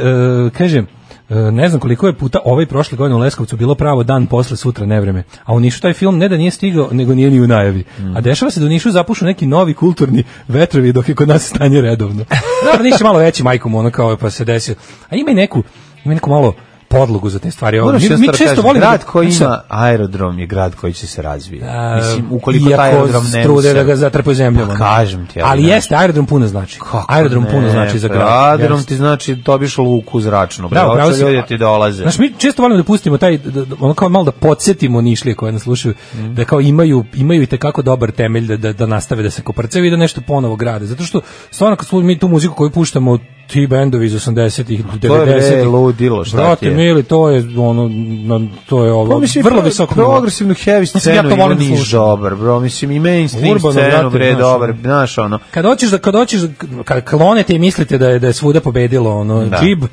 Speaker 5: kažem, e, ne znam koliko je puta ovaj prošle godine u Leskovcu bilo pravo dan posle sutra nevreme. A u Nišu taj film ne da nije stigao, nego nije ni u najavi. A dešava se da u Nišu zapušu neki novi kulturni vetrovi dok je kod nas stanje redovno. Dobro, Niš je malo veći majkom, ono kao pa se desio. A ima i neku, ima neku malo podlogu za te stvari. Ovo,
Speaker 6: Moraš
Speaker 5: mi, mi
Speaker 6: jednostavno
Speaker 5: često
Speaker 6: kažem,
Speaker 5: volimo... Znači-
Speaker 6: grad koji
Speaker 5: Znaš šta,
Speaker 6: ima aerodrom je grad koji će se razvijati.
Speaker 5: a,
Speaker 6: Mislim, ukoliko
Speaker 5: E, iako
Speaker 6: taj aerodrom ne
Speaker 5: strude
Speaker 6: se-
Speaker 5: da ga zatrpaju zemljom.
Speaker 6: Pa
Speaker 5: ono.
Speaker 6: kažem ti, ali
Speaker 5: ali
Speaker 6: znaš.
Speaker 5: jeste, aerodrom puno znači. aerodrom puno
Speaker 6: Ne,
Speaker 5: znači za
Speaker 6: pa
Speaker 5: grad.
Speaker 6: Aerodrom
Speaker 5: jeste.
Speaker 6: ti znači dobiš luku zračnu.
Speaker 5: Bravo,
Speaker 6: Bravo,
Speaker 5: pravo
Speaker 6: bravo.
Speaker 5: si.
Speaker 6: Ljudi ti dolaze.
Speaker 5: Znaš, mi često volimo da pustimo taj, da, da- ono kao malo da podsjetimo Nišlije koje nas slušaju,
Speaker 6: Mhm.
Speaker 5: da kao imaju, imaju i tekako dobar temelj da, da, da nastave da se koprcaju i da nešto ponovo grade. Zato što, stvarno, kad slušamo mi tu muziku koju puštamo, ti bendovi iz 80-ih, 90-ih.
Speaker 6: to je, bre, ludilo, šta
Speaker 5: Brate,
Speaker 6: ti je? Pa
Speaker 5: mili, to je, ono, na- to je ovo, vrlo visoko.
Speaker 6: Pro, progresivnu heavy
Speaker 5: Mislim,
Speaker 6: scenu
Speaker 5: ja to
Speaker 6: ima
Speaker 5: volim da
Speaker 6: niš
Speaker 5: slušam.
Speaker 6: dobar, bro. Mislim, i mainstream
Speaker 5: Urbano,
Speaker 6: scenu,
Speaker 5: brate,
Speaker 6: bre,
Speaker 5: znaš,
Speaker 6: dobar.
Speaker 5: ono.
Speaker 6: Znaš, ono,
Speaker 5: Kad hoćeš da kad hoćeš da- kad klonete i mislite da je da je svuda pobedilo ono
Speaker 6: Da.
Speaker 5: džib,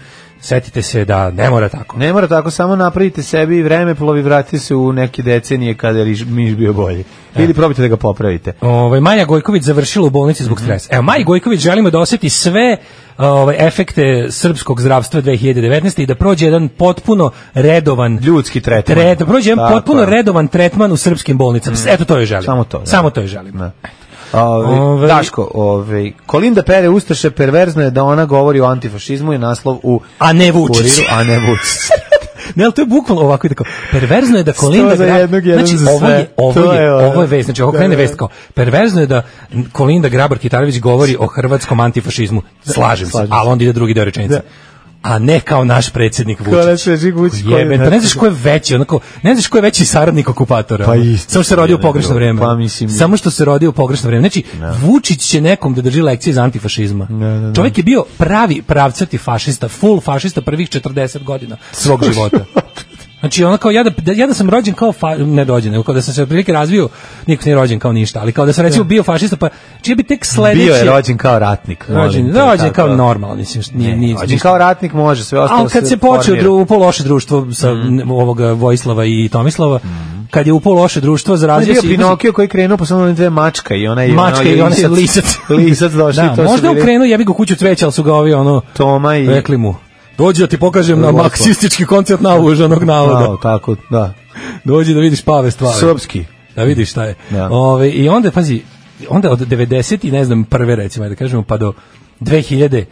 Speaker 5: setite se da ne mora tako.
Speaker 6: ne mora tako, samo napravite sebi i vreme plovi, vratite se u neke decenije kada je riž- miš bio bolji.
Speaker 5: E.
Speaker 6: Ili probajte da ga popravite.
Speaker 5: Ovaj Maja Gojković završila u bolnici
Speaker 6: Mhm.
Speaker 5: zbog stresa. Evo Maji Gojković želimo da oseti sve ovaj efekte srpskog zdravstva 2019 i da prođe jedan potpuno redovan
Speaker 6: Ljudski tretman.
Speaker 5: Tre, da prođe jedan
Speaker 6: Tako
Speaker 5: potpuno
Speaker 6: je. Mhm.
Speaker 5: redovan tretman u srpskim bolnicama. Eto to je želim.
Speaker 6: Samo to, da.
Speaker 5: Samo to je želim.
Speaker 6: Da. Ove,
Speaker 5: Ove-
Speaker 6: Daško, ove, Kolinda pere ustaše, perverzno je da ona govori o antifašizmu i naslov u
Speaker 5: A ne Vučić.
Speaker 6: kuriru, a ne
Speaker 5: <laughs>
Speaker 6: Vučić.
Speaker 5: Ne, ali to je bukvalno ovako i tako. Perverzno je da Kolinda
Speaker 6: Sto za
Speaker 5: Grabar-
Speaker 6: jednog, jedan
Speaker 5: znači,
Speaker 6: za
Speaker 5: ovo je,
Speaker 6: sve.
Speaker 5: ovo
Speaker 6: To
Speaker 5: je,
Speaker 6: je ono.
Speaker 5: ovo je vest, znači ovo
Speaker 6: Da,
Speaker 5: krene
Speaker 6: da.
Speaker 5: vest kao, perverzno je da Kolinda Grabar Kitarović govori o hrvatskom antifašizmu. Slažem se,
Speaker 6: slažem se. Da.
Speaker 5: ali onda ide drugi deo rečenice. A ne kao naš predsjednik
Speaker 6: naš
Speaker 5: Vučić.
Speaker 6: predsjednik Vučić koji-
Speaker 5: Jebe, pa ne znaš ko je veći, onako, ne znaš ko je veći saradnik okupatora.
Speaker 6: Pa
Speaker 5: ono.
Speaker 6: isto,
Speaker 5: Samo što se rodio u
Speaker 6: jedan
Speaker 5: pogrešno
Speaker 6: drugi.
Speaker 5: vreme.
Speaker 6: Pa mislim-
Speaker 5: Samo što se rodio u pogrešno vreme. Znači, Vučić će nekom da drži lekcije iz antifašizma. Čovjek je bio pravi pravcati fašista, full fašista prvih 40 godina svog života. Znači ono kao ja da, da- ja da sam rođen kao fa, ne rođen, nego kao da sam se otprilike razvio, niko nije rođen kao ništa, ali kao da sam recimo bio fašista, pa čije bi tek sledeće
Speaker 6: Bio je rođen kao ratnik. molim
Speaker 5: rođen,
Speaker 6: te,
Speaker 5: rođen
Speaker 6: tako.
Speaker 5: kao normalno, mislim, što nije, nije,
Speaker 6: Rođen
Speaker 5: ništa.
Speaker 6: kao ratnik može, sve ostalo
Speaker 5: Ali kad se počeo
Speaker 6: formira. Mhm.
Speaker 5: dru, upao loše društvo sa ne, ovoga Vojislava i Tomislava, kad je upao loše društvo,
Speaker 6: On Mhm. je
Speaker 5: zarazio
Speaker 6: bio
Speaker 5: se...
Speaker 6: Pinokio koji je krenuo, pa samo one dve mačka i onaj...
Speaker 5: Mačka i onaj lisac.
Speaker 6: <laughs> lisac došli,
Speaker 5: Da,
Speaker 6: to su
Speaker 5: možda je
Speaker 6: bili
Speaker 5: ukrenuo, ja bih ga u kuću cveća, ali su ga ovi ono...
Speaker 6: Toma i...
Speaker 5: Rekli mu, dođi da ti pokažem na
Speaker 6: Vojislav.
Speaker 5: maksistički koncert naužanog
Speaker 6: Wow,
Speaker 5: navoda.
Speaker 6: tako, da.
Speaker 5: Dođi da vidiš pave stvari.
Speaker 6: Srpski.
Speaker 5: Da vidiš šta je.
Speaker 6: Da.
Speaker 5: Ove, I onda, pazi, onda od 90 i ne znam, prve recimo, ajde da kažemo, pa do 2000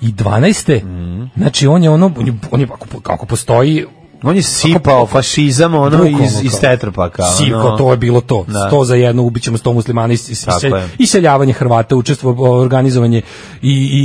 Speaker 5: i 12.
Speaker 6: Mhm.
Speaker 5: Znači on je ono on je, on je ako, ako postoji
Speaker 6: On je sipao fašizam, ono,
Speaker 5: Bukvalno
Speaker 6: iz, iz
Speaker 5: kao.
Speaker 6: tetrapaka.
Speaker 5: Sivko,
Speaker 6: ono.
Speaker 5: to je bilo to.
Speaker 6: Da.
Speaker 5: Sto za jedno ubićemo sto muslimana i, i,
Speaker 6: Tako
Speaker 5: se-
Speaker 6: je.
Speaker 5: iseljavanje Hrvata, učestvo organizovanje i, i,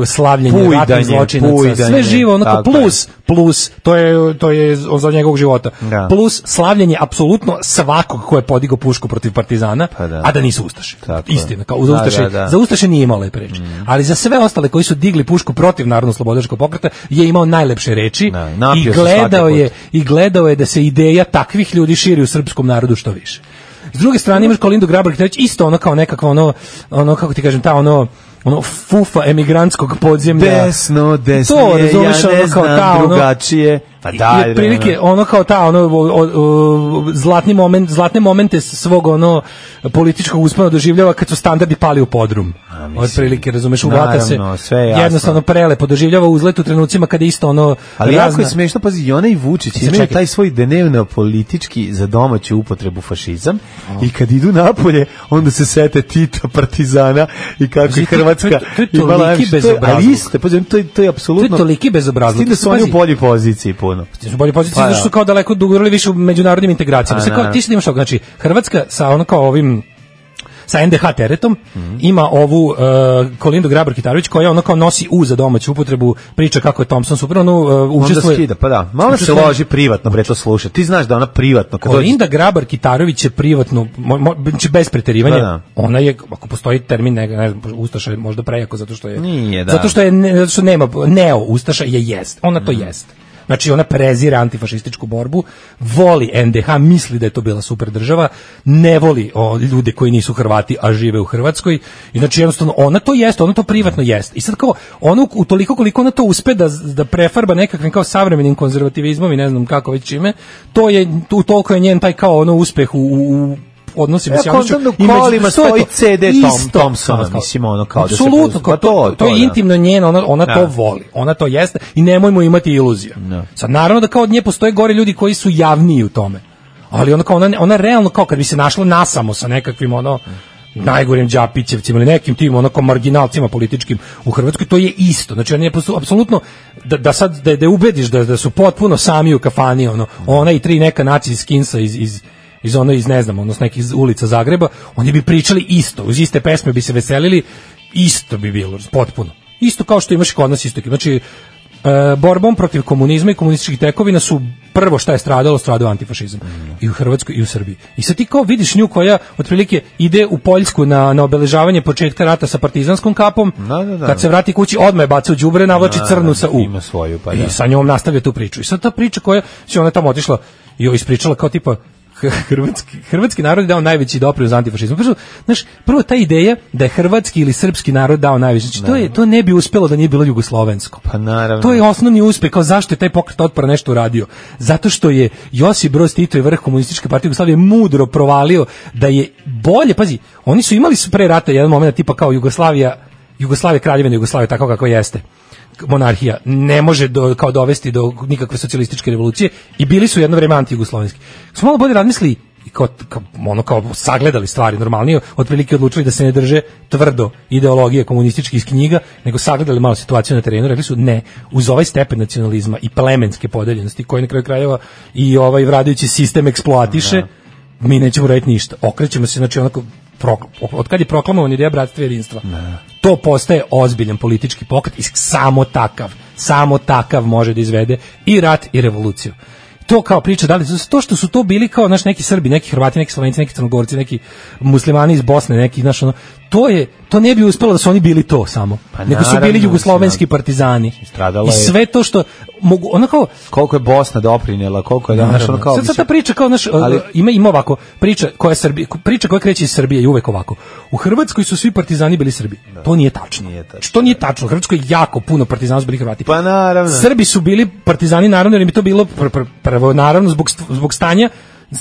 Speaker 5: i slavljenje
Speaker 6: Pujdanje,
Speaker 5: ratnih zločinaca. sve
Speaker 6: pujdanje,
Speaker 5: živo, onako,
Speaker 6: tako
Speaker 5: plus, plus, to je, to je za njegovog života.
Speaker 6: Da.
Speaker 5: Plus slavljenje apsolutno svakog ko je podigao pušku protiv partizana,
Speaker 6: Pa da.
Speaker 5: a da nisu ustaše.
Speaker 6: Tako je.
Speaker 5: Istina, kao za
Speaker 6: Da,
Speaker 5: ustaše,
Speaker 6: da, da.
Speaker 5: za ustaše nije imao lepe reči.
Speaker 6: Mm.
Speaker 5: Ali za sve ostale koji su digli pušku protiv narodno slobodačkog pokreta je imao najlepše reči
Speaker 6: Da, napio
Speaker 5: i
Speaker 6: se svaki
Speaker 5: gledao
Speaker 6: put.
Speaker 5: je i gledao je da se ideja takvih ljudi širi u srpskom narodu što više. S druge strane imaš Kolindu Grabar Kitarović isto ono kao nekakva ono ono kako ti kažem ta ono ono fufa emigrantskog podzemlja.
Speaker 6: Desno, desno,
Speaker 5: To,
Speaker 6: ja ne
Speaker 5: razumeš, ono kao
Speaker 6: znam
Speaker 5: ta, ono-
Speaker 6: drugačije. Pa da,
Speaker 5: I otprilike ono kao ta ono o- o- o- zlatni moment zlatne momente svog ono političkog uspona doživljava kad su standardi pali u podrum.
Speaker 6: mislim,
Speaker 5: Otprilike razumeš u vrata se
Speaker 6: naravno, sve je jasno.
Speaker 5: jednostavno prelepo doživljava uzlet u trenucima kada isto ono
Speaker 6: Ali jako
Speaker 5: razna-
Speaker 6: je smešno, pazi, i ona i Vučić imaju
Speaker 5: čekaj.
Speaker 6: taj svoj dnevno politički za domaću upotrebu fašizam i kad idu napolje, onda se sete Tita, Partizana i kako je
Speaker 5: Pazi, to-
Speaker 6: Hrvatska
Speaker 5: to je- to je
Speaker 6: imala
Speaker 5: toliki
Speaker 6: najviše- to je-
Speaker 5: bezobrazluk.
Speaker 6: Ali isto, pazi, to je, to je
Speaker 5: to
Speaker 6: apsolutno...
Speaker 5: je toliki
Speaker 6: S
Speaker 5: bezobrazluk.
Speaker 6: tim da su oni
Speaker 5: Pazi,
Speaker 6: u boljoj poziciji puno.
Speaker 5: su bolje pozicije
Speaker 6: Pa,
Speaker 5: zato što
Speaker 6: da.
Speaker 5: su kao daleko dogurali više u međunarodnim integracijama.
Speaker 6: Pa,
Speaker 5: Sad kao,
Speaker 6: naravno.
Speaker 5: ti sad imaš ovo, znači Hrvatska sa ono kao ovim sa NDH teretom
Speaker 6: Mhm.
Speaker 5: ima ovu e, Kolindu Grabar Kitarović koja ono kao nosi u za domaću upotrebu priča kako je Thompson super ono e,
Speaker 6: Onda
Speaker 5: učestvuje
Speaker 6: skida, pa da. Malo se
Speaker 5: učestvuje-
Speaker 6: loži privatno, bre, to sluša. Ti znaš da ona privatno... Kad dođe-
Speaker 5: Kolinda Grabar Kitarović je privatno, mo, mo, znači bez preterivanja,
Speaker 6: Da, da.
Speaker 5: ona je, ako postoji termin, ne, ne znam, Ustaša je možda prejako zato što je...
Speaker 6: Nije, da. Mhm.
Speaker 5: Zato što, je, ne- zato što nema, neo Ustaša je jest, ona to jest. Znači ona prezira antifašističku borbu, voli NDH, misli da je to bila super država, ne voli o, ljude koji nisu Hrvati, a žive u Hrvatskoj. I znači jednostavno ona to jeste, ona to
Speaker 6: Mhm.
Speaker 5: privatno jeste. I sad kao ona u toliko koliko ona to uspe da da prefarba nekakvim kao savremenim konzervativizmom i ne znam kako već čime, to je u toliko je njen taj kao ono uspeh u, u u odnosima s
Speaker 6: Ja,
Speaker 5: javnošću.
Speaker 6: kondom u
Speaker 5: I među-
Speaker 6: kolima
Speaker 5: što je
Speaker 6: stoji
Speaker 5: to?
Speaker 6: CD Tom-
Speaker 5: Isto.
Speaker 6: Thompsona,
Speaker 5: Kao-
Speaker 6: mislim, ono, kao da se
Speaker 5: Apsolutno,
Speaker 6: poz-
Speaker 5: kao
Speaker 6: pa
Speaker 5: to,
Speaker 6: to-
Speaker 5: to,
Speaker 6: to,
Speaker 5: je
Speaker 6: da.
Speaker 5: intimno njeno, ona, ona
Speaker 6: Da.
Speaker 5: to voli, ona to jeste i nemojmo imati iluzija. Sad, naravno da kao od nje postoje gore ljudi koji su javniji u tome, ali ona, kao, ona, ona realno kao kad bi se našla nasamo sa nekakvim ono, najgorim Đapićevcima ili nekim tim onako marginalcima političkim u Hrvatskoj, to je isto. Znači, on je posu- apsolutno, da, da sad, da, da je ubediš da, da su potpuno sami u kafani, ono, ona i tri neka naci iz Kinsa iz, iz, iz ono, iz ne znam, odnosno nekih ulica Zagreba, oni bi pričali isto, uz iste pesme bi se veselili, isto bi bilo, potpuno. Isto kao što imaš i kod nas isto. Znači, e, borbom protiv komunizma i komunističkih tekovina su prvo šta je stradalo, stradao antifašizam. I u Hrvatskoj i u Srbiji. I sad ti kao vidiš nju koja otprilike ide u Poljsku na, na obeležavanje početka rata sa partizanskom kapom,
Speaker 6: Da, da, da.
Speaker 5: kad se vrati kući odmah je baca u đubre, navlači
Speaker 6: Da,
Speaker 5: crnu
Speaker 6: da,
Speaker 5: sa U. E,
Speaker 6: ima svoju, pa da.
Speaker 5: I sa njom nastavlja tu priču. I sad ta priča koja se ona tamo otišla i joj ispričala kao tipa <laughs> hrvatski, hrvatski narod je dao najveći doprinos antifašizmu. Prvo, znaš, prvo ta ideja da je hrvatski ili srpski narod dao najveći, znači, to, je, to ne bi uspelo da nije bilo jugoslovensko.
Speaker 6: Pa naravno.
Speaker 5: To je osnovni uspeh, kao zašto je taj pokret otpora nešto uradio. Zato što je Josip Broz Tito i vrh komunističke partije Jugoslavije mudro provalio da je bolje, pazi, oni su imali s- pre rata jedan moment tipa kao Jugoslavija, Jugoslavija kraljevina Jugoslavija tako kako jeste monarhija ne može do, kao dovesti do nikakve socijalističke revolucije i bili su jedno vreme antijugoslovenski. Su malo bolje razmislili i kao, kao, ono kao sagledali stvari normalnije, otprilike odlučili da se ne drže tvrdo ideologije komunističkih knjiga, nego sagledali malo situaciju na terenu, rekli su ne, uz ovaj stepen nacionalizma i plemenske podeljenosti koji na kraju krajeva i ovaj vladajući sistem eksploatiše, mi nećemo raditi ništa. Okrećemo se, znači onako, pro, od kad je proklamovan ideja bratstva i jedinstva, to postaje ozbiljan politički pokret i samo takav, samo takav može da izvede i rat i revoluciju. To kao priča, da li su- to što su to bili kao naš neki Srbi, neki Hrvati, neki Slovenci, neki Crnogorci, neki muslimani iz Bosne, neki znaš ono, to je to ne bi uspelo da su oni bili to samo.
Speaker 6: Pa
Speaker 5: nego su
Speaker 6: naravno,
Speaker 5: bili jugoslovenski partizani.
Speaker 6: Stradala
Speaker 5: I
Speaker 6: je-
Speaker 5: sve to što mogu onako
Speaker 6: Koliko je Bosna doprinjela, koliko je danas ono kao...
Speaker 5: Sad, sad ta
Speaker 6: mislim,
Speaker 5: priča kao naš
Speaker 6: Ali-
Speaker 5: ali ima ima ovako priča koja je Srbija priča koja kreće iz Srbije i uvek ovako. U Hrvatskoj su svi partizani bili Srbi. to nije tačno.
Speaker 6: Da. Nije tačno. da.
Speaker 5: Znači, to nije tačno. U Hrvatskoj jako puno partizana su bili Hrvati.
Speaker 6: Pa naravno.
Speaker 5: Srbi su bili partizani naravno jer im je to bilo pr- pr- prvo naravno zbog st- zbog stanja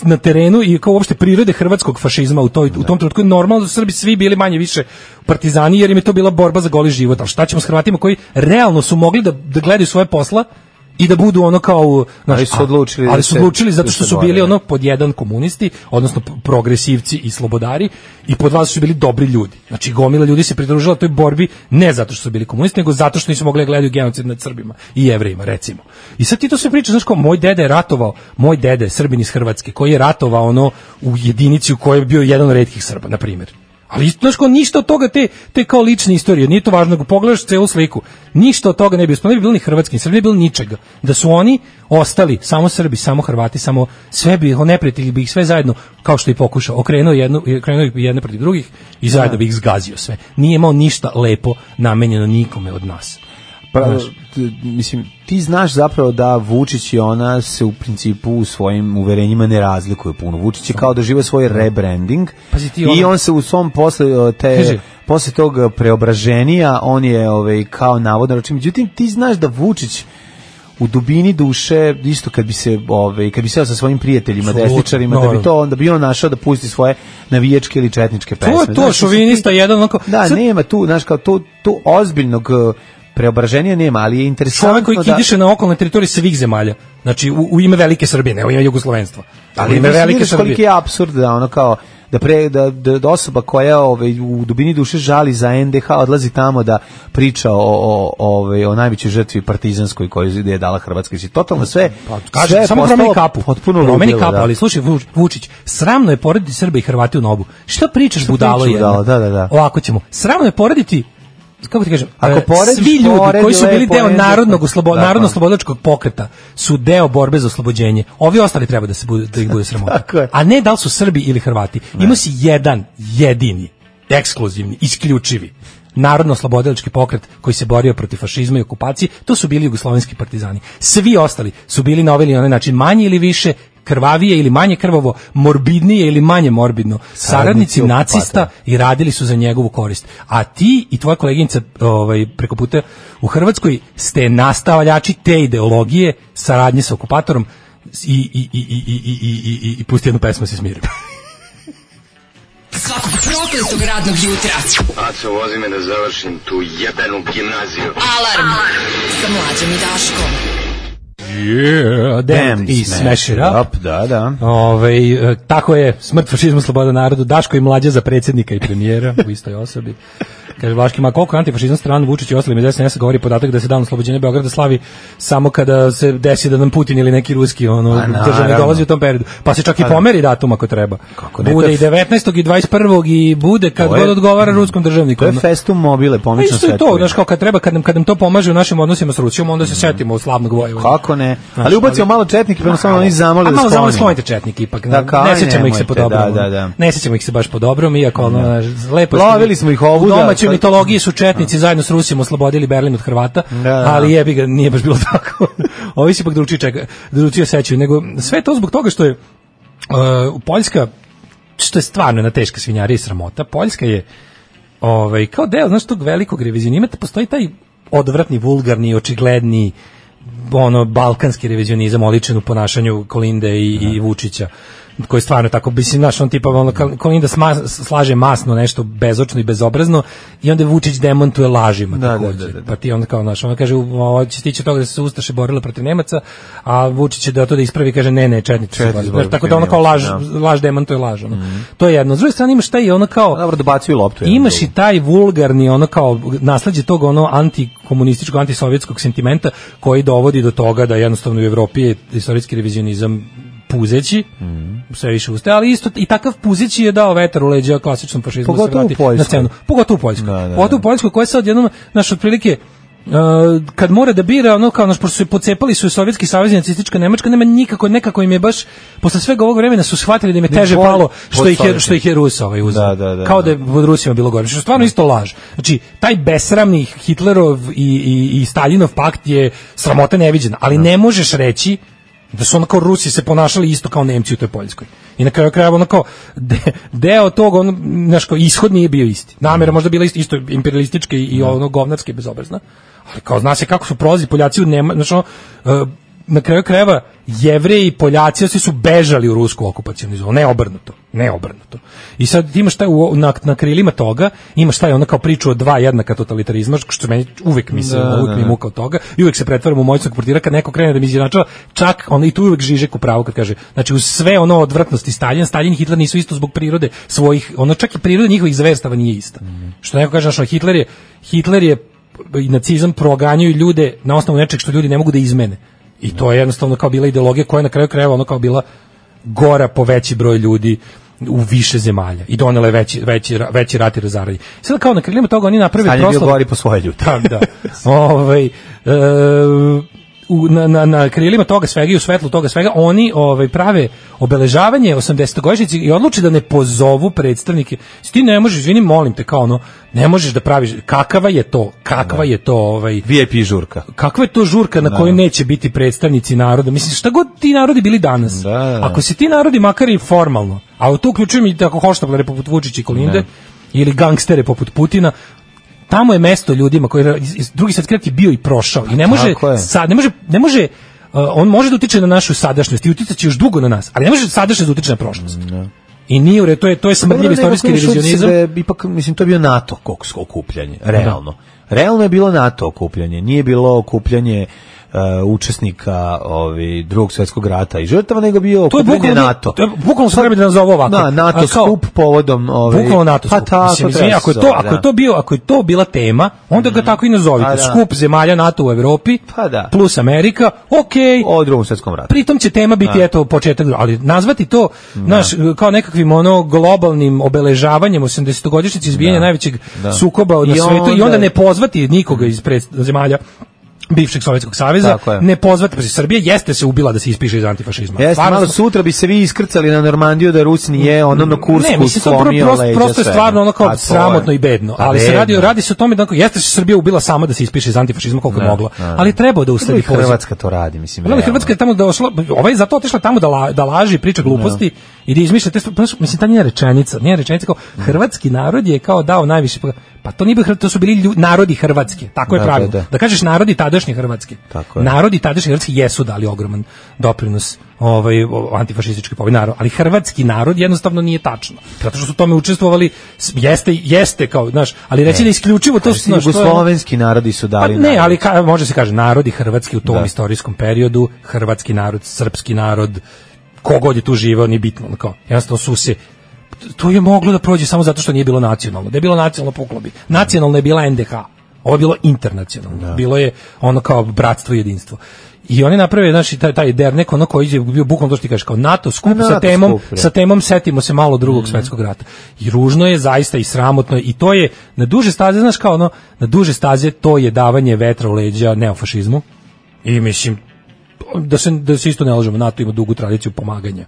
Speaker 5: na terenu i kao uopšte prirode hrvatskog fašizma u toj u tom trenutku je normalno da su Srbi svi bili manje više partizani jer im je to bila borba za goli život. A šta ćemo s Hrvatima koji realno su mogli da da gledaju svoje posla i da budu ono kao znaš,
Speaker 6: Ali su odlučili da
Speaker 5: ali su
Speaker 6: se-
Speaker 5: odlučili
Speaker 6: da
Speaker 5: zato što
Speaker 6: se
Speaker 5: su
Speaker 6: bore,
Speaker 5: bili
Speaker 6: da.
Speaker 5: ono pod jedan komunisti, odnosno p- progresivci i slobodari i pod vas su bili dobri ljudi. Znači gomila ljudi se pridružila toj borbi ne zato što su bili komunisti, nego zato što nisu mogli da gledaju genocid nad Srbima i Jevrejima recimo. I sad ti to sve pričaš, znaš kao moj deda je ratovao, moj deda je Srbin iz Hrvatske koji je ratovao ono u jedinici u kojoj je bio jedan od retkih Srba, na primjer. Ali isto, znaš, kao ništa od toga te, te kao lične istorije, nije to važno, ako pogledaš celu sliku, ništa od toga ne bi uspio, ne bi bilo ni hrvatski, ni Srbi, ne bi bilo ničega. Da su oni ostali, samo Srbi, samo Hrvati, samo sve bi, o neprijatelji bi ih sve zajedno, kao što je i pokušao, okrenuo jedno, okrenuo ih bi jedne protiv drugih i
Speaker 6: Da.
Speaker 5: zajedno bi ih zgazio sve. Nije imao ništa lepo namenjeno nikome od nas.
Speaker 6: pra- Pa, t- mislim, ti znaš zapravo da Vučić i ona se u principu u svojim uverenjima ne razlikuju puno. Vučić je kao da žive svoj rebranding
Speaker 5: Pazi ti
Speaker 6: i
Speaker 5: ono-
Speaker 6: on se u svom posle o, te
Speaker 5: Kaži.
Speaker 6: posle tog preobraženja on je ovaj kao navodno znači međutim ti znaš da Vučić u dubini duše isto kad bi se ovaj kad bi seo sa svojim prijateljima
Speaker 5: Apsolutno,
Speaker 6: desničarima da bi
Speaker 5: naravno.
Speaker 6: to onda bi on našao da pusti svoje navijačke ili četničke pesme
Speaker 5: To je to,
Speaker 6: Znaš,
Speaker 5: šovinista, jedan onako...
Speaker 6: Da,
Speaker 5: sad-
Speaker 6: nema tu, znaš, kao tu, tu ozbiljnog e, preobraženja nema, ali je interesantno
Speaker 5: čovek koji
Speaker 6: da...
Speaker 5: kidiše na okolne teritorije svih zemalja. Znači, u, u ime velike Srbije, ne u ime Jugoslovenstva.
Speaker 6: ali
Speaker 5: u ime
Speaker 6: mislim,
Speaker 5: velike
Speaker 6: vidiš
Speaker 5: Srbije.
Speaker 6: koliki je apsurd da ono kao da pre da, da, da osoba koja ovaj u dubini duše žali za NDH odlazi tamo da priča o o ovaj o najvećoj žrtvi partizanskoj koju je dala Hrvatska i totalno sve
Speaker 5: Pa, kaže,
Speaker 6: sve je
Speaker 5: samo
Speaker 6: postalo
Speaker 5: promeni kapu.
Speaker 6: potpuno
Speaker 5: promeni
Speaker 6: ludilo,
Speaker 5: kapu,
Speaker 6: da.
Speaker 5: ali slušaj Vuč- Vučić, sramno je porediti Srbe i Hrvate u nobu. Šta pričaš budalo
Speaker 6: pričaš,
Speaker 5: je?
Speaker 6: budalo, da, da, da.
Speaker 5: Ovako ćemo. Sramno je porediti kako ti kažem,
Speaker 6: Ako
Speaker 5: e,
Speaker 6: porediš,
Speaker 5: svi ljudi koji su
Speaker 6: poredile,
Speaker 5: bili deo
Speaker 6: poredile.
Speaker 5: narodnog oslobo,
Speaker 6: Da,
Speaker 5: narodno
Speaker 6: da.
Speaker 5: slobodačkog pokreta su deo borbe za oslobođenje. Ovi ostali treba da se budu, da ih bude sramota.
Speaker 6: <laughs> Tako je.
Speaker 5: A ne da li su Srbi ili Hrvati. Imao si jedan, jedini, ekskluzivni, isključivi narodno-slobodilački pokret koji se borio protiv fašizma i okupacije, to su bili jugoslovenski partizani. Svi ostali su bili na ovaj ili onaj način manje ili više krvavije ili manje krvavo, morbidnije ili manje morbidno,
Speaker 6: Saradnici
Speaker 5: saradnici nacista
Speaker 6: okupata.
Speaker 5: i radili su za njegovu korist. A ti i tvoja koleginica ovaj, preko puta u Hrvatskoj ste nastavljači te ideologije saradnje sa okupatorom i, i, i, i, i, i, i, i, i pusti jednu pesmu da se smirim.
Speaker 4: Svakog prokletog radnog jutra.
Speaker 11: Aco, vozi me da završim tu jebenu gimnaziju.
Speaker 4: Alarm. Sa mlađom i Daškom.
Speaker 5: Yeah, damn, i smash it up.
Speaker 6: Da, da.
Speaker 5: Ove, e, tako je, smrt fašizmu, sloboda narodu, Daško i mlađa za predsjednika i premijera u istoj osobi. Kaže Vlaški, ma koliko je antifašizam stran Vučić i ostalim iz SNS govori podatak da se dan oslobođenja Beograda slavi samo kada se desi da nam Putin ili neki ruski ono,
Speaker 6: Pa naravno. da.
Speaker 5: državni dolazi u tom periodu. Pa se čak i pomeri datum ako treba.
Speaker 6: Kako ne, to
Speaker 5: bude
Speaker 6: je
Speaker 5: i
Speaker 6: f-
Speaker 5: 19. i 21. i bude kad
Speaker 6: To je-
Speaker 5: god odgovara ruskom državniku.
Speaker 6: To je
Speaker 5: Ono-
Speaker 6: festum mobile,
Speaker 5: Pa
Speaker 6: pomično
Speaker 5: Isto je
Speaker 6: sve. Mm.
Speaker 5: to, znaš, kao kad treba, kad nam, kad nam to pomaže u našim odnosima s Rusijom, onda se setimo slavnog vojevanja.
Speaker 6: Kako ne?
Speaker 5: Znaš,
Speaker 6: Ali ubacimo
Speaker 5: ali-
Speaker 6: malo četnike, pa samo oni zamole
Speaker 5: A
Speaker 6: da
Speaker 5: malo
Speaker 6: sklonimo.
Speaker 5: zamolite sklonite četnike ipak.
Speaker 6: Da, kao,
Speaker 5: ne sećamo ih se
Speaker 6: nemojte,
Speaker 5: po dobrom.
Speaker 6: da, da, da.
Speaker 5: Ne sećamo ih se baš po dobrom, iako ono, znaš, lepo je što-
Speaker 6: Lovili smo ih ovuda,
Speaker 5: U domaćoj
Speaker 6: sad-
Speaker 5: mitologiji su četnici zajedno s Rusijom oslobodili Berlin od Hrvata,
Speaker 6: Da, da.
Speaker 5: ali jebi ga, nije baš bilo <laughs> tako. Ovi se ipak dručije čeka, dručije sećaju, nego sve to zbog toga što je uh, Poljska što je stvarno jedna teška svinjarija i sramota. Poljska je ovaj, kao deo, znaš, tog velikog revizionimata postoji taj odvratni, vulgarni, očigledni ono balkanski revizionizam oličen u ponašanju Kolinde i, i Vučića koji je stvarno tako mislim naš on tipa ono Kal- Kolinda sma- slaže masno nešto bezočno i bezobrazno i onda Vučić demontuje lažima
Speaker 6: Da, da,
Speaker 5: takođe.
Speaker 6: da, da, da.
Speaker 5: pa ti onda kao naš on kaže u- ovo će stići toga da su se ustaše borile protiv Nemaca a Vučić će da to da ispravi kaže ne ne četnici se
Speaker 6: Četnici
Speaker 5: borili.
Speaker 6: se
Speaker 5: Znaš,
Speaker 6: borili
Speaker 5: tako
Speaker 6: protiv
Speaker 5: da ono kao laž
Speaker 6: Nemaca, da.
Speaker 5: laž demantuje laž ono. to je jedno s druge strane imaš šta je ono kao
Speaker 6: Pa Dobro, dobacuju loptu. jedan
Speaker 5: Imaš i taj vulgarni ono kao nasleđe tog ono antikomunističkog, antisovjetskog sentimenta koji dovodi do toga da jednostavno u Evropi je istorijski revizionizam puzeći,
Speaker 6: Mhm.
Speaker 5: sve više ustaje, ali isto i takav puzeći je dao vetar u leđa klasičnom fašizmu. da se
Speaker 6: Pogotovo u
Speaker 5: vrati
Speaker 6: Poljskoj.
Speaker 5: Na scenu. Pogotovo u Poljskoj.
Speaker 6: Da, da, da.
Speaker 5: Pogotovo u Poljskoj koja je sad jednom, naš otprilike, Uh, kad mora da bira ono kao naš pošto su je pocepali su je sovjetski savez i nacistička nemačka nema nikako nekako im je baš posle svega ovog vremena su shvatili da im je
Speaker 6: Ni
Speaker 5: teže
Speaker 6: bolj-
Speaker 5: palo što
Speaker 6: bolj
Speaker 5: ih je
Speaker 6: sovjetski.
Speaker 5: što ih je Rusa ovaj uzeo
Speaker 6: Da, da, da,
Speaker 5: kao da
Speaker 6: da.
Speaker 5: je pod Rusima bilo gore. Što je stvarno isto laž. Znači, taj besramni Hitlerov i, i, i Staljinov pakt je sramota neviđena, ali ne možeš reći da su onako Rusi se ponašali isto kao Nemci u toj Poljskoj. I na kraju krajeva onako de, deo tog on znaš kao ishod nije bio isti. Namera možda bila isto, isto imperialistička i,
Speaker 6: Da.
Speaker 5: i ono govnarska i bezobrazna. Ali kao zna se kako su prolazili Poljaci u Nema, znači ono, e, na kraju krajeva Jevreji i Poljaci svi su bežali u rusku okupacionu zonu, ne obrnuto, ne obrnuto. I sad ti imaš taj u- na, na krilima toga, imaš taj ono kao priču o dva jednaka totalitarizma, što meni uvek mislim,
Speaker 6: Da,
Speaker 5: da,
Speaker 6: da,
Speaker 5: uvek mi
Speaker 6: da.
Speaker 5: je muka od toga i uvek se pretvaram u moćnog portira kad neko krene da mi izjednačava, čak ono i tu je uvek Žižek u pravu kad kaže, znači uz sve ono odvratnosti Stalin, Stalin i Hitler nisu isto zbog prirode svojih, ono čak i priroda njihovih zverstava nije ista.
Speaker 6: Mhm.
Speaker 5: Što neko kaže, znači Hitler je, Hitler je i nacizam proganjaju ljude na osnovu nečeg što ljudi ne mogu da izmene. I to je jednostavno kao bila ideologija koja je na kraju krajeva ono kao bila gora po veći broj ljudi u više zemalja i donela je veći, veći, ra- veći rat i razaranje. Sada kao na krilima toga oni naprave
Speaker 6: Stalin je bio
Speaker 5: proslavu-
Speaker 6: gori po svoje ljude.
Speaker 5: <laughs> Da, da. ovaj, e, u, na, na, na krilima toga svega i u svetlu toga svega oni ovaj prave obeležavanje 80-godišnjice i odluče da ne pozovu predstavnike. Si Ti ne možeš, izvini, molim te, kao ono, ne možeš da praviš, kakava je to,
Speaker 6: Da.
Speaker 5: kakva je to, ovaj,
Speaker 6: VIP žurka.
Speaker 5: kakva je to žurka na
Speaker 6: Da.
Speaker 5: kojoj neće biti predstavnici naroda? Mislim, šta god ti narodi bili danas,
Speaker 6: Da, da, da.
Speaker 5: ako se ti narodi makar i formalno, a u to uključujem i tako hoštaplere poput Vučića i Kolinde,
Speaker 6: Da.
Speaker 5: ili gangstere poput Putina, tamo je mesto ljudima koji iz- iz- drugi svetski rat je bio i prošao i ne može
Speaker 6: Pa Tako je.
Speaker 5: sad ne može ne može uh, on može da utiče na našu sadašnjost i uticaće još dugo na nas, ali ne može sadašnjost da utiče na prošlost. I nije u redu, to je to je smrdljiv istorijski revizionizam.
Speaker 6: Da je, ipak, mislim, to je bio NATO koks- okupljanje, realno.
Speaker 5: Da.
Speaker 6: Realno je bilo NATO okupljanje, nije bilo okupljanje e, učesnika ovi, drugog svjetskog rata i žrtava, nego bio
Speaker 5: To je
Speaker 6: okupljanje
Speaker 5: bukvalno
Speaker 6: NATO.
Speaker 5: To je bukvalno se treba da nazovu ovako.
Speaker 6: Da, NATO
Speaker 5: A kao-
Speaker 6: skup povodom... Ove,
Speaker 5: Bukvalno NATO skup.
Speaker 6: Pa tako,
Speaker 5: Mislim, izvini,
Speaker 6: treba se
Speaker 5: ako je to,
Speaker 6: zove,
Speaker 5: ako
Speaker 6: da.
Speaker 5: je to bio, ako je to bila tema, onda ga tako i nazovite.
Speaker 6: Pa da.
Speaker 5: Skup zemalja NATO u Evropi
Speaker 6: Pa da.
Speaker 5: plus Amerika. Okej.
Speaker 6: O Da. drugom svjetskom ratu.
Speaker 5: Pritom će tema biti eto početak, drugog, ali nazvati to
Speaker 6: Da.
Speaker 5: naš kao nekakvim ono globalnim obeležavanjem 80-godišnjice izbijanja najvećeg
Speaker 6: Da.
Speaker 5: sukoba na
Speaker 6: I
Speaker 5: svetu i
Speaker 6: onda-
Speaker 5: onda ne pozvati nikoga iz pred, zemalja bivšeg Sovjetskog saveza,
Speaker 6: Tako je.
Speaker 5: ne pozvati, pa Srbija jeste se ubila da se ispiše iz antifašizma.
Speaker 6: Jeste,
Speaker 5: Pa, Stvarno
Speaker 6: malo
Speaker 5: smo-
Speaker 6: sutra bi se vi iskrcali na Normandiju da Rus nije ono na Kursku
Speaker 5: ne, mislim, to
Speaker 6: slomio
Speaker 5: prosto,
Speaker 6: leđa
Speaker 5: prosto je
Speaker 6: sve.
Speaker 5: stvarno ono
Speaker 6: A to
Speaker 5: kao
Speaker 6: je.
Speaker 5: sramotno i bedno.
Speaker 6: Pa
Speaker 5: ali se radi,
Speaker 6: bedno.
Speaker 5: radi se o tome da onako, jeste se Srbija ubila sama da se ispiše iz antifašizma koliko je mogla.
Speaker 6: ne.
Speaker 5: Ali trebao da
Speaker 6: Treba i
Speaker 5: usledi poziv.
Speaker 6: Hrvatska to radi, mislim.
Speaker 5: Ona bi
Speaker 6: realno.
Speaker 5: Hrvatska je tamo da ošla, ova je zato otišla tamo da, la, da laži, priča gluposti i da izmišlja te stvari. Znaš, Mislim, ta njena rečenica, njena rečenica kao,
Speaker 6: Da.
Speaker 5: hrvatski narod je kao dao najviše, pa- pa to nije bio, Hrvat- to su bili lju- narodi Hrvatske, tako je
Speaker 6: Da,
Speaker 5: pravilo.
Speaker 6: da,
Speaker 5: Da,
Speaker 6: da.
Speaker 5: kažeš narodi tadašnje Hrvatske.
Speaker 6: Tako je.
Speaker 5: Narodi tadašnje Hrvatske jesu dali ogroman doprinos ovaj o- antifašističkoj pobedi narod, ali hrvatski narod jednostavno nije tačno. Zato što su u tome učestvovali s- jeste jeste kao, znaš, ali
Speaker 6: E.
Speaker 5: reći da isključivo to su znaš, to je ono-
Speaker 6: Jugoslovenski narodi su
Speaker 5: pa
Speaker 6: dali
Speaker 5: ne,
Speaker 6: narod.
Speaker 5: ali ka, može se kaže narodi hrvatski u tom
Speaker 6: Da.
Speaker 5: istorijskom periodu, hrvatski narod, srpski narod, kogod je tu živeo, nije bitno. ono Kao, jednostavno su se to je moglo da prođe samo zato što nije bilo nacionalno. Da je bilo nacionalno puklo bi. Nacionalno je bila NDH. Ovo je bilo internacionalno.
Speaker 6: Da.
Speaker 5: Bilo je ono kao bratstvo i jedinstvo. I oni naprave znači taj taj dernek ono koji je bio bukvalno to što ti kažeš kao NATO skup
Speaker 6: Pa NATO
Speaker 5: sa temom
Speaker 6: skup, da. Mhm. bre.
Speaker 5: sa temom setimo se malo drugog svetskog rata. I ružno je zaista i sramotno je, i to je na duže staze znaš kao ono na duže staze to je davanje vetra u leđa neofašizmu. I mislim da se da se isto ne lažemo, NATO ima dugu tradiciju pomaganja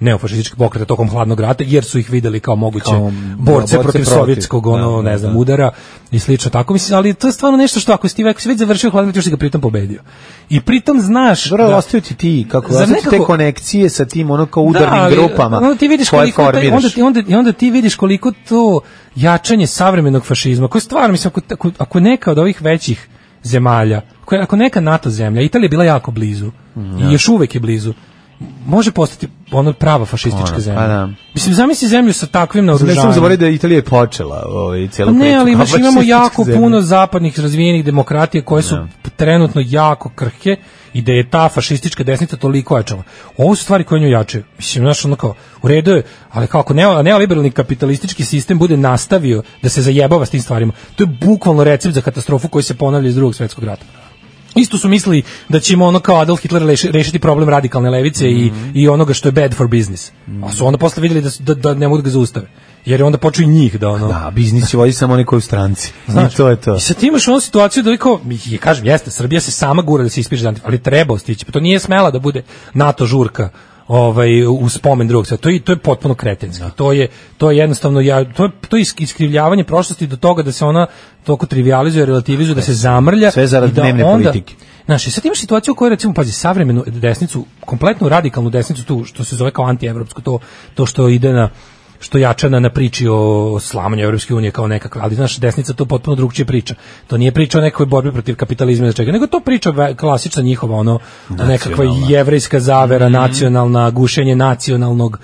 Speaker 5: neofašističkih pokreta tokom hladnog rata jer su ih videli kao moguće
Speaker 6: Kao,
Speaker 5: borce
Speaker 6: borce
Speaker 5: protiv
Speaker 6: protiv,
Speaker 5: sovjetskog ono
Speaker 6: da,
Speaker 5: ne znam
Speaker 6: da.
Speaker 5: udara i slično tako mislim ali to je stvarno nešto što ako si ti već, ako si već završio hladni rat još si ga pritom pobedio i pritom znaš
Speaker 6: Dobro,
Speaker 5: da-
Speaker 6: ostaju ti ti, kako
Speaker 5: Zar
Speaker 6: ostaju ti te
Speaker 5: nekako- Da,
Speaker 6: konekcije sa tim ono kao udarnim
Speaker 5: ali,
Speaker 6: grupama
Speaker 5: Onda ti vidiš
Speaker 6: koje
Speaker 5: koliko taj,
Speaker 6: formiraš.
Speaker 5: onda ti onda i onda ti vidiš koliko to jačanje savremenog fašizma, koje stvarno mislim ako, ako, ako neka od ovih većih zemalja, ako, ako neka NATO zemlja, Italija je bila jako blizu
Speaker 6: Mm,
Speaker 5: i još uvek je blizu. Može postati ono prava fašistička
Speaker 6: Ona, pa
Speaker 5: zemlja.
Speaker 6: da.
Speaker 5: Mislim zamisli zemlju sa takvim
Speaker 6: Ne
Speaker 5: naoružanjem.
Speaker 6: sam zaboravio da je Italija je počela ovaj, cijelu
Speaker 5: Pa
Speaker 6: priču.
Speaker 5: Ne,
Speaker 6: <laughs>
Speaker 5: ali
Speaker 6: kao
Speaker 5: baš imamo
Speaker 6: fašistička
Speaker 5: jako
Speaker 6: zemlja.
Speaker 5: puno zapadnih razvijenih demokratija koje su trenutno jako krhke i da je ta fašistička desnica toliko jačala. Ovo su stvari koje nju jačaju. Mislim, znaš, ono kao, u redu je, ali kako neo, neoliberalni kapitalistički sistem bude nastavio da se zajebava s tim stvarima. To je bukvalno recept za katastrofu koji se ponavlja iz drugog svetskog rata. Isto su mislili da ćemo ono kao Adolf Hitler reši- rešiti problem radikalne levice i, i onoga što je bad for business. A su onda posle vidjeli da, su- da, da ne mogu da ga zaustave. Jer je onda počeo i njih da ono...
Speaker 6: Da, biznis će voditi samo oni koji u stranci.
Speaker 5: Znaš,
Speaker 6: I to je to.
Speaker 5: I sad ti imaš onu situaciju da vi kao, i kažem, jeste, Srbija se sama gura da se ispiše za antif- ali treba stići, pa to nije smela da bude NATO žurka ovaj u spomen drugog sveta. To je to je potpuno kretenski. To je to je jednostavno ja to je to je isk- iskrivljavanje prošlosti do toga da se ona toliko trivializuje, relativizuje, da se zamrlja
Speaker 6: Sve zarad
Speaker 5: i da
Speaker 6: dnevne
Speaker 5: onda,
Speaker 6: politike.
Speaker 5: Znaš, i sad imaš situaciju u kojoj, recimo, pazi, savremenu desnicu, kompletnu radikalnu desnicu, tu što se zove kao antievropsko, to, to što ide na što jača na, na priči o slamanju Evropske unije kao nekakve, ali znaš, desnica to potpuno drugčije priča. To nije priča o nekoj borbi protiv kapitalizma ili čega, nego to priča ve- klasična njihova, ono, nekakva jevrejska
Speaker 6: Mhm.
Speaker 5: zavera, nacionalna, gušenje nacionalnog,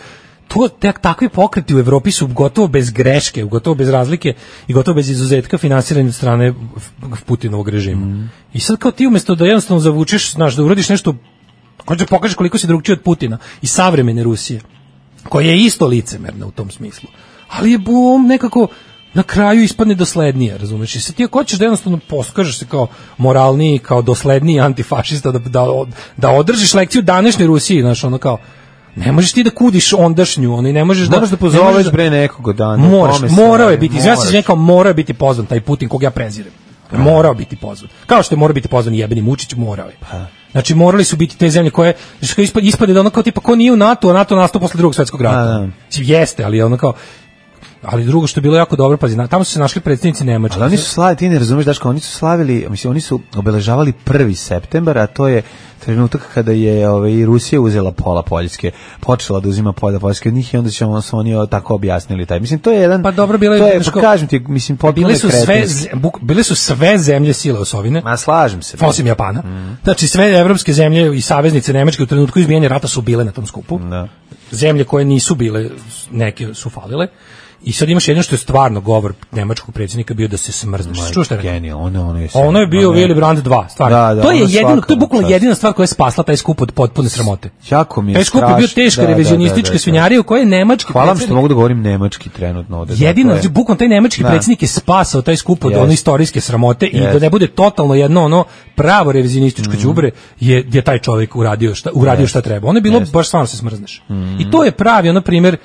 Speaker 5: to tak, takvi pokreti u Evropi su gotovo bez greške, gotovo bez razlike i gotovo bez izuzetka finansirani od strane F- Putinovog režima. I sad kao ti umesto da jednostavno zavučeš, znaš, da uradiš nešto ko da pokažeš koliko si drugčiji od Putina i savremene Rusije, koja je isto licemerna u tom smislu, ali je bum nekako na kraju ispadne doslednije, razumeš? I sad ti ako hoćeš da jednostavno poskažeš se kao moralniji, kao dosledniji antifašista, da, da, da održiš lekciju današnje Rusiji, znaš, ono kao, ne možeš ti da kudiš ondašnju, ono, i ne možeš da...
Speaker 6: Moraš da
Speaker 5: ne možeš
Speaker 6: pozoveš
Speaker 5: da-
Speaker 6: bre nekog dana.
Speaker 5: Moraš,
Speaker 6: tome se
Speaker 5: morao je
Speaker 6: radi,
Speaker 5: biti, Znači, ja se
Speaker 6: moraš. Pa.
Speaker 5: izvinjam, kao morao je biti pozvan taj Putin kog ja prezirem. Morao biti pozvan. Kao što je morao biti pozvan i jebeni Vučić, morao je.
Speaker 6: Pa.
Speaker 5: Znači morali su biti te zemlje koje znači kao ispade, ispade da ono kao tipa ko nije u NATO, a NATO nastao posle drugog svetskog
Speaker 6: Da,
Speaker 5: rata.
Speaker 6: da.
Speaker 5: Mislim, Jeste, ali ono kao ali drugo što je bilo jako dobro, pazi, na- tamo su se našli predstavnici Nemačke.
Speaker 6: Ali oni su slavili, ti ne razumeš, Daško, oni su slavili, mislim, oni su obeležavali 1. septembar, a to je trenutak kada je ovaj, Rusija uzela pola Poljske, počela da uzima pola Poljske od njih i onda će ono, su oni o, tako objasnili taj. Mislim, to je jedan...
Speaker 5: Pa dobro, bilo je-
Speaker 6: to je,
Speaker 5: znaš
Speaker 6: pa
Speaker 5: ko-
Speaker 6: kažem ti, mislim, potpuno
Speaker 5: bile su
Speaker 6: je
Speaker 5: sve
Speaker 6: kretenski.
Speaker 5: ze- buk- bile su sve zemlje sile osovine.
Speaker 6: Ma slažem se.
Speaker 5: osim Japana. Znači sve evropske zemlje i saveznice Nemačke u trenutku izbijanja rata su bile na tom skupu.
Speaker 6: Da.
Speaker 5: Zemlje koje nisu bile, s- neke su falile. I sad imaš jedno što je stvarno govor nemačkog predsjednika bio da se smrzneš. Čuo šta je rekao?
Speaker 6: Genijal, ono, ono je...
Speaker 5: Ono je bio
Speaker 6: ono
Speaker 5: Willy Brandt 2, stvarno.
Speaker 6: Da, da,
Speaker 5: to je
Speaker 6: ono
Speaker 5: jedino, to je
Speaker 6: svaka
Speaker 5: bukvalno
Speaker 6: čast.
Speaker 5: jedina stvar koja je spasla taj skup od potpune sramote.
Speaker 6: Jako mi je
Speaker 5: Taj skup je bio
Speaker 6: strašno,
Speaker 5: teška
Speaker 6: da, da, da,
Speaker 5: revizionistička
Speaker 6: da, da.
Speaker 5: svinjarija u kojoj je nemački
Speaker 6: Hvala vam
Speaker 5: predsjednik-
Speaker 6: što mogu da govorim nemački trenutno ovde. da,
Speaker 5: Jedino,
Speaker 6: to je-
Speaker 5: znači, bukvalno taj nemački
Speaker 6: Da.
Speaker 5: predsjednik je spasao taj skup od
Speaker 6: Jest.
Speaker 5: one istorijske sramote i
Speaker 6: Jest. Mm.
Speaker 5: da ne bude totalno jedno ono pravo revizionističko đubre je je taj čovjek uradio šta uradio šta treba. Ono je bilo
Speaker 6: Jest. Mm.
Speaker 5: baš stvarno se smrzneš. I to je pravi ono primjer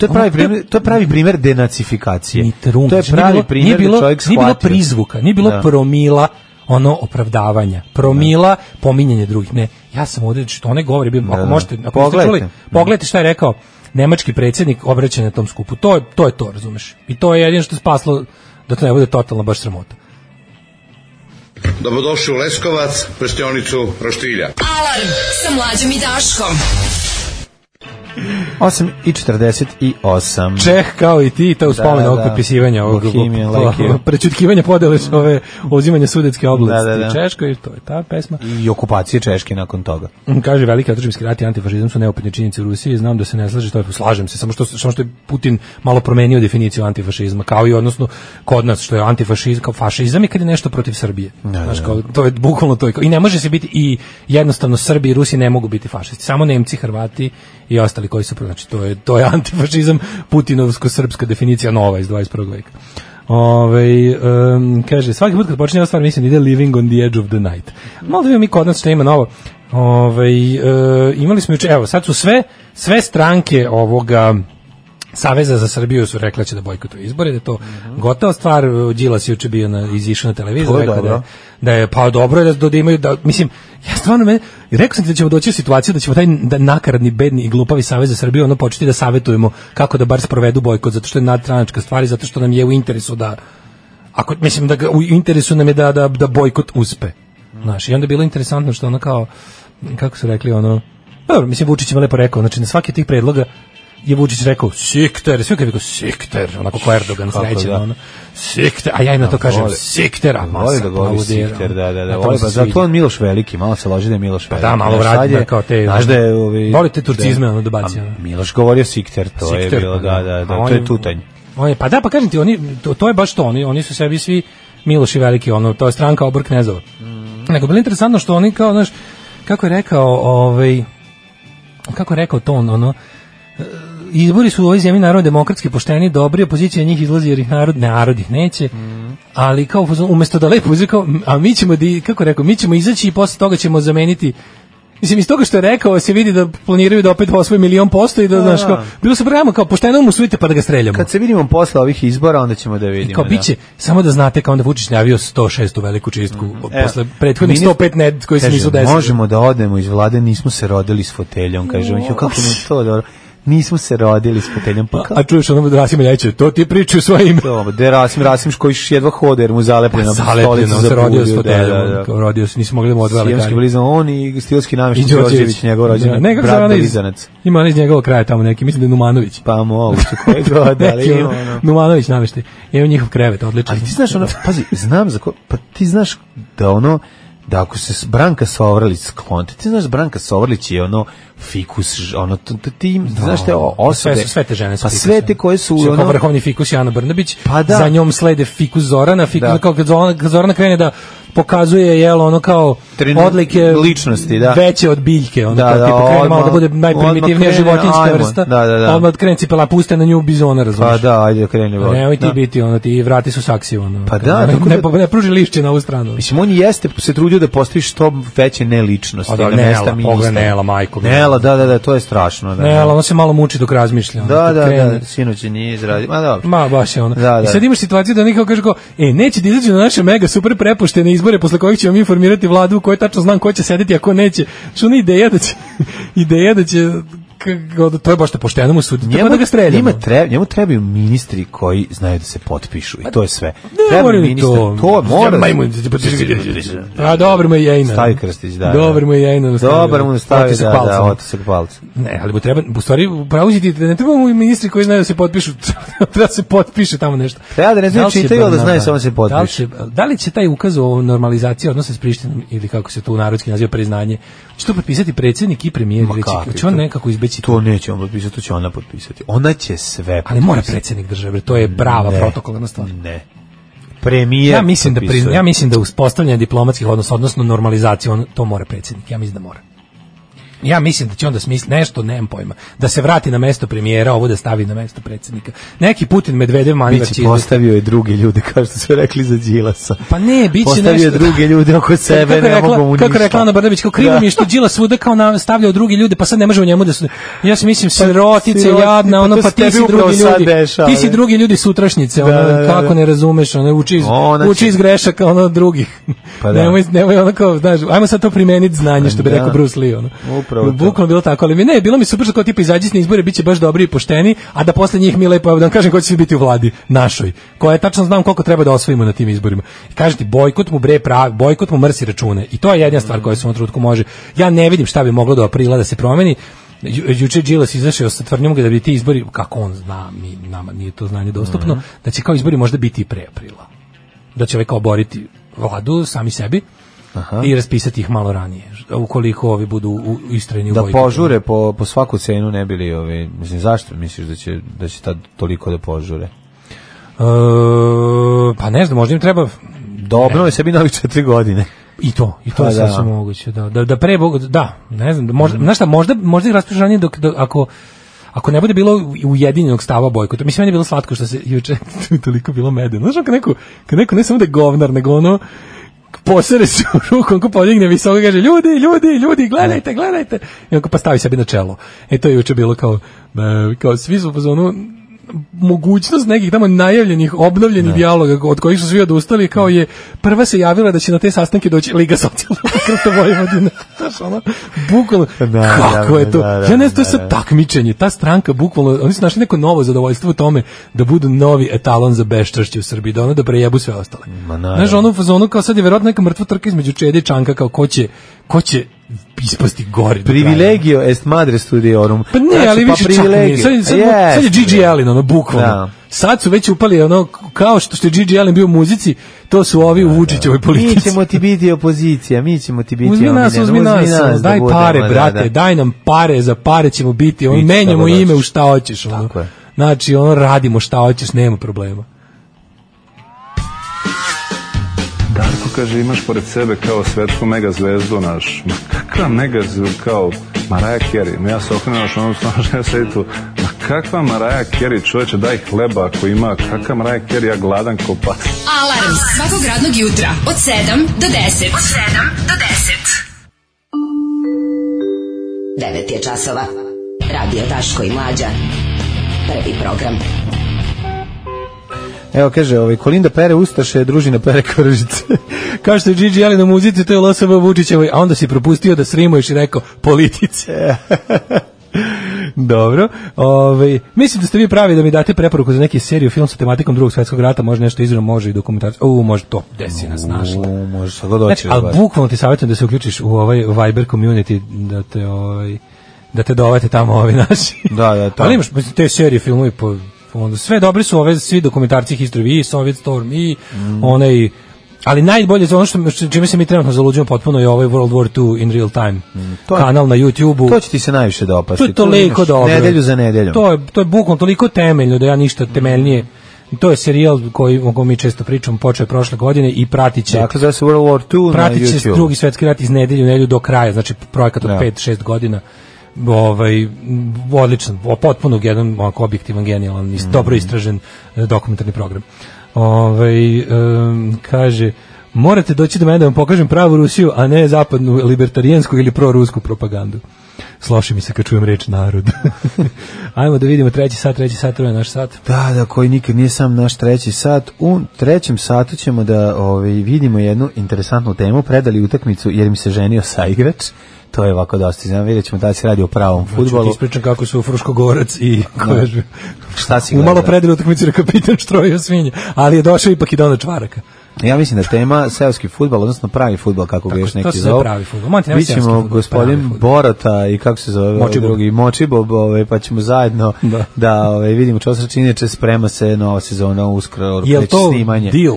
Speaker 6: To je pravi primer, to je pravi primer denacifikacije.
Speaker 5: Ni trunke.
Speaker 6: To je
Speaker 5: Znači, nije
Speaker 6: pravi
Speaker 5: bilo-
Speaker 6: primer
Speaker 5: nije bilo,
Speaker 6: da čovjek
Speaker 5: nije bilo
Speaker 6: shvatio.
Speaker 5: prizvuka, nije bilo
Speaker 6: Da.
Speaker 5: promila ono opravdavanja, promila, pominjanje drugih. Ne, ja sam ovdje, što one govori, bi, ako
Speaker 6: da.
Speaker 5: možete, ako niste
Speaker 6: Pogledajte.
Speaker 5: čuli, pogledajte šta je rekao nemački predsjednik obraćanja na tom skupu. To je, to je to, razumeš? I to je jedino što je spaslo da to ne bude totalna baš sramota.
Speaker 12: Dobrodošli u Leskovac, prštionicu Roštilja.
Speaker 4: Alarm sa mlađom i Daškom.
Speaker 6: 8 i 48.
Speaker 5: Čeh kao i ti, to u
Speaker 6: Da,
Speaker 5: spomen ovog
Speaker 6: da.
Speaker 5: potpisivanja ovog
Speaker 6: Bohemian
Speaker 5: <laughs>
Speaker 6: Like You.
Speaker 5: prečutkivanja podele s ove uzimanja sudetske oblasti
Speaker 6: Da, da, da.
Speaker 5: u Češkoj, to je ta pesma.
Speaker 6: I okupacije Češke nakon toga.
Speaker 5: Kaže veliki otadžbinski rat i antifašizam su neupitne činjenice u Rusiji, znam da se ne slaže, to je slažem se, samo što samo što je Putin malo promenio definiciju antifašizma, kao i odnosno kod nas što je antifašizam, kao fašizam je kad je nešto protiv Srbije. Znaš, kao, to je bukvalno to je kao- i ne može se biti i jednostavno Srbi i Rusi ne mogu biti fašisti, samo Nemci, Hrvati i ostali koji su pro- znači to je to je antifašizam putinovsko-srpska definicija nova iz 21. veka. Ove, Ovaj, em, kaže, svaki put kad počinje ova stvar, mislim da ide Living on the Edge of the Night. Malo da vidimo mi kod nas što ima novo. Ove, e, imali smo juče, evo, sad su sve, sve stranke ovoga Saveza za Srbiju su rekla će da bojkotuju izbore, da je to gotova stvar. Đilas je juče bio na, izišao na televiziju,
Speaker 6: To je
Speaker 5: rekao da, je-
Speaker 6: dobro.
Speaker 5: da je, pa dobro je da, da imaju, da, mislim, ja stvarno me, rekao sam ti da ćemo doći u situaciju da ćemo taj da nakaradni, bedni i glupavi Savez za Srbiju ono početi da savetujemo kako da bar sprovedu bojkot, zato što je nadstranačka stvar i zato što nam je u interesu da, ako mislim da ga, u interesu nam je da da da bojkot uspe. Znaš, i onda je bilo interesantno što ono kao kako su rekli ono pa dobro, mislim Vučić je lepo rekao, znači na svaki od tih predloga je Vučić rekao sikter, sve kad je rekao sikter, onako kao Erdogan
Speaker 6: Kako
Speaker 5: srećen,
Speaker 6: da.
Speaker 5: ono, sikter, a ja im na to kažem
Speaker 6: voli.
Speaker 5: sikter, a masa
Speaker 6: Voli da govori
Speaker 5: aplaudira,
Speaker 6: Sikter, da, da, da.
Speaker 5: Na to
Speaker 6: Voli,
Speaker 5: se
Speaker 6: pa
Speaker 5: sviđa.
Speaker 6: zato on Miloš Veliki, malo se loži da je Miloš Veliki.
Speaker 5: da, malo
Speaker 6: Znaš,
Speaker 5: vrati,
Speaker 6: sad je-
Speaker 5: da, kao te-
Speaker 6: Znaš da je... Ovi,
Speaker 5: Voli te turcizme, ono, da baci,
Speaker 6: A
Speaker 5: ono.
Speaker 6: Miloš govorio Sikter, to je
Speaker 5: Sikter,
Speaker 6: bilo,
Speaker 5: pa
Speaker 6: da, da, da,
Speaker 5: A on
Speaker 6: to je tutanj.
Speaker 5: On je, pa da, pa kažem ti, oni, to, to je baš to, oni, oni su sebi svi Miloši veliki, ono, to je stranka obor knezova.
Speaker 6: Mm.
Speaker 5: Nego, bilo je interesantno što oni kao, znaš, kako je rekao, ovaj, kako je rekao to on, ono, e, izbori su u ovoj zemlji narod demokratski pošteni, dobri, opozicija njih izlazi jer ih narod, ne, narod ih neće, ali kao, u fazonu, umesto da lepo uzeo, kao, a mi ćemo, di, kako je rekao, mi ćemo izaći i posle toga ćemo zameniti Mislim, iz toga što je rekao, se vidi da planiraju da opet osvoje milion posto i da, znaš, kao, bilo se programa kao, pošteno mu sujte pa da ga streljamo.
Speaker 6: Kad se vidimo posle ovih izbora, onda ćemo da vidimo.
Speaker 5: I kao
Speaker 6: da.
Speaker 5: biće, samo da znate kao onda Vučić najavio 106 u veliku čistku
Speaker 6: Evo,
Speaker 5: posle prethodnih
Speaker 6: Mhm. E, ministar-
Speaker 5: 105 ned koji se
Speaker 6: Kaže,
Speaker 5: nisu desili.
Speaker 6: Možemo da odemo iz vlade, nismo se rodili s foteljom, kaže on. Jo, Kako mi je to dobro? Nismo se rodili s foteljom, pa
Speaker 5: A
Speaker 6: kako?
Speaker 5: čuješ ono Rasima Ljajića, to ti pričaju u svoje ime.
Speaker 6: To, De Rasim Rasimš koji jedva hode jer mu zalepljena
Speaker 5: Pa, Zalepljeno, on se rodio s
Speaker 6: Pa za da,
Speaker 5: foteljom, kao rodio se, nisu mogli da mu odvele
Speaker 6: Sijemski blizan, on i stilski namješnik Đorđević, njegov
Speaker 5: Da,
Speaker 6: rođeni
Speaker 5: ne, kako se zove
Speaker 6: brat
Speaker 5: onaj iz-
Speaker 6: blizanac.
Speaker 5: Ima on iz njegovog kraja tamo neki, mislim da je Numanović. <laughs>
Speaker 6: Pa moguće, koje god, Pa da, ali
Speaker 5: Neki
Speaker 6: ima
Speaker 5: ono,
Speaker 6: ono.
Speaker 5: Numanović nameštaj. Ima njihov krevet, odličan.
Speaker 6: Ali ti znaš ono, pazi, znam za ko, pa ti znaš da ono, da ako se s- Branka Sovrlić sklonite, ti znaš Branka Sovrlić je ono fikus, ž- ono, t- t- ti im, znaš te o- osobe.
Speaker 5: Da, sve, su- sve te žene su
Speaker 6: Pa
Speaker 5: fikus,
Speaker 6: sve te
Speaker 5: ono.
Speaker 6: koje su,
Speaker 5: Što kao
Speaker 6: ono,
Speaker 5: vrhovni fikus Jana Brnabić,
Speaker 6: Pa da.
Speaker 5: za njom slede fikus Zorana, fikus,
Speaker 6: Da.
Speaker 5: kao kad Zorana, kad Zorana krene da pokazuje jel ono kao
Speaker 6: Trenu-
Speaker 5: odlike
Speaker 6: ličnosti, da.
Speaker 5: veće od biljke ono
Speaker 6: Da,
Speaker 5: kao
Speaker 6: da,
Speaker 5: tipa krene malo da
Speaker 6: odmah-
Speaker 5: bude najprimitivnija
Speaker 6: odmah krene,
Speaker 5: životinjska
Speaker 6: ajmo,
Speaker 5: vrsta
Speaker 6: da, da, da.
Speaker 5: odmah krene cipela puste na nju bizona razumiješ
Speaker 6: pa da, ajde, kreni vod.
Speaker 5: Nemoj ti
Speaker 6: Da.
Speaker 5: biti ono ti vrati su saksi ono.
Speaker 6: Pa
Speaker 5: Kad
Speaker 6: da,
Speaker 5: ne,
Speaker 6: tako
Speaker 5: ne,
Speaker 6: da-
Speaker 5: po- ne pruži lišće na ovu stranu.
Speaker 6: Mislim, on jeste se trudio da postavi što veće neličnosti.
Speaker 5: A da,
Speaker 6: na
Speaker 5: Nela,
Speaker 6: mesta ministra.
Speaker 5: pogledaj Nela, majko mila.
Speaker 6: Nela, da, da, da, to je strašno. Da,
Speaker 5: Ne, ali ono se malo muči dok razmišlja. ono,
Speaker 6: da,
Speaker 5: kad
Speaker 6: da,
Speaker 5: krene.
Speaker 6: da, sinoć je nije izradio. Ma dobro.
Speaker 5: Ma baš je ono.
Speaker 6: Da, da.
Speaker 5: I sad imaš situaciju da neko kaže kao, e, neće da izađu na naše mega super prepuštene izbore posle kojih ćemo mi informirati vladu u kojoj tačno znam ko će sedeti, a ko neće. Što ona ideja da će, <laughs> ideja da će, kako, to je baš da pošteno mu sudi. Treba da ga streljamo.
Speaker 6: njima treba, njemu trebaju ministri koji znaju da se potpišu i to je sve.
Speaker 5: Pa, Ne
Speaker 6: Treba
Speaker 5: mora ni
Speaker 6: ministar,
Speaker 5: to.
Speaker 6: to, mora.
Speaker 5: Majmun.
Speaker 6: pa
Speaker 5: A dobro mu je jajna.
Speaker 6: Stavi krstić, da.
Speaker 5: Dobro Da. mu je jajna.
Speaker 6: Dobar mu stavi,
Speaker 5: Otisak
Speaker 6: da, da,
Speaker 5: palcem.
Speaker 6: otisak palca.
Speaker 5: Ne, ali mu treba, u stvari, pravo si ti, ne treba mu i ministri koji znaju da se potpišu, <laughs> treba da se potpiše tamo nešto.
Speaker 6: Treba da ne znaju
Speaker 5: li će
Speaker 6: čitaju, ali da
Speaker 5: Bernarda-
Speaker 6: znaju samo da se potpišu.
Speaker 5: Da li, će, da li će taj ukaz o normalizaciji odnosa s Prištinom, ili kako se to u narodski naziva, priznanje, će to potpisati predsjednik i premijer,
Speaker 6: Ma
Speaker 5: reći,
Speaker 6: kakvi
Speaker 5: će on
Speaker 6: to-
Speaker 5: nekako izbeći to.
Speaker 6: To neće on potpisati, to će ona potpisati. Ona će sve
Speaker 5: Ali mora predsjednik države, bre, to je prava
Speaker 6: Ne.
Speaker 5: protokolarna stvar.
Speaker 6: Ne. Premijer
Speaker 5: Ja mislim da
Speaker 6: potpisuje.
Speaker 5: prizna, ja mislim da uspostavljanje diplomatskih odnosa, odnosno normalizaciju, on, to mora predsjednik. Ja mislim da mora. Ja mislim da će onda smisli nešto, nemam pojma. Da se vrati na mesto premijera, ovo da stavi na mesto predsjednika. Neki Putin Medvedev manivar će
Speaker 6: Biće postavio je druge ljude, kao što su rekli za Đilasa.
Speaker 5: Pa ne, biće
Speaker 6: postavio
Speaker 5: nešto.
Speaker 6: je druge ljude oko sebe,
Speaker 5: kako je
Speaker 6: ne
Speaker 5: rekla,
Speaker 6: mogu mu ništa.
Speaker 5: Kako je rekla Ana Brnabić, kao krivo
Speaker 6: Da.
Speaker 5: mi je što Đila svuda kao nam stavljao drugi ljude, pa sad ne možemo njemu da su... Ja si mislim, sirotice,
Speaker 6: Pa siroti-
Speaker 5: jadna,
Speaker 6: pa
Speaker 5: ono,
Speaker 6: to
Speaker 5: pa
Speaker 6: se
Speaker 5: ti
Speaker 6: tebi
Speaker 5: si
Speaker 6: upravo
Speaker 5: drugi
Speaker 6: sad
Speaker 5: ljudi.
Speaker 6: dešava,
Speaker 5: Ti si
Speaker 6: ne?
Speaker 5: drugi ljudi sutrašnjice, ono,
Speaker 6: Da, da, da,
Speaker 5: kako
Speaker 6: da.
Speaker 5: ne razumeš, ono, uči iz,
Speaker 6: Ona
Speaker 5: uči
Speaker 6: će-
Speaker 5: iz grešaka, ono, drugih.
Speaker 6: Pa da.
Speaker 5: Nemoj, nemoj, ono kao, znaš, ajmo sad to primeniti znanje, što bi
Speaker 6: Da.
Speaker 5: rekao Bruce Lee, ono.
Speaker 6: Upravo to.
Speaker 5: Bukvalno bilo tako, ali mi ne, bilo mi super što kao tipa izađi na izbore, biće baš dobri i pošteni, a da posle njih mi lepo da vam kažem ko će biti u vladi našoj, koja je tačno znam koliko treba da osvojimo na tim izborima. I kaže ti bojkot mu bre pravi, bojkot mu mrsi račune. I to je jedna stvar koja se u ovom trenutku može. Ja ne vidim šta bi moglo do aprila da se promeni. Ju, juče Đilas izašao sa tvrdnjom da bi ti izbori, kako on zna, mi, nama nije to znanje dostupno,
Speaker 6: Mhm.
Speaker 5: da će kao izbori možda biti i pre aprila. Da će ovaj kao boriti vladu sami sebi i raspisati ih malo ranije, ukoliko ovi budu u, u istrajni u E,
Speaker 6: da
Speaker 5: bojkotu.
Speaker 6: požure po, po svaku cenu ne bili ovi, mislim zašto misliš da će da će tad toliko da požure?
Speaker 5: E, pa ne znam, možda im treba
Speaker 6: Dobro je sebi novih četiri
Speaker 5: <laughs>
Speaker 6: godine.
Speaker 5: i to, i to
Speaker 6: Pa
Speaker 5: je
Speaker 6: da. Mhm.
Speaker 5: sasvim moguće, da. Da, da pre Bog- da, ne znam, da možda, znaš šta, možda, možda i raspišu ranije dok, dok- ako, ako ne bude bilo ujedinjenog stava bojkota. Mislim, meni je bilo slatko što se juče <laughs> to je toliko bilo medeno. Znaš, ono kad neko, kad neko ne samo da je govnar, nego ono, posere se u ruku, onko podigne visoko i kaže ljudi, ljudi, ljudi, gledajte, gledajte. I onko pa stavi sebi na čelo. E to je juče bilo kao, da, kao svi su u fazonu, mogućnost nekih tamo najavljenih,
Speaker 6: Da.
Speaker 5: obnovljenih dijaloga od kojih su svi odustali, kao je prva se javila da će na te sastanke doći Liga socijalnog pokreta Vojvodina. <laughs> Znaš, ono, bukvalno,
Speaker 6: Da,
Speaker 5: kako
Speaker 6: da,
Speaker 5: je to?
Speaker 6: da, da,
Speaker 5: ja ne znam, to je
Speaker 6: da,
Speaker 5: sad
Speaker 6: da.
Speaker 5: takmičenje, ta stranka bukvalno, oni su našli neko novo zadovoljstvo u tome da budu novi etalon za beščašće u Srbiji, da ono da prejebu sve ostale.
Speaker 6: Ma, naravno.
Speaker 5: Znaš, ono u fazonu kao sad je verovatno neka mrtva trka između Čede i Čanka, kao ko će, ko će ispasti gori. do kraja.
Speaker 6: Privilegio est madre studiorum.
Speaker 5: Pa ne,
Speaker 6: Znači,
Speaker 5: ali
Speaker 6: pa
Speaker 5: vidiš čak nije.
Speaker 6: privilegio.
Speaker 5: Sad, je- sad,
Speaker 6: Jest.
Speaker 5: sad je Gigi Allen, ono, bukvalno.
Speaker 6: Da.
Speaker 5: Sad su već upali, ono, kao što je Gigi Allen bio u muzici, to su ovi u Vučićevoj
Speaker 6: Da, Mi
Speaker 5: politici.
Speaker 6: ćemo ti biti opozicija, mi ćemo ti biti
Speaker 5: Uzmi nas,
Speaker 6: omiljeni,
Speaker 5: uzmi nas, ono,
Speaker 6: da
Speaker 5: daj
Speaker 6: budemo,
Speaker 5: pare,
Speaker 6: da,
Speaker 5: brate,
Speaker 6: da.
Speaker 5: daj nam pare, za pare ćemo biti, ono,
Speaker 6: Biti
Speaker 5: menjamo
Speaker 6: šta god
Speaker 5: ime u
Speaker 6: hoćeš.
Speaker 5: šta hoćeš, ono.
Speaker 6: Tako je.
Speaker 5: Znači, ono, radimo šta hoćeš, nema problema.
Speaker 13: Darko kaže imaš pored sebe kao svetsku megazvezdu naš. Ma kakva megazvezdu kao Mariah Carey. Ma ja se okrenuo što <laughs> ono snažno ja sedi tu. Ma kakva Mariah Carey čoveče daj hleba ako ima. Kakva Mariah Carey ja gladan ko pas.
Speaker 4: Alarm svakog radnog jutra od 7 do 10. Od 7 do 10.
Speaker 8: 9 je časova. Radio Daško i Mlađa. Prvi program.
Speaker 6: Evo kaže, ovaj Kolinda pere ustaše, družina pere kržice.
Speaker 5: Kao što je Gigi Allen u muzici, to je LSV Vučićevoj, a onda si propustio da srimuješ i rekao, politice. <laughs> Dobro. Ovaj mislim da ste vi pravi da mi date preporuku za neki seriju film sa tematikom Drugog svetskog rata, može nešto izravno, može i dokumentarac. U, može to. Desi nas našla.
Speaker 6: U, može sad god
Speaker 5: Znači,
Speaker 6: hoćeš da
Speaker 5: ali
Speaker 6: baš.
Speaker 5: bukvalno ti savjetujem da se uključiš u ovaj Viber community da te ovaj da te dovete tamo ovi naši. <laughs>
Speaker 6: Da, da, tamo.
Speaker 5: Ali imaš mislim, te serije filmovi po onda sve dobri su ove svi dokumentarci history i Soviet Storm i
Speaker 6: Mm.
Speaker 5: onaj ali najbolje za ono što što- čime se mi trenutno zaluđujemo potpuno je ovaj World War II in real time.
Speaker 6: Mm, to je-
Speaker 5: kanal na YouTubeu.
Speaker 6: To će ti se najviše dopasti.
Speaker 5: To je
Speaker 6: Tu
Speaker 5: toliko
Speaker 6: imaš
Speaker 5: dobro.
Speaker 6: Nedelju za nedeljom.
Speaker 5: To je, to je bukvalno toliko temeljno da ja ništa temeljnije.
Speaker 6: Mm.
Speaker 5: To je serijal koji, o kojem mi često pričamo, počeo je prošle godine i pratit će
Speaker 6: Dakle, zove se World War II na
Speaker 5: pratit će
Speaker 6: YouTube.
Speaker 5: drugi svetski rat iz nedelju u nedelju do kraja, znači projekat od
Speaker 6: Da.
Speaker 5: 5-6 godina ovaj, m, odličan, o, potpuno jedan ovako objektivan, genijalan,
Speaker 6: Mm.
Speaker 5: is- dobro istražen e, dokumentarni program. Ovaj, em, kaže, morate doći do mene da vam pokažem pravu Rusiju, a ne zapadnu libertarijansku ili prorusku propagandu. Sloši mi se kad čujem reč narod. <laughs> Ajmo da vidimo treći sat, treći sat, to je naš sat.
Speaker 6: Da, da, koji nikad nije sam naš treći sat. U trećem satu ćemo da ovaj, vidimo jednu interesantnu temu. Predali utakmicu jer im se ženio saigrač. To je ovako dosta. Znam, vidjet ćemo da se radi o pravom
Speaker 5: Hoću ti
Speaker 6: futbolu.
Speaker 5: ispričam kako su Fruškogorac i
Speaker 6: Da.
Speaker 5: ko je bio-
Speaker 6: Šta si
Speaker 5: U malo
Speaker 6: gledala?
Speaker 5: predelu utakmicu je kapitan štrojio svinje, ali je došao ipak i dono čvaraka.
Speaker 6: Ja mislim da tema seoski futbal, odnosno pravi futbal, kako ga još
Speaker 5: to
Speaker 6: neki
Speaker 5: se zove
Speaker 6: zove.
Speaker 5: pravi fudbal. Monti, nemoj seoski
Speaker 6: Bićemo
Speaker 5: fudbal, pravi
Speaker 6: gospodin
Speaker 5: fudbal.
Speaker 6: Borota i kako se zove ovaj
Speaker 5: Močibob.
Speaker 6: drugi Močibob, ovaj, pa ćemo zajedno
Speaker 5: Da.
Speaker 6: da, ovaj, vidimo čo se čini, inače sprema se nova sezona uskoro,
Speaker 5: Je li
Speaker 6: kreće
Speaker 5: to
Speaker 6: Pa snimanje.
Speaker 5: deal?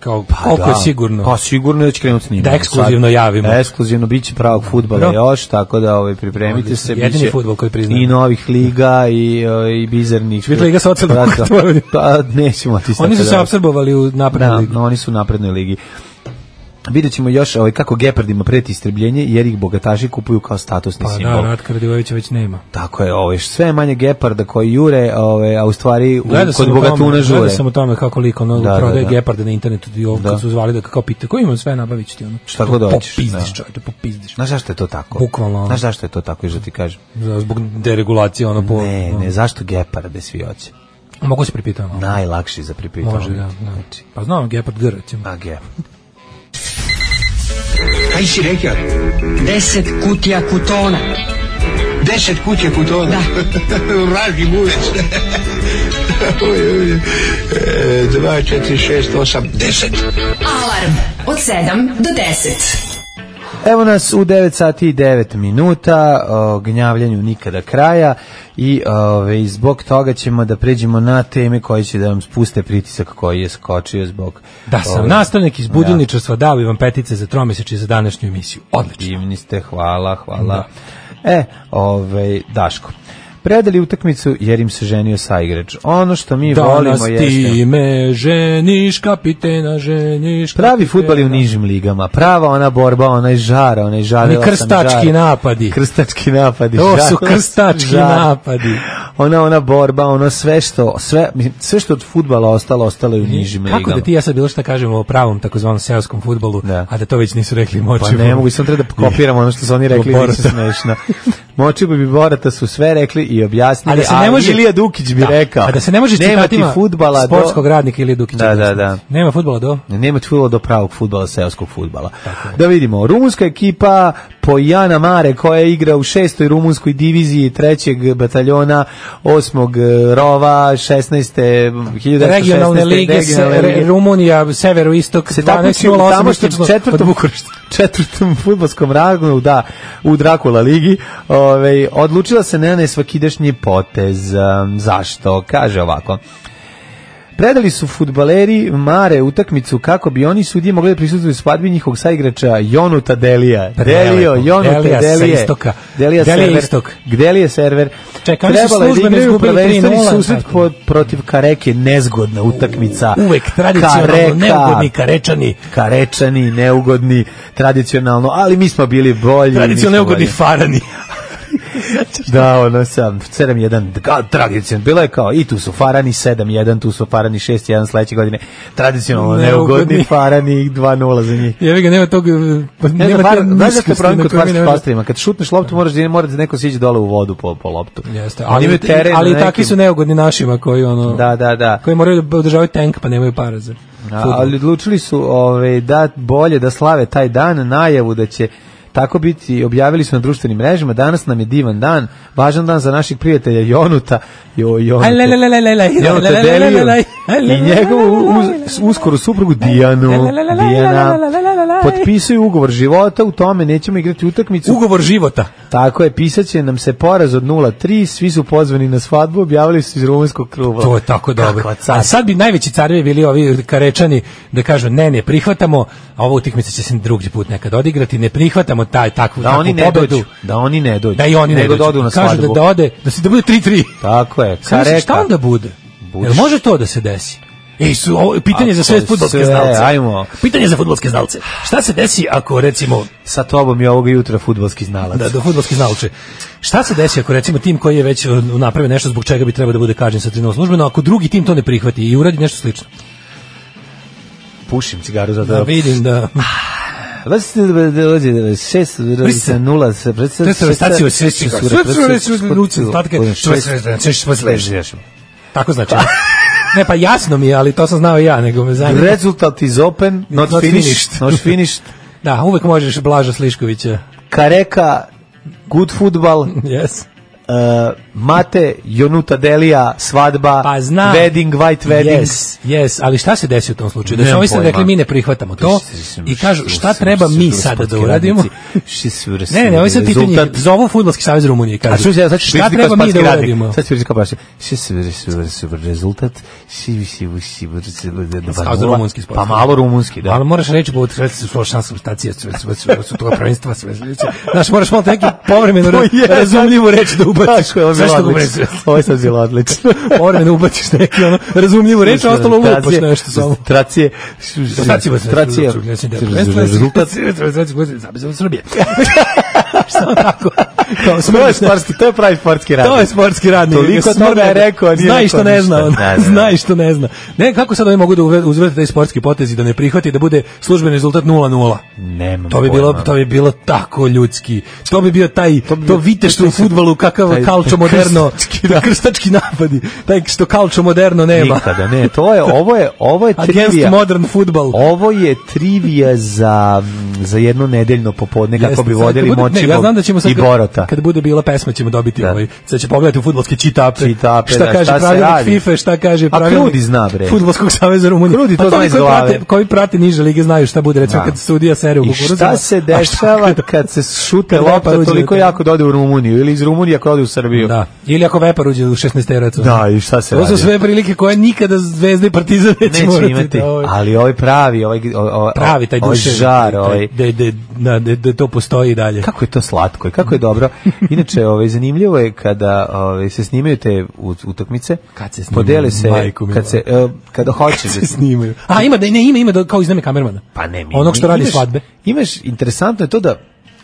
Speaker 5: Kao,
Speaker 6: Pa
Speaker 5: koliko
Speaker 6: da.
Speaker 5: je sigurno?
Speaker 6: Pa sigurno da će krenuti snimanje.
Speaker 5: Da ekskluzivno javimo.
Speaker 6: Ekskluzivno biće pravog fudbala
Speaker 5: Dobro.
Speaker 6: još, tako da ovaj pripremite
Speaker 5: Odlično.
Speaker 6: se.
Speaker 5: Jedini
Speaker 6: biće
Speaker 5: fudbal koji priznajem.
Speaker 6: I novih liga i o, i bizarnih.
Speaker 5: Će biti
Speaker 6: <laughs>
Speaker 5: Liga socijalnog <laughs>
Speaker 6: Prata.
Speaker 5: pokreta.
Speaker 6: Pa nećemo ti sad
Speaker 5: Oni su se
Speaker 6: da-
Speaker 5: apsorbovali u naprednu
Speaker 6: Da,
Speaker 5: ligu.
Speaker 6: no, oni su u naprednoj ligi. Vidjet ćemo još ovaj, kako gepardima preti istrebljenje, jer ih bogataši kupuju kao statusni
Speaker 5: Pa da,
Speaker 6: simbol.
Speaker 5: Ratka Radivojevića već nema.
Speaker 6: Tako je, ovaj, sve je manje geparda koji jure, ovaj, a u stvari u,
Speaker 5: Gledao
Speaker 6: kod
Speaker 5: sam, u
Speaker 6: bogatuna
Speaker 5: tome,
Speaker 6: žure.
Speaker 5: gledao sam o tome kako lik ono
Speaker 6: Da, da,
Speaker 5: prodaje
Speaker 6: da.
Speaker 5: geparde na internetu i ovo
Speaker 6: Da.
Speaker 5: kad su zvali da kako pita, ko imam sve nabavit ću ti ono.
Speaker 6: Šta god hoćeš.
Speaker 5: Popizdiš
Speaker 6: da.
Speaker 5: čovječe, popizdiš.
Speaker 6: Znaš zašto je to tako?
Speaker 5: Bukvalno, ono.
Speaker 6: Znaš zašto je to tako, još da ti kažem?
Speaker 5: Za- Zbog deregulacije ono po...
Speaker 6: Ne, ne, Da, zašto geparde svi hoće?
Speaker 5: Mogu se pripitati malo.
Speaker 6: Najlakši za pripitavanje.
Speaker 5: Može, da, da.
Speaker 6: znači.
Speaker 5: Pa znam, Gepard G, recimo.
Speaker 6: A, Gepard.
Speaker 7: Kaj si rekao? Deset kutija kutona. Deset kutija kutona? Da. <laughs> Vraži buvec. Oj, oj. E, Dva, četiri, šest, osam, deset.
Speaker 4: Alarm od 7 do 10.
Speaker 6: Evo nas u 9 sati i 9 minuta, o, gnjavljanju nikada kraja i ove, zbog toga ćemo da pređemo na teme koje će da vam spuste pritisak koji je skočio zbog...
Speaker 5: Da sam
Speaker 6: ove,
Speaker 5: nastavnik iz budilničarstva, dao bi vam petice za tromeseče za današnju emisiju. Odlično. Da.
Speaker 6: Divni ste, hvala, hvala. E, ovaj, Daško, predali utakmicu jer im se ženio saigrač. Ono što mi
Speaker 5: Danas
Speaker 6: volimo
Speaker 5: ti
Speaker 6: jeste...
Speaker 5: me ženiš, kapitena, ženiš,
Speaker 6: Pravi
Speaker 5: kapitena.
Speaker 6: futbal je u nižim ligama, prava ona borba, onaj žar, onaj žarila
Speaker 5: Oni
Speaker 6: sam
Speaker 5: krstački
Speaker 6: žar.
Speaker 5: napadi.
Speaker 6: Krstački napadi.
Speaker 5: To su
Speaker 6: žarila sam
Speaker 5: krstački
Speaker 6: žar.
Speaker 5: napadi.
Speaker 6: Ona, ona borba, ono sve što, sve, mislim, sve što od futbala ostalo, ostalo je u nižim
Speaker 5: Kako
Speaker 6: ligama.
Speaker 5: da ti i ja sad bilo šta kažemo o pravom takozvanom seoskom futbolu, a da to već nisu rekli moći.
Speaker 6: Pa ne mogu, sam treba da kopiram ono što su oni rekli, bit će
Speaker 5: Borata.
Speaker 6: smešno. Moči bi Borata su sve rekli i objasnili,
Speaker 5: A da se ne može
Speaker 6: Ilija Dukić bi
Speaker 5: Da.
Speaker 6: rekao.
Speaker 5: A da se ne može
Speaker 6: nema ti
Speaker 5: citatima
Speaker 6: futbala
Speaker 5: sportskog
Speaker 6: do...
Speaker 5: radnika Ilije Dukića
Speaker 6: Da, da,
Speaker 5: objasniti.
Speaker 6: da.
Speaker 5: Nema futbola do?
Speaker 6: Nema ti futbala do pravog futbala, seoskog futbala. Da vidimo, rumunska ekipa Pojana Mare koja igra u šestoj rumunskoj diviziji trećeg bataljona osmog eh, rova 16. 1916.
Speaker 5: Regionalne lige se,
Speaker 6: Dakle, regionalne lige.
Speaker 5: Re- Rumunija, severoistok,
Speaker 6: se takmiči u
Speaker 5: 12.08
Speaker 6: tamošnjem
Speaker 5: od
Speaker 6: četvrtom,
Speaker 5: Bukurešta.
Speaker 6: <laughs> četvrtom futbolskom rangu, da, u Dracula ligi, ovaj, odlučila se na nesvakidašnji potez. Um, Zašto? Kaže ovako. Predali su futbaleri Mare utakmicu kako bi oni sudije mogli da prisutuju svadbi njihovog saigrača Jonuta Delija.
Speaker 5: Prelepo.
Speaker 6: Delio, Jonuta
Speaker 5: Delija
Speaker 6: Delija.
Speaker 5: sa istoka.
Speaker 6: Delija,
Speaker 5: Delija
Speaker 6: server.
Speaker 5: istok.
Speaker 6: Delija server.
Speaker 5: Čekaj, oni su
Speaker 6: Trebalo je da
Speaker 5: službeno
Speaker 6: igraju
Speaker 5: izgubili
Speaker 6: prvenstveni
Speaker 5: 3:0,
Speaker 6: susret
Speaker 5: tako.
Speaker 6: po- protiv Kareke, nezgodna utakmica.
Speaker 5: Pa Uvek tradicionalno neugodni Karečani.
Speaker 6: Karečani, neugodni, tradicionalno, ali mi smo bili bolji. mi
Speaker 5: Tradicionalno
Speaker 6: smo
Speaker 5: neugodni
Speaker 6: bolji.
Speaker 5: farani.
Speaker 6: Da, ono sam, 7-1, kao tradicionalno, bilo je kao, i tu su Farani 7-1, tu su Farani 6-1 sledeće godine, tradicionalno
Speaker 5: Neugodni.
Speaker 6: neugodni Farani 2-0 za njih.
Speaker 5: Jevi ga, nema tog...
Speaker 6: Ne znam,
Speaker 5: nema te
Speaker 6: var- znaš da je
Speaker 5: niskosti
Speaker 6: problem
Speaker 5: na
Speaker 6: kod
Speaker 5: koju mi ne
Speaker 6: varskim
Speaker 5: možemo-
Speaker 6: pastorima, kad šutneš loptu moraš da moraš da neko siđe dole u vodu po, po loptu.
Speaker 5: Jeste,
Speaker 6: Oni
Speaker 5: ali,
Speaker 6: imaju teren
Speaker 5: ali
Speaker 6: na
Speaker 5: takvi
Speaker 6: nekim-
Speaker 5: su neugodni našima koji ono
Speaker 6: Da, da, da.
Speaker 5: koji moraju da održavaju tank pa nemaju para za.
Speaker 6: A,
Speaker 5: fudbal.
Speaker 6: ali odlučili su ove, da bolje da slave taj dan, najavu da će tako biti, objavili su na društvenim mrežama, danas nam je divan dan, važan dan za naših prijatelja Jonuta, jo, Jonuta,
Speaker 5: Aj, le, le, le, le, le, le, le, le, le,
Speaker 6: Jonuta
Speaker 5: le, le, le,
Speaker 6: Deliju
Speaker 5: le, le,
Speaker 6: i njegovu uz, uskoru suprugu Dijanu. Dijana potpisuju ugovor života, u tome nećemo igrati utakmicu.
Speaker 5: Ugovor života.
Speaker 6: Tako je, pisat će nam se poraz od 0-3, svi su pozvani na svadbu, objavili su iz rumunskog kluba.
Speaker 5: To je tako dobro.
Speaker 6: Kakva car-
Speaker 5: A sad bi najveći carevi bili ovi karečani da kažu ne, ne prihvatamo, a ova utakmica će se drugi put nekad odigrati, ne prihvatamo taj takvu
Speaker 6: da
Speaker 5: takvu
Speaker 6: oni ne
Speaker 5: pobedu.
Speaker 6: dođu, da oni ne dođu.
Speaker 5: Da i oni ne
Speaker 6: Nego da
Speaker 5: dođu.
Speaker 6: odu na
Speaker 5: Kažu
Speaker 6: svadbu.
Speaker 5: da, da ode, da se da bude 3-3.
Speaker 6: Tako je,
Speaker 5: Kažu,
Speaker 6: kareka.
Speaker 5: Šta onda bude?
Speaker 6: Budeš-
Speaker 5: Jel može to da se desi? Ej, su, ovo, pitanje za
Speaker 6: Ako
Speaker 5: sve futbolske e,
Speaker 6: sve,
Speaker 5: znalce.
Speaker 6: ajmo.
Speaker 5: Pitanje za futbolske znalce. Šta se desi ako recimo
Speaker 6: Sa tobom je ovog jutra futbalski znalac.
Speaker 5: da, da fudbalski znalče. Šta se desi ako recimo tim koji je već uh, napravio nešto zbog čega bi trebao da bude kažnjen sa 13 službeno, ako drugi tim to ne prihvati i uradi nešto slično?
Speaker 6: Pušim cigaru za
Speaker 5: Da
Speaker 6: da.
Speaker 5: vidim da <laughs>
Speaker 6: Vrsti da dođe 6
Speaker 5: Vrste.
Speaker 6: 0 se predstavlja.
Speaker 5: To je stacija u sreći.
Speaker 6: da,
Speaker 5: Tako znači. Ne, pa jasno mi je, ali to sam znao i ja, nego me zanima.
Speaker 6: Rezultat is open, not
Speaker 5: Not
Speaker 6: finished.
Speaker 5: finished.
Speaker 6: Not finished.
Speaker 5: <laughs> Da, uvek možeš Blaža Sliškovića.
Speaker 6: Kareka, good football, <laughs> uh,
Speaker 5: Yes.
Speaker 6: Mate, Jonuta Delija, svadba,
Speaker 5: Pa znam.
Speaker 6: wedding, white wedding.
Speaker 5: Yes, yes, ali šta se desi u tom slučaju? Da su
Speaker 6: Nemam
Speaker 5: ovi sad
Speaker 6: pojma.
Speaker 5: rekli mi ne prihvatamo to i kažu šta treba mi sada da uradimo? Ne, ne, ovo je sad pitanje
Speaker 6: Rezultat
Speaker 5: za ovo fudbalski savez Rumunije
Speaker 6: A
Speaker 5: kaže.
Speaker 6: čuj, ja sad ću
Speaker 5: šta
Speaker 6: biti kao
Speaker 5: treba mi
Speaker 6: sparski
Speaker 5: da
Speaker 6: radnik.
Speaker 5: uradimo?
Speaker 6: Sad ću biti kao baš. Še se vidi se vidi se rezultat. Si si si si
Speaker 5: Kao za rumunski sport.
Speaker 6: Pa malo rumunski, da.
Speaker 5: Ali moraš reći povod sve su svoje šanse
Speaker 6: <laughs>
Speaker 5: stacije, sve sve sve su toga prvenstva, sve sve. Znaš, moraš malo neki povremeno
Speaker 6: To Pa je,
Speaker 5: razumljivu reč da ubaciš.
Speaker 6: Tako je, ovo je bilo
Speaker 5: Zašto ga
Speaker 6: odlično.
Speaker 5: ubaciš?
Speaker 6: Ovo je sad bilo odlično.
Speaker 5: Moram da ubaciš neki ono razumljivu reč, a ostalo pa lupaš
Speaker 6: Tracije-
Speaker 5: nešto samo.
Speaker 6: Tracije.
Speaker 5: Tracije.
Speaker 6: Tracije. Rezultat. da
Speaker 5: <laughs> Srbije. Samo tako. Kao,
Speaker 6: To je
Speaker 5: smrdiš
Speaker 6: sportski, to je pravi sportski radnik.
Speaker 5: To je sportski radnik.
Speaker 6: Toliko
Speaker 5: Kad
Speaker 6: toga
Speaker 5: smrdi,
Speaker 6: je rekao, a nije
Speaker 5: Znaj
Speaker 6: rekao
Speaker 5: što ne
Speaker 6: ništa.
Speaker 5: zna, on.
Speaker 6: Da, da.
Speaker 5: znaj što ne zna. Ne, kako sad oni mogu da uve- uzvrate taj sportski potez i da ne prihvati da bude službeni rezultat 0:0.
Speaker 6: Nemam
Speaker 5: To bi bilo
Speaker 6: pojma.
Speaker 5: to bi bilo tako ljudski. To bi bio taj to, vidite što u fudbalu kakav
Speaker 6: taj
Speaker 5: kalčo moderno,
Speaker 6: krstački,
Speaker 5: krstački napadi. Taj što kalčo moderno nema.
Speaker 6: Nikada ne, to je, ovo je, ovo je
Speaker 5: Against
Speaker 6: trivija.
Speaker 5: modern football.
Speaker 6: Ovo je trivija za, za jedno nedeljno popodne kako
Speaker 5: Jeste,
Speaker 6: bi
Speaker 5: sad kad
Speaker 6: vodili
Speaker 5: bude- ne,
Speaker 6: Močibov
Speaker 5: ja znam da ćemo sad
Speaker 6: i
Speaker 5: kad-
Speaker 6: Borota. Da.
Speaker 5: Kad bude bila pesma ćemo dobiti ovaj. Sad će pogledati u fudbalske čitape.
Speaker 6: Čitape,
Speaker 5: šta
Speaker 6: da,
Speaker 5: kaže
Speaker 6: šta se
Speaker 5: pravilnik
Speaker 6: radi.
Speaker 5: FIFA, šta kaže
Speaker 6: A
Speaker 5: pravilnik.
Speaker 6: Krudi zna, bre.
Speaker 5: Fudbalskog saveza Rumunije.
Speaker 6: Krudi to
Speaker 5: Pa
Speaker 6: zna
Speaker 5: oni
Speaker 6: iz
Speaker 5: koji
Speaker 6: glave.
Speaker 5: prate, koji prate niže lige znaju šta bude recimo
Speaker 6: Da.
Speaker 5: kad sudija sere u
Speaker 6: I
Speaker 5: kukuruzu.
Speaker 6: šta se dešava kad se šute
Speaker 5: Kad Vepar
Speaker 6: lopta
Speaker 5: uđe
Speaker 6: toliko
Speaker 5: u-
Speaker 6: jako da ode u Rumuniju ili iz Rumunije ako ode u Srbiju?
Speaker 5: Da. Ili ako Vepar uđe u 16 teracu.
Speaker 6: Da, i šta se
Speaker 5: To su
Speaker 6: radi?
Speaker 5: sve prilike koje nikada Zvezda i Partizan neće,
Speaker 6: Neće
Speaker 5: morati
Speaker 6: imati,
Speaker 5: da, ovaj,
Speaker 6: ali ovaj pravi, ovaj, o- o- o-
Speaker 5: pravi taj
Speaker 6: ovaj
Speaker 5: duše.
Speaker 6: žar, ovaj,
Speaker 5: Da, da, da, da, da to postoji i dalje.
Speaker 6: kako je to slatko i kako je dobro. Inače, ovaj zanimljivo je kada ovaj se snimaju te ut- utakmice, kad se
Speaker 5: snimaju,
Speaker 6: podele se
Speaker 5: majko mila.
Speaker 6: kad se e, kada hoće
Speaker 5: se <laughs> snimaju. A ima da ne ima ima da kao izname kamermana.
Speaker 6: Pa ne, mi-
Speaker 5: Onog što radi
Speaker 6: imaš-
Speaker 5: svadbe.
Speaker 6: Imaš interesantno je to da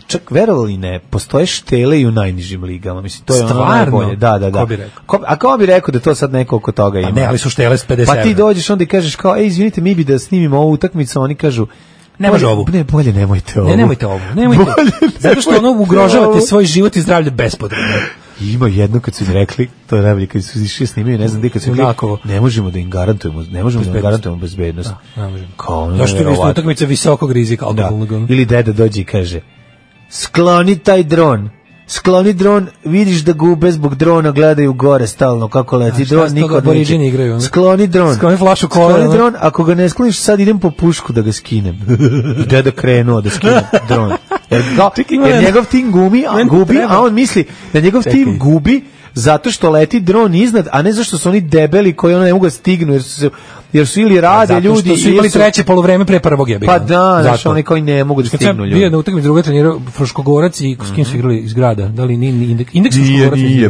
Speaker 6: čak verovali ne, postoje štele i u najnižim ligama. Mislim to je ono
Speaker 5: Stvarno?
Speaker 6: najbolje. Da, da, da.
Speaker 5: Ko bi rekao?
Speaker 6: Ko- a kao bi rekao da to sad neko oko toga ima?
Speaker 5: Pa ne, ali su štele s 50
Speaker 6: Pa ti
Speaker 5: evra.
Speaker 6: dođeš onda i kažeš kao, ej, izvinite, mi bi da snimimo ovu utakmicu, a oni kažu,
Speaker 5: Ne može
Speaker 6: bolje-
Speaker 5: ovu.
Speaker 6: Ne, bolje nemojte ovu.
Speaker 5: Ne, nemojte ovo. Nemojte.
Speaker 6: Bolje
Speaker 5: Zato što ono
Speaker 6: nemojte
Speaker 5: ugrožavate
Speaker 6: ovu.
Speaker 5: svoj život i zdravlje bespotrebno.
Speaker 6: I Ima jedno kad su im rekli, to je najbolje, kad su išli snimaju, ne znam gde, kad su im rekli,
Speaker 5: Junakovo.
Speaker 6: ne možemo da im garantujemo, ne možemo da im
Speaker 5: Bezbednost.
Speaker 6: garantujemo bezbednost.
Speaker 5: Da, ne možemo.
Speaker 6: Kao ono,
Speaker 5: Zašto vi ste
Speaker 6: verovatno.
Speaker 5: utakmice visokog rizika alkoholnog? ono?
Speaker 6: Da. Ili deda dođe i kaže, skloni taj dron, skloni dron, vidiš da gube zbog drona gledaju gore stalno kako leti
Speaker 5: A šta
Speaker 6: dron,
Speaker 5: s toga
Speaker 6: niko ne
Speaker 5: Aboriđini igraju, ono?
Speaker 6: Skloni dron.
Speaker 5: Skloni flašu kola, ono.
Speaker 6: Skloni dron, ako ga ne skloniš, sad idem po pušku da ga skinem. I deda krenuo da skine dron. Jer, ga,
Speaker 5: <laughs> Čekaj, ima
Speaker 6: jer
Speaker 5: jedna-
Speaker 6: njegov tim gumi, a,
Speaker 5: Meni
Speaker 6: gubi,
Speaker 5: treba.
Speaker 6: a on misli da njegov
Speaker 5: Čekaj.
Speaker 6: tim gubi zato što leti dron iznad, a ne zašto su oni debeli koji ono ne mogu da stignu, jer su, se, jer su ili rade
Speaker 5: Zato
Speaker 6: ljudi...
Speaker 5: što su imali
Speaker 6: ili su-
Speaker 5: treće polovreme pre prvog jebiga.
Speaker 6: Pa da, znaš,
Speaker 5: Zato.
Speaker 6: oni koji ne mogu da
Speaker 5: Kad sam ja
Speaker 6: stignu ljudi.
Speaker 5: bio na utakmici druga trenirao Fruškogorac i s kim su igrali iz grada. Da li ni ni- indeks, indeks
Speaker 6: Nije,
Speaker 5: Fruškogorac?
Speaker 6: nije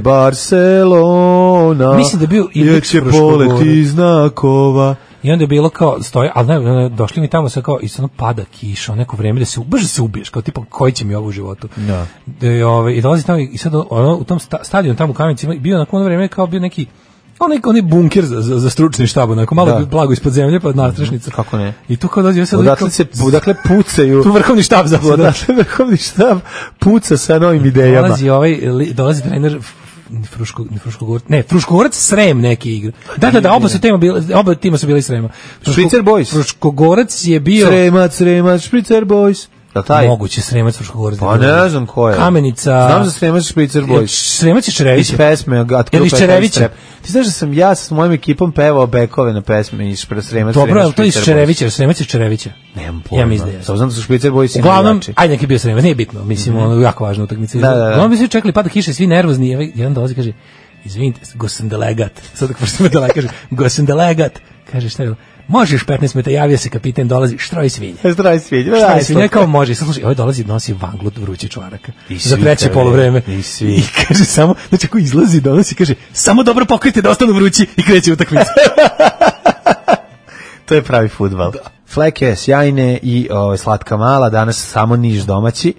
Speaker 6: Barcelona.
Speaker 5: Mislim da je bio
Speaker 6: Jer
Speaker 5: indeks
Speaker 6: će
Speaker 5: Fruškogorac.
Speaker 6: poleti znakova.
Speaker 5: I onda je bilo kao stoje, ali ne, ne, došli mi tamo se kao i sad ono pada kiša, neko vreme da se u- brže se ubiješ, kao tipa koji će mi ovo u životu.
Speaker 6: Da.
Speaker 5: I, ovaj, I dolazi tamo i sad ono, u tom sta, stadionu tamo u Kamenici ima- bio na ono vreme kao bio neki onaj onaj bunker za, za, za stručni štab, onako malo
Speaker 6: Da. Mhm.
Speaker 5: blago ispod zemlje, pa nadstrešnica.
Speaker 6: Kako ne?
Speaker 5: I tu kao dođe sad
Speaker 6: Odatle
Speaker 5: kao-
Speaker 6: se, odakle pucaju.
Speaker 5: <laughs> tu vrhovni štab zapravo. da.
Speaker 6: Odatle vrhovni štab puca sa novim idejama.
Speaker 5: Dolazi ovaj li- dolazi trener F- Fruško, ne Fruškogorac, ne, Fruškogorac Srem neki igra. Da, da, da, oba su tema bila, oba tima su bili iz Srema. Fruško-
Speaker 6: Švicer Boys.
Speaker 5: Fruškogorac je bio
Speaker 6: Sremac, Sremac, Špricer Boys. Da taj?
Speaker 5: moguće Sremac Fruškogorac. da
Speaker 6: Pa
Speaker 5: je bio.
Speaker 6: ne znam ko je.
Speaker 5: Kamenica.
Speaker 6: Znam za Sremac, Špricer
Speaker 5: Jel
Speaker 6: Boys.
Speaker 5: Sremac je Čerević.
Speaker 6: Iz pesme. Od
Speaker 5: Jel iz Čerevića?
Speaker 6: Ti znaš da sam ja s mojim ekipom pevao bekove na pesme iz Sremac, Sremac,
Speaker 5: Dobro, ali to je iz
Speaker 6: Špricer Boys.
Speaker 5: Čerevića, jer Sremac je Čerevića.
Speaker 6: Nemam
Speaker 5: Ja
Speaker 6: pojma.
Speaker 5: mislim da je.
Speaker 6: Samo znam da su Špricer Boys i
Speaker 5: Uglavnom,
Speaker 6: najjači.
Speaker 5: ajde neki je bio Sremac, nije bitno, mislim, ono, jako važna utakmica.
Speaker 6: znači. Mhm. Da, da, da.
Speaker 5: Uglavnom, mi svi čekali, pada kiša i svi nervozni, i ovaj jedan dolazi i kaže, izvinite, gosim delegat, sad ako pošto me delegat, kaže, gosim delegat, kaže, šta je, ovo? možeš 15 metara, javio se kapiten, dolazi, štroj svinje.
Speaker 6: Zdraj sviđa.
Speaker 5: Šta
Speaker 6: Zdraj
Speaker 5: je svinja kao može, sad slušaj, ovaj dolazi nosi vanglut vrući čvarak
Speaker 6: I
Speaker 5: za
Speaker 6: svi
Speaker 5: treće
Speaker 6: kaže,
Speaker 5: polovreme.
Speaker 6: i svi.
Speaker 5: I kaže samo, znači ako izlazi donosi, kaže, samo dobro pokrite da ostanu vrući i kreće utakmica.
Speaker 6: To je pravi fudbal. Da. Fleke sjajne i ovaj, slatka mala, danas samo niž domaći.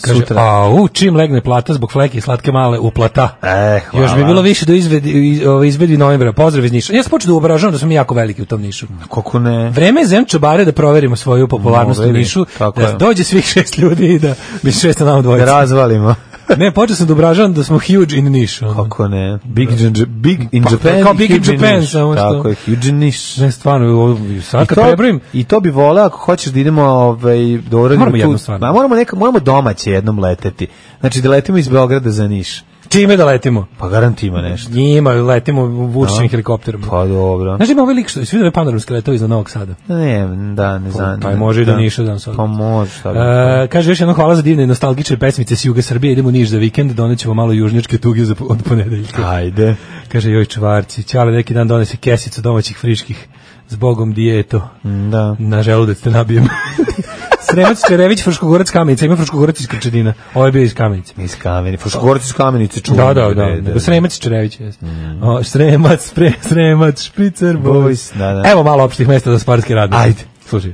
Speaker 5: Kaže,
Speaker 6: Sutra
Speaker 5: a u čim legne plata zbog fleke i slatke male u plata.
Speaker 6: E, hvala.
Speaker 5: Još bi bilo više do izvedi, iz, ovaj, izvedi novembra. Pozdrav iz Niša. Ja sam počeo da uobražavam da smo mi jako veliki u tom Nišu.
Speaker 6: koliko ne.
Speaker 5: Vreme je zem čobare da proverimo svoju popularnost u
Speaker 6: Overi,
Speaker 5: Nišu,
Speaker 6: tako
Speaker 5: da
Speaker 6: je.
Speaker 5: dođe svih šest ljudi i da bi šest na nama
Speaker 6: Da
Speaker 5: dvojica.
Speaker 6: razvalimo.
Speaker 5: Ne, počeo sam da obražavam da smo huge in Nišu. ono.
Speaker 6: Kako ne. Big in, Ja- big in
Speaker 5: Pa,
Speaker 6: Japan.
Speaker 5: kao Big in
Speaker 6: huge
Speaker 5: Japan,
Speaker 6: niš.
Speaker 5: samo što-
Speaker 6: Tako je, huge in niš.
Speaker 5: Ne, stvarno, ovo- sad kad prebrojim,
Speaker 6: I to bi voleo ako hoćeš da idemo ovaj da uradimo
Speaker 5: Moramo
Speaker 6: tu-
Speaker 5: jednu stvar.
Speaker 6: Ma, moramo neka moramo domaće jednom leteti. Znači da letimo iz Beograda za Niš.
Speaker 5: čime da letimo?
Speaker 6: Pa garant ima nešto.
Speaker 5: Njima letimo vučićim
Speaker 6: Da.
Speaker 5: helikopterom.
Speaker 6: Pa dobro.
Speaker 5: Znaš, ima ovaj lik što, svi da je panoramski letovi iznad Novog Sada.
Speaker 6: Ne, da, ne znam.
Speaker 5: Pa može i do Niša dan sad.
Speaker 6: Pa može, šta bi.
Speaker 5: E, kaže još jednom hvala za divne i nostalgične pesmice s juga Srbije, idemo u Niš za vikend, donećemo malo južnjačke tuge za, od ponedeljka.
Speaker 6: Ajde.
Speaker 5: Kaže joj čvarci, ćale neki dan donese kesicu domaćih friških, s bogom dijeto,
Speaker 6: Da.
Speaker 5: na želudac te nabijem. <laughs> Sremac Sterević, Fruškogorac Kamenica. Ima Fruškogorac iz Krčedina. Ovo je bio iz Kamenice.
Speaker 6: Iz Kamenice. Fruškogorac iz Kamenice čuva.
Speaker 5: pa- Da, da, Mm. da. Nego Sremac Sterević. jeste. O, Sremac, pre, Sremac, Špricer, Boys.
Speaker 6: da, da.
Speaker 5: Evo malo opštih mesta za sportski rad. Ajde. Slušaj.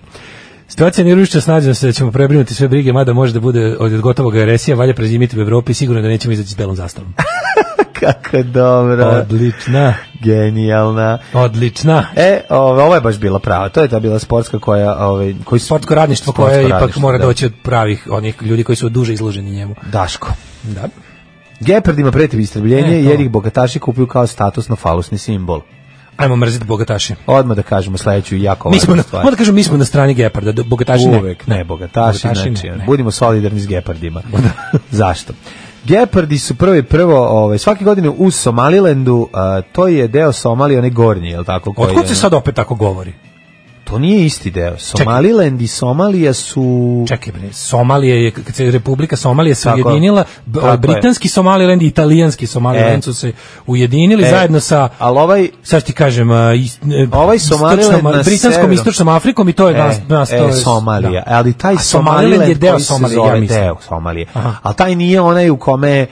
Speaker 5: Situacija nije ružična, snađam se da ćemo prebrinuti sve brige, mada može da bude od gotovog agresija, valja prezimiti u Evropi, sigurno da nećemo izaći s belom zastavom.
Speaker 6: Kako dobro.
Speaker 5: <laughs> Pa, da. Odlična.
Speaker 6: Genijalna.
Speaker 5: Odlična.
Speaker 6: E, ove, ovo je baš bila prava. To je ta bila sportska koja... Ove, koji
Speaker 5: sportsko radništvo da. koje ipak
Speaker 6: da.
Speaker 5: mora doći od pravih onih ljudi koji su duže izloženi njemu.
Speaker 6: Daško.
Speaker 5: Da.
Speaker 6: Gepardima preti istrebljenje
Speaker 5: E, to.
Speaker 6: jer ih bogataši kupuju kao statusno-falusni simbol.
Speaker 5: Ajmo mrziti bogataši.
Speaker 6: Odmah da kažemo sledeću jako
Speaker 5: Mi smo na,
Speaker 6: važnu stvar.
Speaker 5: moram da kažem, mi smo na strani Geparda, da bogataši ne.
Speaker 6: Uvek, ne, bogataši,
Speaker 5: Bogataši
Speaker 6: znači,
Speaker 5: ne,
Speaker 6: ono,
Speaker 5: ne.
Speaker 6: budimo solidarni s
Speaker 5: <laughs>
Speaker 6: gepardima. Zašto? Gepardi su prvi prvo, ovaj, svake godine u Somalilandu, a, to je deo Somalije, onaj gornji, je li tako? koji
Speaker 5: Otkud
Speaker 6: je,
Speaker 5: se
Speaker 6: ono-
Speaker 5: sad opet tako govori?
Speaker 6: To nije isti deo. Somaliland i Somalija su...
Speaker 5: Čekaj bre, Somalija je, kad se Republika Somalija se
Speaker 6: Tako je.
Speaker 5: ujedinila, b-
Speaker 6: Tako je.
Speaker 5: britanski Somaliland i italijanski Somaliland
Speaker 6: E.
Speaker 5: su se ujedinili
Speaker 6: E.
Speaker 5: zajedno sa,
Speaker 6: Ali ovaj,
Speaker 5: sad ti kažem, a, is- e,
Speaker 6: ovaj
Speaker 5: istočnom-
Speaker 6: Somaliland na
Speaker 5: britanskom
Speaker 6: severu-
Speaker 5: istočnom Afrikom i to je nas, nas to
Speaker 6: e,
Speaker 5: je-
Speaker 6: Somalija.
Speaker 5: da.
Speaker 6: Ali taj
Speaker 5: A Somaliland je deo
Speaker 6: koji se
Speaker 5: Somalije,
Speaker 6: zove
Speaker 5: ja mislim.
Speaker 6: deo Somalije.
Speaker 5: Aha.
Speaker 6: Ali taj nije onaj u kome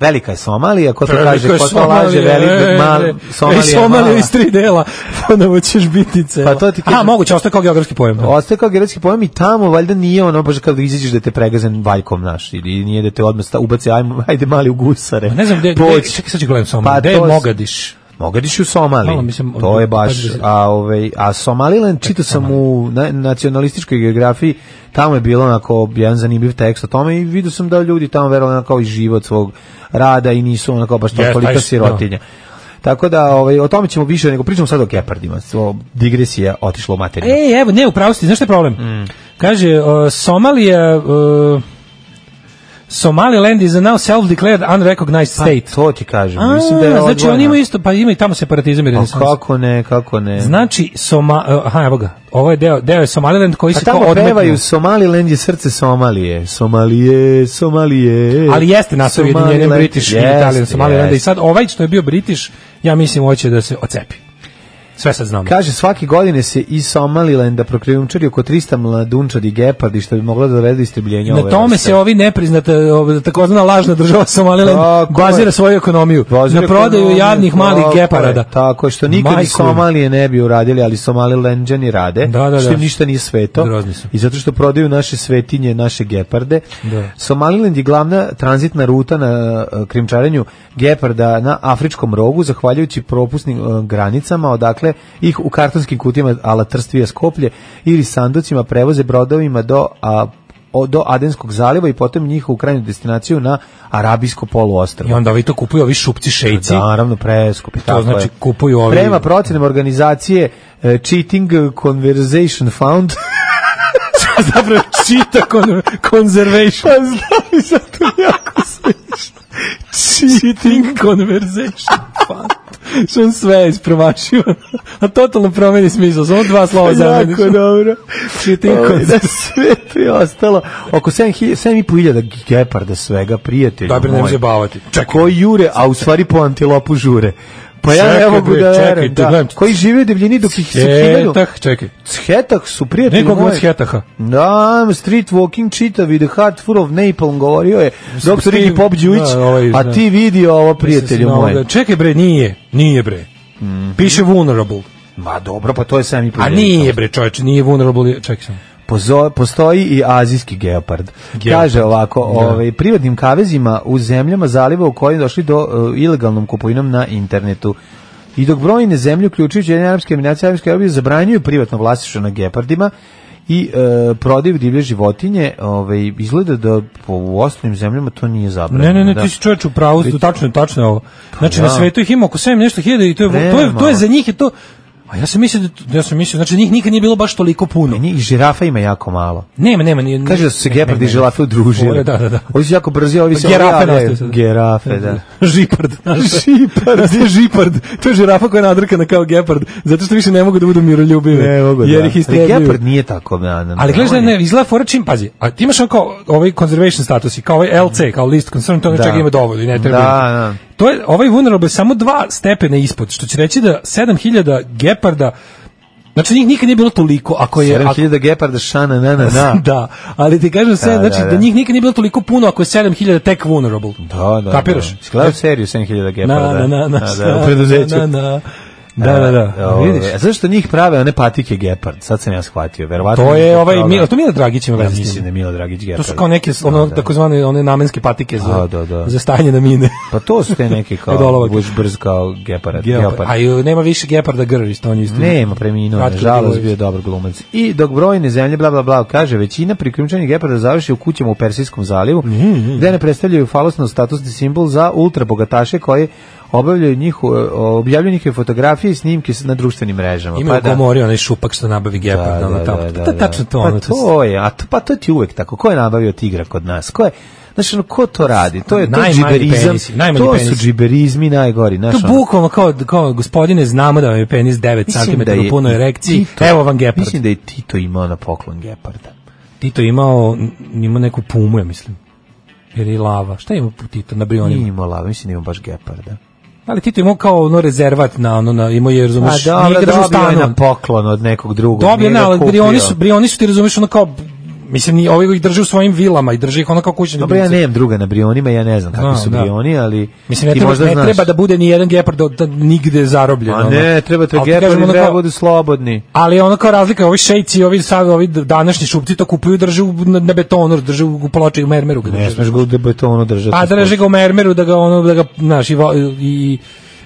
Speaker 6: Velika je Somalija, ko to
Speaker 5: Velika
Speaker 6: kaže,
Speaker 5: je
Speaker 6: ko to
Speaker 5: Somalija,
Speaker 6: laže,
Speaker 5: e,
Speaker 6: velika, mal,
Speaker 5: e,
Speaker 6: Somalija,
Speaker 5: e, Somalija
Speaker 6: mala.
Speaker 5: iz tri dela, <laughs> ponovo ćeš biti cela.
Speaker 6: Pa to ti
Speaker 5: A,
Speaker 6: kažem.
Speaker 5: moguće, ostaje kao geografski da. pojem.
Speaker 6: Da. Ostaje kao geografski pojam i tamo valjda nije ono baš kad izađeš da te pregazen valjkom naš ili nije da te odmah sta, ubace ajmo, <laughs> ajde mali u gusare.
Speaker 5: Ma Ne znam, gde, gde,
Speaker 6: Poći.
Speaker 5: čekaj sad ću gledam Somaliju,
Speaker 6: Pa
Speaker 5: gde je
Speaker 6: to s-
Speaker 5: Mogadiš?
Speaker 6: Mogadiš da u Somaliji.
Speaker 5: Malo, mislim,
Speaker 6: to je baš
Speaker 5: pa-
Speaker 6: a ovaj a Somaliland čitao sam u na, nacionalističkoj geografiji tamo je bilo onako jedan zanimljiv tekst o tome i vidio sam da ljudi tamo verovano kao i život svog rada i nisu onako baš
Speaker 5: Jes, taj
Speaker 6: toliko
Speaker 5: s- da.
Speaker 6: sirotinja. Tako da ovaj o tome ćemo više nego pričamo sad o gepardima. Svo digresija otišla u materiju.
Speaker 5: Ej, E, evo, ne, upravo ste, znaš šta je problem?
Speaker 6: Mm.
Speaker 5: Kaže, uh, Somalija... Uh, Somaliland is a now self-declared unrecognized state.
Speaker 6: Pa, to ti kažem.
Speaker 5: A,
Speaker 6: Mislim da je
Speaker 5: znači
Speaker 6: odvojena.
Speaker 5: oni imaju isto, pa imaju tamo separatizam i
Speaker 6: Pa
Speaker 5: renesans.
Speaker 6: kako ne, kako ne.
Speaker 5: Znači, Soma, uh, aha, evo ga, ovo je deo, deo je Somaliland koji
Speaker 6: pa
Speaker 5: se kao
Speaker 6: tamo
Speaker 5: odmetno.
Speaker 6: pevaju Somaliland je srce Somalije. Somalije, Somalije.
Speaker 5: Ali jeste nastao ujedinjenjem
Speaker 6: Somaliland-
Speaker 5: British i
Speaker 6: Jeste,
Speaker 5: Italijan Somalilanda i
Speaker 6: jeste.
Speaker 5: sad ovaj što je bio British, ja mislim, hoće da se ocepi. Sve sad znamo.
Speaker 6: Kaže, svake godine se iz Somalilanda prokrijumčari oko 300 mladunčadi gepardi, što bi moglo da dovede do istrebljenja
Speaker 5: Na
Speaker 6: ove
Speaker 5: tome
Speaker 6: vrste.
Speaker 5: se ovi nepriznata ov- takozvana lažna država Somaliland
Speaker 6: Tako
Speaker 5: bazira
Speaker 6: je.
Speaker 5: svoju ekonomiju
Speaker 6: Bazira
Speaker 5: na prodaju
Speaker 6: ekonomiju,
Speaker 5: jadnih malih
Speaker 6: tako je,
Speaker 5: geparada.
Speaker 6: Tako je, što nikad
Speaker 5: Majku
Speaker 6: iz Somalije ne bi uradili, ali Somalilandžani rade,
Speaker 5: Da, da, da.
Speaker 6: što im ništa nije sveto.
Speaker 5: Grozni su.
Speaker 6: I zato što prodaju naše svetinje, naše geparde.
Speaker 5: Da.
Speaker 6: Somaliland je glavna tranzitna ruta na e, krimčarenju geparda na afričkom rogu, zahvaljujući propusnim e, granicama, odakle ih u kartonskim kutijama ala Trstvija Skoplje ili sanducima prevoze brodovima do a, o- do Adenskog zaliva i potom njihovu krajnju destinaciju na Arabijsko poluostrvo.
Speaker 5: I onda ovi to kupuju, ovi šupci šejci.
Speaker 6: Da, naravno preskupi.
Speaker 5: To znači kupuju ovi...
Speaker 6: Prema procenama organizacije e, Cheating Conversation
Speaker 5: <laughs>
Speaker 6: Fund
Speaker 5: <laughs> zapravo čita kon, conservation.
Speaker 6: Pa znam, zato jako
Speaker 5: Cheating conversation. Što on sve je ispromašio. A totalno promeni smisla. Samo dva slova zameniš.
Speaker 6: jako dobro.
Speaker 5: Cheating
Speaker 6: Ovaj,
Speaker 5: conversation.
Speaker 6: Na svetu je ostalo oko 7.500 geparda svega, prijatelju
Speaker 5: Dobro, nemoj
Speaker 6: moj.
Speaker 5: zabavati. Čekaj.
Speaker 6: Koji jure, a u stvari po antilopu žure. Pa ja
Speaker 5: Čekaj,
Speaker 6: ne mogu
Speaker 5: bre,
Speaker 6: da
Speaker 5: čekaj,
Speaker 6: verujem,
Speaker 5: da
Speaker 6: da.
Speaker 5: gledam.
Speaker 6: Koji žive u divljini dok ih se hiljadu...
Speaker 5: Hetah, eh, čekaj.
Speaker 6: Hetah su prijatelji
Speaker 5: Nekog
Speaker 6: moji.
Speaker 5: od Hetaha.
Speaker 6: Da, I'm a street walking čitavi, the heart full of Napalm, govorio je doktor
Speaker 5: Steve-
Speaker 6: Iggy Pop Đujić,
Speaker 5: da, ovaj, da.
Speaker 6: a ti vidi ovo prijatelju Mhm.
Speaker 5: Mislim,
Speaker 6: moj.
Speaker 5: ovoga, Čekaj bre, nije. Nije bre. Piše vulnerable.
Speaker 6: Ma dobro, pa to je sam i
Speaker 5: A nije bre, čoveče, nije vulnerable. Čekaj sam.
Speaker 6: Pozo- postoji i azijski geopard.
Speaker 5: Geopard. Da.
Speaker 6: Kaže ovako, ovaj, privatnim kavezima u zemljama zaliva u kojoj došli do e, ilegalnom kupovinom na internetu. I dok brojne zemlje, uključujući jedne arapske eminacije, arapske arabije, zabranjuju privatno vlasništvo na gepardima i e, prodaju divlje životinje, ovaj, izgleda da po, u ostalim zemljama to nije zabranjeno.
Speaker 5: Ne, ne, ne,
Speaker 6: da.
Speaker 5: ti si čovječ u pravu,
Speaker 6: Pri-
Speaker 5: tačno, je, tačno je ovo. Znači,
Speaker 6: da.
Speaker 5: na svetu ih ima oko 7 nešto hiljada i to je, to je, to je
Speaker 6: Premalo.
Speaker 5: za njih je to... A ja sam mislio, da, to- ja sam mislio, znači njih nikad nije bilo baš toliko puno.
Speaker 6: Meni I žirafa ima jako malo.
Speaker 5: Nema, nema. Nije,
Speaker 6: Kaže da su se <laughs>
Speaker 5: ne, ne,
Speaker 6: gepardi i
Speaker 5: ne.
Speaker 6: žilafe udružili.
Speaker 5: Ovo je, Da, da, da.
Speaker 6: Ovi su jako brzi, ovi se
Speaker 5: Girafe
Speaker 6: javljaju.
Speaker 5: nastaju sad.
Speaker 6: Girafe, da.
Speaker 5: žipard. <laughs> žipard. je žipard. To je žirafa koja je nadrkana kao gepard, zato što više ne mogu da budu miroljubive.
Speaker 6: Ne mogu, da.
Speaker 5: Jer ih
Speaker 6: Ali
Speaker 5: istrebljuju.
Speaker 6: Gepard nije tako, na, na,
Speaker 5: Ali gledaš
Speaker 6: on
Speaker 5: da
Speaker 6: je-
Speaker 5: ne, izgleda fora čim, pazi, a ti imaš on kao ovaj conservation status i kao ovaj LC, kao list concern, to
Speaker 6: Da.
Speaker 5: da. čega ima dovoljno i ne treba.
Speaker 6: Da, da.
Speaker 5: To je, ovaj vulnerable je samo dva stepena ispod, što će reći da 7000 gepardna Znači njih nikad nije bilo toliko, ako je...
Speaker 6: 7000 geparda šana na na na.
Speaker 5: <laughs> da, ali ti kažem sve,
Speaker 6: Da, da,
Speaker 5: znači da,
Speaker 6: da.
Speaker 5: njih nikad nije bilo toliko puno ako je 7000 tek vulnerable.
Speaker 6: Da, da.
Speaker 5: Kapiraš?
Speaker 6: Da. Skladao seriju 7000 geparda.
Speaker 5: Na, na, na, na,
Speaker 6: Da,
Speaker 5: na,
Speaker 6: da, u preduzeću. E,
Speaker 5: na, na. Da, da, da.
Speaker 6: A,
Speaker 5: Vidiš?
Speaker 6: ove, a zašto njih prave one patike gepard? Sad sam ja shvatio, verovatno.
Speaker 5: To je
Speaker 6: zbog
Speaker 5: ovaj
Speaker 6: toga.
Speaker 5: Milo, to Milo Dragić ima
Speaker 6: Ja
Speaker 5: veze s
Speaker 6: mislim da
Speaker 5: njim.
Speaker 6: je Milo Dragić
Speaker 5: To
Speaker 6: gepard.
Speaker 5: su kao neke ono
Speaker 6: Da, da.
Speaker 5: takozvane one namenske patike za
Speaker 6: A, da, da.
Speaker 5: za stanje na
Speaker 6: <laughs>
Speaker 5: mine.
Speaker 6: Pa to su te neke
Speaker 5: E, do
Speaker 6: kao,
Speaker 5: olovak.
Speaker 6: buš brz kao gepard.
Speaker 5: Geopard. A i nema više Geparda Grvić, to on je isto.
Speaker 6: Nema preminuo,
Speaker 5: Ratko
Speaker 6: nažalost
Speaker 5: Milivojević.
Speaker 6: bio je dobar glumac. I dok brojne zemlje bla bla bla kaže većina priključenih geparda završi u kućama u Persijskom zalivu, gde ne predstavljaju falosno statusni simbol za ultrabogataše koji obavljaju njihu, objavljuju njihove fotografije i snimke s- na društvenim mrežama.
Speaker 5: Ima pa, gomori, onaj šupak što nabavi Gepard, ono tamo.
Speaker 6: da,
Speaker 5: Pa
Speaker 6: da.
Speaker 5: tačno to, ono,
Speaker 6: Pa
Speaker 5: to
Speaker 6: to je, a to, pa to ti je uvek tako. Ko je nabavio tigra kod nas? Ko je Znaš, ono, ko to radi? To je to
Speaker 5: Najmanji
Speaker 6: džiberizam.
Speaker 5: penisi, najmanji
Speaker 6: To su
Speaker 5: penisi.
Speaker 6: džiberizmi najgori. Znaš,
Speaker 5: To bukvalno kao, kao gospodine, znamo da vam je penis 9
Speaker 6: Mislim
Speaker 5: cm
Speaker 6: da je
Speaker 5: u punoj erekciji,
Speaker 6: Tito-
Speaker 5: evo vam Gepard.
Speaker 6: Mislim da je Tito imao na poklon Geparda.
Speaker 5: Tito je imao, n- imao neku pumu, ja mislim. Jer je lava. Šta ima Tito na
Speaker 6: Nije
Speaker 5: brionima?
Speaker 6: imao lava, mislim da imao baš Geparda.
Speaker 5: Ali Tito je imao kao ono rezervat na ono, na, imao je,
Speaker 6: A
Speaker 5: razumeš,
Speaker 6: dobro,
Speaker 5: nije ga držao u
Speaker 6: dobio je
Speaker 5: stanu.
Speaker 6: ovaj na poklon od nekog drugog.
Speaker 5: Dobio,
Speaker 6: nije
Speaker 5: ne,
Speaker 6: ga
Speaker 5: ali
Speaker 6: kupio.
Speaker 5: brioni su, brioni su ti razumeš ono kao, mislim, ni, ovi ih drži u svojim vilama i drži ih ono kao kućni
Speaker 6: Dobro, ja
Speaker 5: ljubimci.
Speaker 6: nemam druga na brionima, ja ne znam kakvi
Speaker 5: Da,
Speaker 6: su
Speaker 5: da.
Speaker 6: brioni, ali
Speaker 5: Mislim, ne,
Speaker 6: ti
Speaker 5: treba,
Speaker 6: možda
Speaker 5: ne
Speaker 6: znaš.
Speaker 5: treba da bude ni jedan gepard od, od nigde zarobljen.
Speaker 6: A
Speaker 5: ono.
Speaker 6: ne, treba
Speaker 5: Ali
Speaker 6: to
Speaker 5: ti kažem,
Speaker 6: Gepardi,
Speaker 5: ono
Speaker 6: treba da
Speaker 5: kao-
Speaker 6: budu slobodni.
Speaker 5: Ali ono kao razlika, ovi šejci, ovi sad, ovi današnji šupci to kupuju, i drže u, na, na betonu, drže u, u ploči, u mermeru. Ga
Speaker 6: Ne
Speaker 5: drže.
Speaker 6: smeš ga u betonu držati.
Speaker 5: Pa drže ga u mermeru da ga ono da ga znaš i, vo- i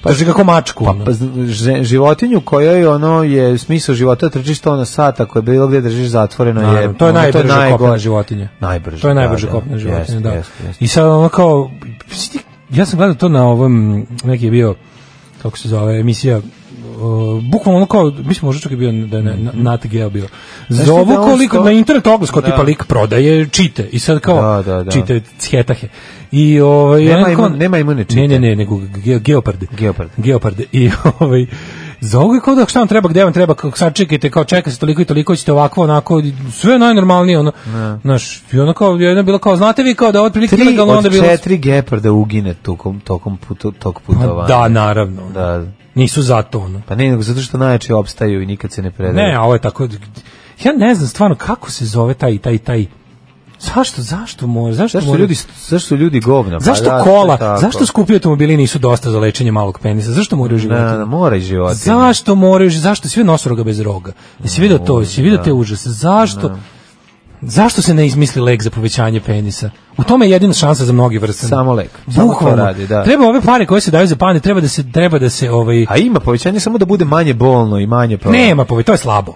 Speaker 5: drže ga ko mačku.
Speaker 6: Pa,
Speaker 5: ono.
Speaker 6: pa z- ž- životinju kojoj ono je smisao života trčiš 100 na sat, ako je bilo gde držiš zatvoreno
Speaker 5: Naravno,
Speaker 6: je...
Speaker 5: to je
Speaker 6: ono,
Speaker 5: najbrža
Speaker 6: najgore.
Speaker 5: kopnena životinja.
Speaker 6: Najbrže,
Speaker 5: To je najbrža
Speaker 6: da, da.
Speaker 5: kopnena životinja,
Speaker 6: Jeste,
Speaker 5: da.
Speaker 6: jeste, jeste.
Speaker 5: I sad ono kao ja sam gledao to na ovom neki je bio kako se zove emisija Uh, bukvalno ono kao, mislim možda čak je bio da je ne, na- Nat Geo bio
Speaker 6: Mhm. Znaš
Speaker 5: zovu
Speaker 6: ti da on
Speaker 5: koliko,
Speaker 6: sto-
Speaker 5: na internet oglas kao
Speaker 6: Da.
Speaker 5: tipa lik prodaje čite i sad kao
Speaker 6: Da, da, da.
Speaker 5: čite cjetahe i ovaj,
Speaker 6: Nema
Speaker 5: onako-
Speaker 6: imun- nema imune čite.
Speaker 5: ne, ne, ne, nego ge, geoparde
Speaker 6: Geopard.
Speaker 5: geoparde i <laughs> ovaj za ovo je kao da šta vam treba, gde vam treba, kako sad čekajte, kao čeka se toliko i toliko, ćete ovako, onako, sve najnormalnije, ono, znaš, i ono kao, jedna je bilo kao, znate vi kao da je otprilike
Speaker 6: Da. Tri
Speaker 5: ilegalno, onda je
Speaker 6: od
Speaker 5: bilo,
Speaker 6: četiri geparda ugine tokom, tokom putu, tog putovanja.
Speaker 5: da, naravno,
Speaker 6: Da,
Speaker 5: nisu zato, ono,
Speaker 6: pa ne, nego zato što najjači opstaju i nikad se ne predaju.
Speaker 5: ne, a ovo je tako, ja ne znam stvarno kako se zove taj, taj, taj, zašto, zašto mora, zašto,
Speaker 6: zašto
Speaker 5: mora-
Speaker 6: ljudi, zašto su ljudi govna? Pa
Speaker 5: Zašto
Speaker 6: da, to je
Speaker 5: kola?
Speaker 6: tako.
Speaker 5: Zašto skupi automobili nisu dosta za lečenje malog penisa? Zašto moraju životinje?
Speaker 6: Da, da, mora i životinje.
Speaker 5: Zašto moraju, zašto sve nosoroga bez roga? Jesi video to, jesi
Speaker 6: Da.
Speaker 5: video te užase? Zašto? Zašto se ne izmisli lek za povećanje penisa? U tome je jedina šansa za mnogi vrste.
Speaker 6: Samo lek. Samo to
Speaker 5: Bukvalno.
Speaker 6: radi, da.
Speaker 5: Treba ove pare koje se daju za pane, treba da se treba da se ovaj
Speaker 6: A ima povećanje samo da bude manje bolno i manje problem.
Speaker 5: nema pove, to je slabo.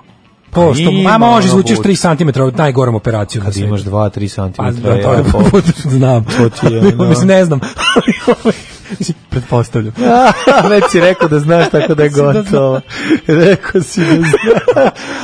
Speaker 5: To što
Speaker 6: Pa Ima,
Speaker 5: ma može
Speaker 6: ono,
Speaker 5: izvučeš
Speaker 6: bud-
Speaker 5: 3 cm od najgorom operacijom. na
Speaker 6: Kad
Speaker 5: svijetu.
Speaker 6: imaš 2-3 cm.
Speaker 5: Pa, da, to je put, <laughs> znam.
Speaker 6: to ti je, da. ono.
Speaker 5: <laughs> Mislim, ne znam. Ali, ovaj, mislim, Pretpostavljam.
Speaker 6: <laughs> Već si rekao da znaš tako da je
Speaker 5: Mislim da
Speaker 6: gotovo. Rekao si da znaš.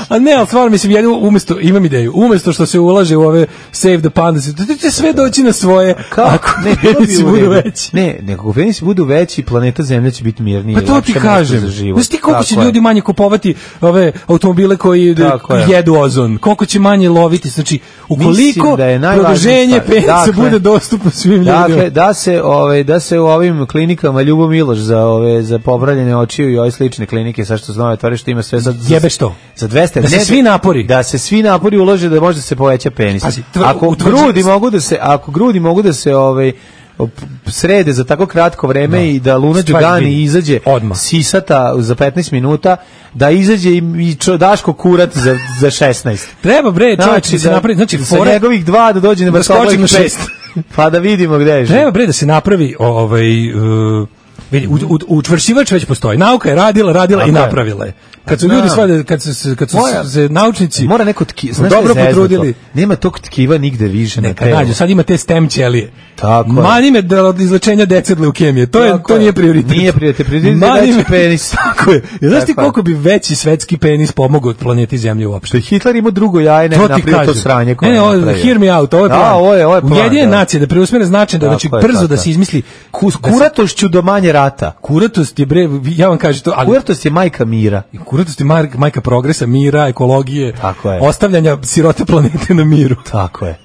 Speaker 5: A ne, ali stvarno, mislim, jedino umesto, imam ideju, umesto što se ulaže u ove Save the Pandas, to će sve doći na svoje, ako ne,
Speaker 6: bilo bi u
Speaker 5: budu
Speaker 6: redu.
Speaker 5: veći.
Speaker 6: Ne, nego penisi budu veći, planeta Zemlja će biti mirnija.
Speaker 5: Pa to ti kažem. Znaš ti koliko će ljudi manje kupovati ove automobile koji
Speaker 6: Tako je.
Speaker 5: jedu ozon? Koliko će manje loviti? Znači, ukoliko
Speaker 6: Mislim da je najvažnija
Speaker 5: produženje
Speaker 6: stvar-
Speaker 5: penisa
Speaker 6: Dakle-
Speaker 5: bude dostupno <laughs> svim ljudima.
Speaker 6: Dakle, da se ovaj da se u ovim klinikama Ljubo Miloš za ove za popravljene očiju i ove slične klinike sa što da znaju otvore što ima sve za za-
Speaker 5: Jebeš to.
Speaker 6: Za 200
Speaker 5: Da se
Speaker 6: ne-
Speaker 5: svi napori.
Speaker 6: Da se svi napori ulože da može da se poveća penis.
Speaker 5: Pazi, tvr-
Speaker 6: ako
Speaker 5: utvrđen-
Speaker 6: grudi mogu da se ako grudi mogu da se ovaj op- srede za tako kratko vreme i da Luna
Speaker 5: Stvari
Speaker 6: Đugani
Speaker 5: vidi.
Speaker 6: izađe
Speaker 5: Odmah.
Speaker 6: sisata za 15 minuta da izađe i, i čo- Daško Kurat za, za 16
Speaker 5: Treba bre, čovječe, da se napravi, znači,
Speaker 6: sa
Speaker 5: fore-
Speaker 6: njegovih dva E, da dođe na
Speaker 5: Da
Speaker 6: vrtoglih
Speaker 5: skoči na
Speaker 6: pet.
Speaker 5: šest.
Speaker 6: <laughs> Pa da vidimo gde je.
Speaker 5: Treba bre da se napravi o- ovaj uh, vidi, u, u, učvršivač već postoji. Nauka je radila, radila i
Speaker 6: Tako je.
Speaker 5: napravila je. Kad su
Speaker 6: Da.
Speaker 5: ljudi svade, kad su se, kad su
Speaker 6: Moja-
Speaker 5: se naučnici
Speaker 6: Mora neko tki, znaš
Speaker 5: dobro
Speaker 6: šta je zeznuto?
Speaker 5: potrudili.
Speaker 6: Nema tog tkiva nigde više na
Speaker 5: Neka
Speaker 6: telu.
Speaker 5: nađu, sad ima te stem ćelije.
Speaker 6: Tako je.
Speaker 5: Mani me da od izlečenja dece od leukemije. To, je,
Speaker 6: Tako
Speaker 5: to
Speaker 6: je.
Speaker 5: nije prioritet.
Speaker 6: Nije prioritet, prioritet je
Speaker 5: Mani
Speaker 6: veći
Speaker 5: me- <laughs>
Speaker 6: penis.
Speaker 5: Tako je. Jer Znaš ti
Speaker 6: Tako je.
Speaker 5: koliko bi veći svetski penis pomogao od planeti Zemlje
Speaker 6: Što
Speaker 5: uopšte?
Speaker 6: je Hitler imao drugo jaje, ne
Speaker 5: To ti
Speaker 6: napravio to
Speaker 5: kažem.
Speaker 6: sranje koje
Speaker 5: ne, ne,
Speaker 6: je
Speaker 5: ovo,
Speaker 6: napravio.
Speaker 5: hear me out, ovo je
Speaker 6: Da,
Speaker 5: plan.
Speaker 6: ovo je, ovo je plan,
Speaker 5: Ujedinjene
Speaker 6: da.
Speaker 5: nacije, da preusmere značaj, da
Speaker 6: Tako
Speaker 5: znači
Speaker 6: je,
Speaker 5: brzo
Speaker 6: tako
Speaker 5: da
Speaker 6: je.
Speaker 5: se izmisli
Speaker 6: Kus,
Speaker 5: da se-
Speaker 6: kuratošću do manje rata.
Speaker 5: Kuratost je bre, ja vam kažem to, ali
Speaker 6: Kuratost je majka mira.
Speaker 5: kuratost je mar- majka progresa, mira, ekologije,
Speaker 6: Tako je.
Speaker 5: ostavljanja sirote planete na miru.
Speaker 6: Tako je.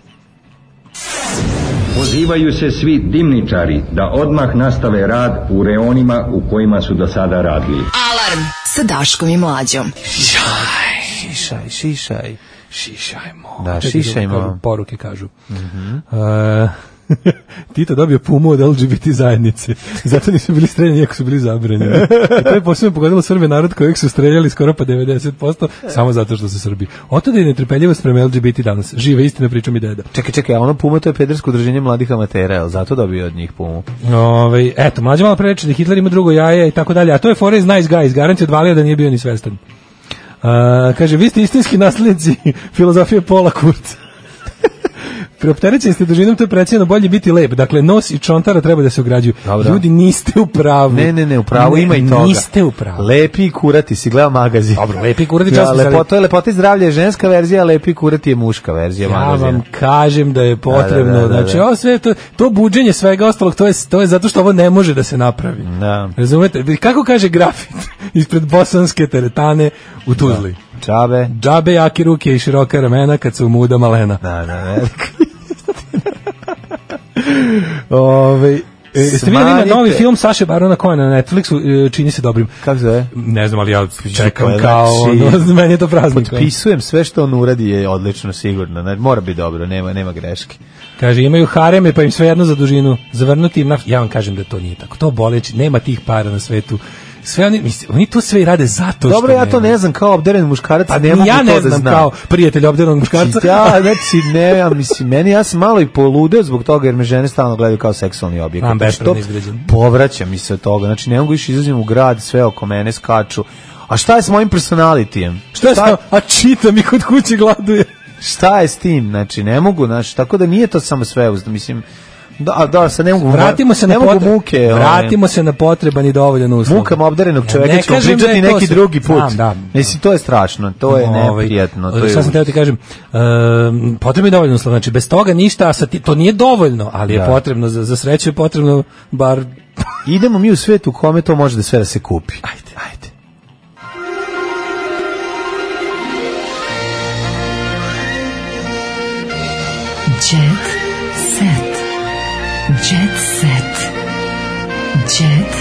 Speaker 14: Pozivaju se svi dimničari da odmah nastave rad u reonima u kojima su do sada radili.
Speaker 4: Alarm sa Daškom i Mlađom.
Speaker 6: Šišaj, šišaj. Šišaj, mo. Da, Mhm.
Speaker 5: Čekaj,
Speaker 6: šišaj,
Speaker 5: kako
Speaker 6: mo.
Speaker 5: Poruke kažu. E, <laughs> Tito dobio pumu od LGBT zajednice. <laughs> Zato nisu bili streljani, iako su bili zabranjeni. I to je posebno pogodilo Srbe narod kojeg su streljali skoro pa 90%, samo zato što su Srbi. Otuda je netrpeljivost prema LGBT danas. Žive istina, priča mi deda.
Speaker 6: Čekaj, čekaj, a ono Puma to je pedersko udruženje mladih amatera, jel zato dobio od njih Pumu?
Speaker 5: Ovaj eto, mlađe malo pre reče da Hitler ima drugo jaje i tako dalje, a to je fora iz Nice Guys, garancija odvalio da nije bio ni svestan. A, kaže, vi ste istinski naslednici <laughs> filozofije Pola Kurca. <laughs> Preopterećeni ste dužinom, to je precijeno bolje biti lep. Dakle, nos i čontara treba da se ograđuju.
Speaker 6: Dobro.
Speaker 5: Ljudi, niste u pravu.
Speaker 6: Ne, ne, ne, u pravu
Speaker 5: Ne,
Speaker 6: ima i toga.
Speaker 5: Niste u pravu.
Speaker 6: Lepi i kurati, si gledao magazin.
Speaker 5: Dobro, lepi i kurati,
Speaker 6: ja,
Speaker 5: časno se
Speaker 6: Da, lepo,
Speaker 5: radi.
Speaker 6: To je lepota i zdravlje je ženska verzija, a lepi i kurati je muška verzija
Speaker 5: Ja
Speaker 6: magazina.
Speaker 5: vam kažem da je potrebno.
Speaker 6: Da, da, da, da.
Speaker 5: Znači, ovo sve, to, to buđenje svega ostalog, to je, to je zato što ovo ne može da se napravi.
Speaker 6: Da.
Speaker 5: Razumete? Kako kaže grafit <laughs> ispred bosanske teretane u Tuzli?
Speaker 6: Da. Čabe.
Speaker 5: Džabe jake ruke i široka ramena kad su muda malena.
Speaker 6: Da, da, <laughs> velika.
Speaker 5: Ove, e, ste vidjeli ima
Speaker 6: Smanjite.
Speaker 5: novi film Saše Barona Kojena na Netflixu, e, čini se dobrim.
Speaker 6: Kako zove?
Speaker 5: Ne znam, ali ja čekam
Speaker 6: Čekaj,
Speaker 5: kao,
Speaker 6: znači,
Speaker 5: ono, <laughs> meni je to praznik.
Speaker 6: Potpisujem sve što on uradi je odlično, sigurno. Znači, mora biti dobro, nema, nema greške.
Speaker 5: Kaže, imaju hareme, pa im svejedno za dužinu. Zavrnuti im naf... Ja vam kažem da to nije tako. To boleći, nema tih para na svetu. Sve oni, mislim, oni to sve i rade zato što
Speaker 6: Dobro, ja to
Speaker 5: nemaju.
Speaker 6: ne znam, kao obderen muškarac,
Speaker 5: Pa
Speaker 6: ne mogu
Speaker 5: ja
Speaker 6: to
Speaker 5: ne
Speaker 6: da
Speaker 5: znam
Speaker 6: znam.
Speaker 5: kao prijatelj obderenog muškarca.
Speaker 6: Znači, ja, znači, ne, ja, mislim, meni, ja sam malo i poludeo zbog toga, jer me žene stalno gledaju kao seksualni objekt.
Speaker 5: Znam,
Speaker 6: Znači,
Speaker 5: bespravno
Speaker 6: to
Speaker 5: izgrađen.
Speaker 6: Povraća mi se od toga, znači, ne mogu više izlazim u grad, sve oko mene skaču. A šta je s mojim personalitijem?
Speaker 5: <laughs> Šta je sa- a čita mi kod kuće gladuje.
Speaker 6: Šta je s tim? Znači, ne mogu, znači, tako da nije to samo sve, uz- mislim, da, a da, sad ne mogu,
Speaker 5: Vratimo se na
Speaker 6: ne mogu
Speaker 5: potre-
Speaker 6: muke. ovaj.
Speaker 5: Vratimo se na potreban i dovoljan uslov.
Speaker 6: mukama obdarenog
Speaker 5: Ja
Speaker 6: čoveka
Speaker 5: ne
Speaker 6: ćemo
Speaker 5: kažem da
Speaker 6: pričati
Speaker 5: je to
Speaker 6: neki
Speaker 5: sve-
Speaker 6: drugi put.
Speaker 5: Znam, da.
Speaker 6: Mislim, to je strašno, to je
Speaker 5: Ovaj,
Speaker 6: neprijatno. To
Speaker 5: Šta
Speaker 6: je
Speaker 5: sam teo ti kažem, um, potrebno je dovoljno uslov, znači bez toga ništa, a sa ti, to nije dovoljno, ali je
Speaker 6: Da.
Speaker 5: potrebno, za, za sreću je potrebno bar...
Speaker 6: Idemo mi u svet u kome to može da sve da se kupi. Ajde, ajde.
Speaker 4: Jet set. Jet set. Jet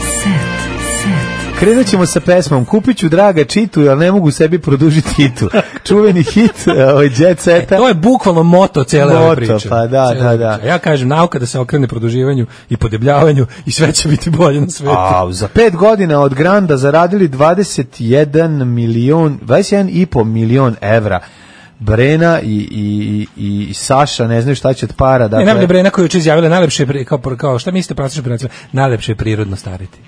Speaker 4: set. set.
Speaker 6: Krenut ćemo sa pesmom Kupit ću draga čitu, ali ne mogu sebi produžiti hitu. Čuveni hit ovaj, Jet Seta.
Speaker 5: To je bukvalno moto cele ove
Speaker 6: Moto,
Speaker 5: priče.
Speaker 6: pa da,
Speaker 5: Cele
Speaker 6: da,
Speaker 5: ove
Speaker 6: da.
Speaker 5: priče. Ja kažem, nauka da se okrene produživanju i podebljavanju i sve će biti bolje na svetu.
Speaker 6: A, za pet godina od Granda zaradili 21 milion, 21 i po milion evra. Brena i, i, i, i Saša ne znaju šta će od para.
Speaker 5: Ne,
Speaker 6: Dakle,
Speaker 5: najbolje bre, neko je juče izjavila najlepše je pri- kao, kao šta mislite praktično prenacija? Najlepše je prirodno stariti.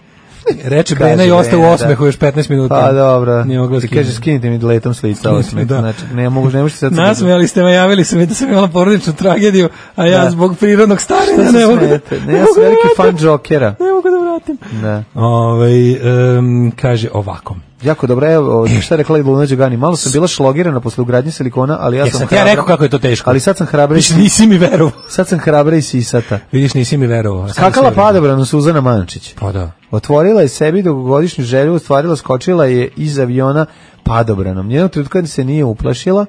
Speaker 5: Reče
Speaker 6: <laughs> Kaže
Speaker 5: Brena i ostao u
Speaker 6: Brena,
Speaker 5: osmehu
Speaker 6: da.
Speaker 5: još 15 minuta.
Speaker 6: Pa dobro.
Speaker 5: Nije mogla
Speaker 6: Ti
Speaker 5: skinuti.
Speaker 6: kažeš skinite mi letom s lica osmeh.
Speaker 5: Da.
Speaker 6: Znači, ne mogu, ne možeš sad...
Speaker 5: Nasmejali ste me, javili su mi da sam imala porodičnu tragediju, a ja
Speaker 6: Da.
Speaker 5: zbog prirodnog
Speaker 6: Šta
Speaker 5: starenja
Speaker 6: se
Speaker 5: ne mogu,
Speaker 6: smijete? Ne,
Speaker 5: ne
Speaker 6: ja
Speaker 5: mogu
Speaker 6: sam
Speaker 5: da
Speaker 6: veliki
Speaker 5: vratim.
Speaker 6: fan Jokera.
Speaker 5: Ne mogu da vratim.
Speaker 6: Da.
Speaker 5: Ovaj, em, kaže ovako.
Speaker 6: Jako
Speaker 5: <clears throat>
Speaker 6: dobro, evo, šta je rekla Luna Đugani, malo sam bila šlogirana posle ugradnje silikona, ali ja
Speaker 5: E, Ja
Speaker 6: Da sam
Speaker 5: sam ti ja
Speaker 6: hrabra-
Speaker 5: rekao kako je to teško.
Speaker 6: Ali sad sam hrabra i
Speaker 5: Viš, nisi mi verovao.
Speaker 6: sad sam hrabra i sisata.
Speaker 5: Vidiš, nisi mi verovao. Sad
Speaker 6: Skakala
Speaker 5: sam verovao.
Speaker 6: padobranom Suzana Mančić.
Speaker 5: Pa da.
Speaker 6: Otvorila je sebi dugogodišnju želju, ostvarila, skočila je iz aviona padobranom. Njenog trenutka se nije uplašila,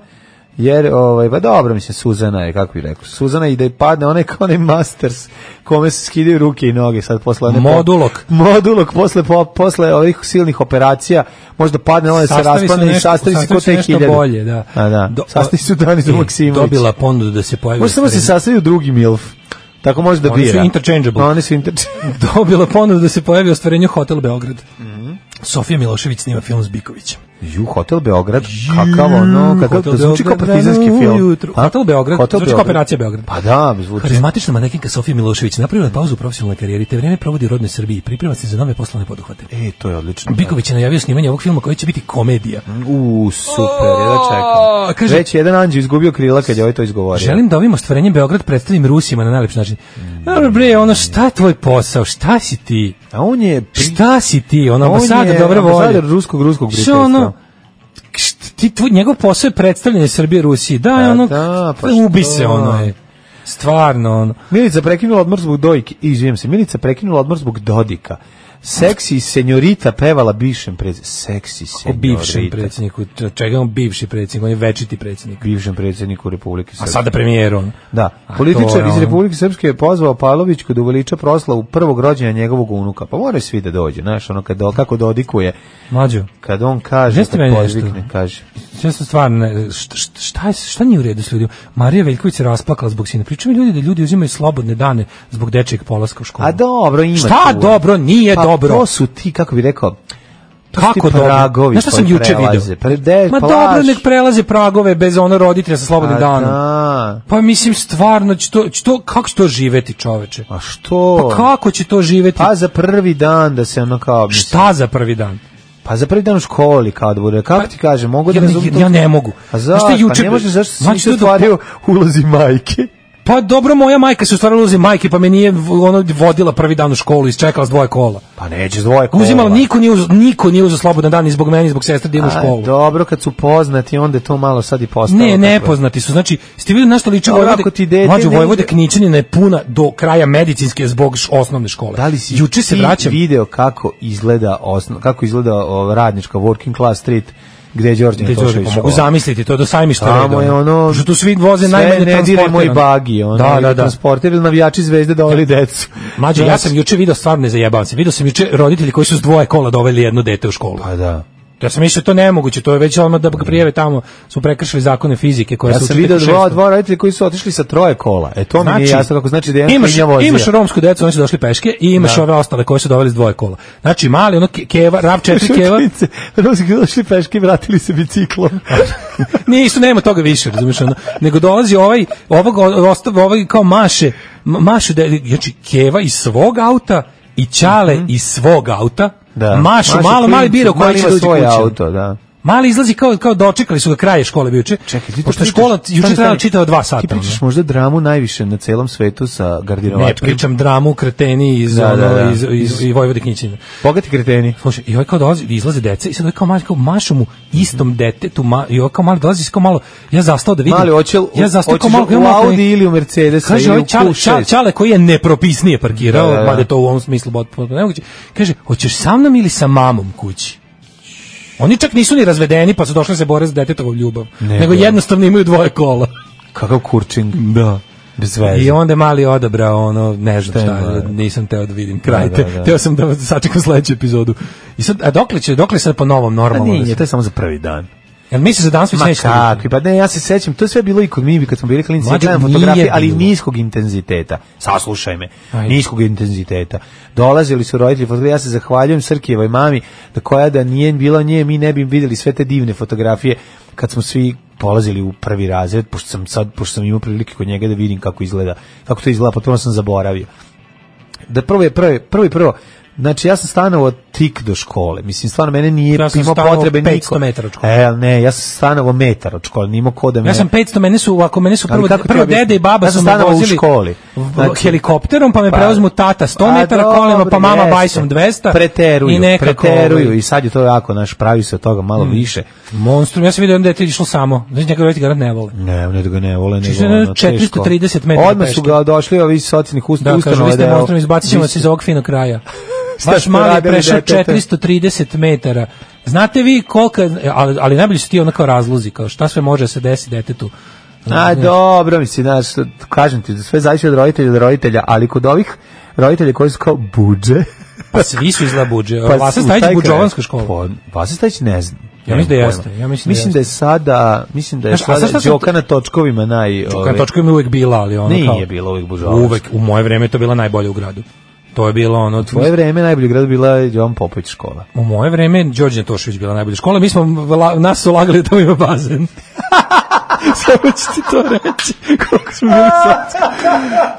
Speaker 6: jer, ovaj, pa dobro, mislim, Suzana je, kako bih rekao, Suzana i da je padne, ona je kao onaj masters, kome se skidaju ruke i noge, sad posle one...
Speaker 5: Modulok.
Speaker 6: Modulok posle, po, posle ovih silnih operacija, možda padne, ona se
Speaker 5: Sastavi su
Speaker 6: raspane i
Speaker 5: nešto-
Speaker 6: sastavi se ko
Speaker 5: su
Speaker 6: te
Speaker 5: nešto
Speaker 6: hiljade.
Speaker 5: bolje, da.
Speaker 6: A, da.
Speaker 5: Do-
Speaker 6: sastavi su Dani
Speaker 5: I
Speaker 6: Maksimović.
Speaker 5: Dobila ponudu da se pojavi.
Speaker 6: Može samo se
Speaker 5: ispred-
Speaker 6: sastavi u drugi MILF. Tako može da
Speaker 5: Oni su
Speaker 6: bira.
Speaker 5: interchangeable.
Speaker 6: Oni su interchangeable.
Speaker 5: <laughs> Dobila ponudu da se pojavi u ostvarenju Hotel Beograd.
Speaker 6: Mhm.
Speaker 5: Sofija Milošević snima film s Bikovićem.
Speaker 6: Ju, Hotel Beograd, kakav ono, kakav,
Speaker 5: Hotel
Speaker 6: zvuči kao
Speaker 5: Beograd,
Speaker 6: partizanski
Speaker 5: rano
Speaker 6: film.
Speaker 5: ujutru.
Speaker 6: A?
Speaker 5: Hotel Beograd, zvuči kao operacija Beograd.
Speaker 6: Pa da, zvuči.
Speaker 5: Karizmatična manekinka Sofija Milošević napravila je pauzu u profesionalnoj karijeri, te vreme provodi u rodnoj Srbiji i priprema se za nove poslovne poduhvate.
Speaker 6: E, to je odlično.
Speaker 5: Biković je najavio snimanje ovog filma koji će biti komedija.
Speaker 6: U, super, jedva čekam.
Speaker 5: kaže-
Speaker 6: Mm. Već jedan anđe izgubio krila kad je Mm. ovaj to izgovorio.
Speaker 5: Želim da ovim ostvarenjem Beograd predstavim Rusima na najlepši način. Dobro bre, ono šta je tvoj posao? Šta si ti?
Speaker 6: A on je... pri-
Speaker 5: Šta si ti? Ono
Speaker 6: on
Speaker 5: ambasador
Speaker 6: je
Speaker 5: dobre volje.
Speaker 6: ambasador ruskog, ruskog
Speaker 5: Što
Speaker 6: prijateljstva.
Speaker 5: ono? št- Ti, tvoj, njegov posao je predstavljanje Srbije Rusiji. Da,
Speaker 6: Pa
Speaker 5: ono,
Speaker 6: da, pa
Speaker 5: ubi
Speaker 6: što?
Speaker 5: se ono je. Stvarno, ono.
Speaker 6: Milica prekinula odmor zbog Dojke, izvijem se, Milica prekinula odmor zbog Dodika. Seksi senjorita pevala bivšem predsjedniku. Seksi
Speaker 5: O
Speaker 6: senjorita.
Speaker 5: bivšem predsjedniku, č- čega je on bivši predsjednik, on je večiti predsjednik.
Speaker 6: Bivšem predsjedniku Republike
Speaker 5: A sada premijeru.
Speaker 6: Da.
Speaker 5: A to
Speaker 6: Političar
Speaker 5: je
Speaker 6: iz
Speaker 5: ono.
Speaker 6: Republike Srpske je pozvao Pavlović kod uveliča proslavu prvog rođenja njegovog unuka. Pa moraju svi da dođe, znaš, ono kad, kako dodikuje.
Speaker 5: Mlađo.
Speaker 6: Kad on kaže,
Speaker 5: Jeste
Speaker 6: kad
Speaker 5: meni nešto?
Speaker 6: podvikne, kaže.
Speaker 5: Često stvarno, ne, šta, šta, šta, je- šta nije u redu s ljudima? Marija Veljković se rasplakala zbog sina. Pričaju mi ljudi da ljudi uzimaju slobodne dane zbog dečijeg polaska u školu.
Speaker 6: A dobro, ima
Speaker 5: Šta
Speaker 6: tu.
Speaker 5: dobro, nije
Speaker 6: pa
Speaker 5: dobro.
Speaker 6: to su ti, kako bi rekao, to su
Speaker 5: Pa
Speaker 6: ti
Speaker 5: Kako dobro?
Speaker 6: pragovi
Speaker 5: Znaš šta sam
Speaker 6: koji
Speaker 5: juče
Speaker 6: prelaze.
Speaker 5: vidio?
Speaker 6: Pa de-
Speaker 5: Ma
Speaker 6: pa
Speaker 5: dobro,
Speaker 6: laž.
Speaker 5: nek prelaze pragove bez ono roditelja sa slobodnim
Speaker 6: A
Speaker 5: danom.
Speaker 6: da.
Speaker 5: Pa mislim stvarno će to, će to kako će to živeti, čoveče?
Speaker 6: A što?
Speaker 5: Pa kako će to živeti?
Speaker 6: Pa za prvi dan da se ono kao... Mislim,
Speaker 5: Šta za prvi dan?
Speaker 6: Pa za prvi dan u školi kao da bude, kako ti kažem, mogu da
Speaker 5: Pa ja ne-
Speaker 6: razumem to-
Speaker 5: ja ne mogu.
Speaker 6: A
Speaker 5: Znaš šta
Speaker 6: zašto?
Speaker 5: juče-
Speaker 6: Pa ne možeš, zašto si
Speaker 5: Znači,
Speaker 6: nisi
Speaker 5: to je do-
Speaker 6: ostvario ulozi majke?
Speaker 5: Pa dobro, moja majka se stvarno ulozi majke, pa me nije ono vodila prvi dan u školu, isčekala s dvoje kola.
Speaker 6: Pa neće s dvoje kola.
Speaker 5: Uzimala, niko nije uzeo, niko nije uzeo slobodan dan ni zbog meni, ni zbog sestre da idem u
Speaker 6: A,
Speaker 5: školu.
Speaker 6: dobro, kad su poznati, onda je to malo sad i postalo.
Speaker 5: Ne,
Speaker 6: tako.
Speaker 5: nepoznati su. Znači, ste videli na što liči
Speaker 6: Dobro,
Speaker 5: Vojvode?
Speaker 6: ako ti dete
Speaker 5: Mlađo,
Speaker 6: ne
Speaker 5: Vojvode
Speaker 6: ide-
Speaker 5: Knićanina je puna do kraja medicinske zbog š- osnovne škole.
Speaker 6: Da li si
Speaker 5: Juče se
Speaker 6: ti
Speaker 5: vraćam.
Speaker 6: video kako izgleda osno, kako izgleda o, radnička working class street gde da je Đorđe
Speaker 5: Gde Đorđe,
Speaker 6: Metošević?
Speaker 5: pa mogu zamisliti, to je do sajmišta
Speaker 6: Tamo
Speaker 5: reda,
Speaker 6: je ono...
Speaker 5: Što tu svi voze
Speaker 6: sve
Speaker 5: najmanje
Speaker 6: ne diraj moj
Speaker 5: transportirano.
Speaker 6: bagi, ono,
Speaker 5: Da, da, da.
Speaker 6: transportirali navijači zvezde doveli decu.
Speaker 5: Mađo, ja
Speaker 6: Znači,
Speaker 5: sam juče video stvarno ne zajebavam se. Video sam juče roditelji koji su s dvoje kola doveli jedno dete u školu.
Speaker 6: Pa da.
Speaker 5: Ja sam mislio to nemoguće, to je već odmah da ga prijave tamo, su prekršili zakone fizike koje su
Speaker 6: Ja sam
Speaker 5: učili
Speaker 6: video
Speaker 5: tek u
Speaker 6: dva,
Speaker 5: šestom.
Speaker 6: dva roditelja koji su otišli sa troje kola. E to mi nije jasno kako znači da je jedan
Speaker 5: imaš,
Speaker 6: klinja vozija.
Speaker 5: imaš
Speaker 6: <laughs>
Speaker 5: romsku decu, oni su došli peške i imaš
Speaker 6: Da.
Speaker 5: ove ostale koje su doveli s dvoje kola. Znači mali ono ke- keva, rav
Speaker 6: <laughs>
Speaker 5: četiri keva,
Speaker 6: Šutnice, Romski došli peške i vratili
Speaker 5: <laughs>
Speaker 6: se biciklom.
Speaker 5: nisu nema toga više, razumiješ ono. Nego dolazi ovaj ovog o- ostav ovaj kao maše, ma- maše da znači keva iz svog auta i ćale iz svog auta.
Speaker 6: Mhm. Da.
Speaker 5: Mašu,
Speaker 6: Mašu
Speaker 5: malo, mali
Speaker 6: klincu,
Speaker 5: bira koji
Speaker 6: mali
Speaker 5: će
Speaker 6: ima
Speaker 5: doći
Speaker 6: svoj
Speaker 5: kuće.
Speaker 6: auto, da.
Speaker 5: Mali izlazi kao kao dočekali su ga kraje škole bio juče.
Speaker 6: Čekaj, ti to
Speaker 5: pošto je
Speaker 6: pričaš-
Speaker 5: škola
Speaker 6: stani,
Speaker 5: juče trajala
Speaker 6: stani.
Speaker 5: čitava dva sata.
Speaker 6: Ti
Speaker 5: ono.
Speaker 6: pričaš možda dramu najviše na celom svetu sa
Speaker 5: Ne,
Speaker 6: gardirovačkim.
Speaker 5: pričam dramu kreteni iz, da,
Speaker 6: Da, da, da.
Speaker 5: iz, iz, iz Vojvode Knjićina.
Speaker 6: Bogati kreteni.
Speaker 5: Slušaj, i ovaj kao dolazi, izlaze deca i sad ovaj kao mali, kao mašu mu istom detetu, ma, i ovaj kao mali dolazi kao malo, ja zastao da vidim.
Speaker 6: Mali, hoće li-
Speaker 5: ja zastao kao
Speaker 6: hoćeš
Speaker 5: malo, kao
Speaker 6: u
Speaker 5: malo, kao-
Speaker 6: Audi ili u Mercedesu
Speaker 5: Kaže,
Speaker 6: ili Da u
Speaker 5: ovaj čale,
Speaker 6: Q6?
Speaker 5: čale, čale koji je nepropisnije parkirao,
Speaker 6: Da, da, da.
Speaker 5: mada je to u ovom smislu potpuno nemoguće, kaže, hoćeš sa mnom ili sa mamom kući? Oni čak nisu ni razvedeni, pa su došli da se bore za detetovu ljubav.
Speaker 6: Ne,
Speaker 5: nego
Speaker 6: da.
Speaker 5: jednostavno imaju dvoje kola.
Speaker 6: Kakav kurčing.
Speaker 5: Da.
Speaker 6: Bez veze.
Speaker 5: I onda je mali odabrao ono, ne znam
Speaker 6: Šta je
Speaker 5: šta,
Speaker 6: mali?
Speaker 5: nisam teo da vidim kraj.
Speaker 6: Da,
Speaker 5: te,
Speaker 6: da, da.
Speaker 5: Teo sam da sačekam sledeću epizodu. I sad, a dokle će, dokle sad po novom
Speaker 6: Pa
Speaker 5: normalno? da
Speaker 6: nije,
Speaker 5: se-
Speaker 6: to je samo za prvi dan.
Speaker 5: Jel misliš da danas već
Speaker 6: Ma
Speaker 5: nećete vidjeti?
Speaker 6: kakvi, pa ne, ja se sećam, to je sve bilo i kod Mibi kad smo bili klinici, ja
Speaker 5: Mlađe,
Speaker 6: gledam
Speaker 5: nije
Speaker 6: fotografije, ali
Speaker 5: bilo.
Speaker 6: niskog intenziteta. Saslušaj me,
Speaker 5: Ajde.
Speaker 6: niskog intenziteta. Dolazili su roditelji fotografije, ja se zahvaljujem Srkijevoj mami, da koja da nije bila nje, mi ne bi videli sve te divne fotografije kad smo svi polazili u prvi razred, pošto sam sad, pošto sam imao prilike kod njega da vidim kako izgleda, kako to izgleda, potpuno sam zaboravio da prvo je prvo, je- prvo i prvo Znači ja sam stanovao tik do škole. Mislim stvarno mene nije
Speaker 5: Ja sam
Speaker 6: imao
Speaker 5: stanovao
Speaker 6: potrebe
Speaker 5: 500
Speaker 6: niko.
Speaker 5: metara od škole.
Speaker 6: E, ali ne, ja sam stanovao metar od škole, nimao ko da me.
Speaker 5: Ja sam 500, mene su, ako mene su
Speaker 6: Ali
Speaker 5: prvo,
Speaker 6: kako ti
Speaker 5: prvo
Speaker 6: objasnim?
Speaker 5: dede i baba
Speaker 6: Ja sam
Speaker 5: su me
Speaker 6: stanovao u
Speaker 5: vozili
Speaker 6: školi.
Speaker 5: v-
Speaker 6: Znači-
Speaker 5: helikopterom, pa me
Speaker 6: Pa-
Speaker 5: preuzmu tata 100
Speaker 6: Pa
Speaker 5: metara kolima,
Speaker 6: dobro,
Speaker 5: pa mama
Speaker 6: jeste.
Speaker 5: bajsom 200.
Speaker 6: Preteruju,
Speaker 5: I nekako,
Speaker 6: preteruju
Speaker 5: ovaj,
Speaker 6: i sad je to jako, naš pravi se od toga malo
Speaker 5: Mm.
Speaker 6: više.
Speaker 5: Monstrum, ja sam vidio da je išlo samo. Znači, njega roditelji garant ne vole.
Speaker 6: Ne, ne da ga ne vole, nego
Speaker 5: Čisto jedno
Speaker 6: ono, teško.
Speaker 5: 430 metara
Speaker 6: Odmah su
Speaker 5: peške.
Speaker 6: ga došli ovi socijalnih ust,
Speaker 5: Da, kažu,
Speaker 6: ustanova.
Speaker 5: vi ste
Speaker 6: da, evo,
Speaker 5: monstrum, izbacit ćemo
Speaker 6: vi
Speaker 5: vas
Speaker 6: ste-
Speaker 5: iz ovog finog kraja.
Speaker 6: <laughs> Šta
Speaker 5: Vaš
Speaker 6: ste
Speaker 5: mali je
Speaker 6: radili,
Speaker 5: prešao
Speaker 6: detete?
Speaker 5: 430 metara. Znate vi koliko, ali, ali najbolji su ti onako razlozi, kao šta sve može da se desiti detetu.
Speaker 6: A dobro, mislim, znaš, kažem ti, sve zavisi od roditelja do roditelja, ali kod ovih roditelja koji su kao budže, <laughs>
Speaker 5: Pa svi su izgleda buđe. Pa, Vasa
Speaker 6: u
Speaker 5: Stajić
Speaker 6: taj
Speaker 5: buđovanska
Speaker 6: kraj.
Speaker 5: škola.
Speaker 6: Pa, Vasa Stajić ne znam.
Speaker 5: Ja mislim da jeste, ja mislim da
Speaker 6: da je sada, mislim da je
Speaker 5: Znaš, a znaš
Speaker 6: sada
Speaker 5: šta sam-
Speaker 6: Đoka na točkovima naj...
Speaker 5: Čukan
Speaker 6: ovaj,
Speaker 5: točka mi je uvek bila, ali ono kao...
Speaker 6: Nije bila uvijek buđovanska.
Speaker 5: Uvek, u moje vreme je to bila najbolja u gradu. To je bilo ono...
Speaker 6: Tvoje vreme najbolji grad bila je Jovan Popović škola.
Speaker 5: U moje vreme Đorđe Tošević bila najbolja škola. Mi smo la- nas su lagali da tamo ima bazen. <laughs> Samo ću ti to reći. Koliko smo bili sad.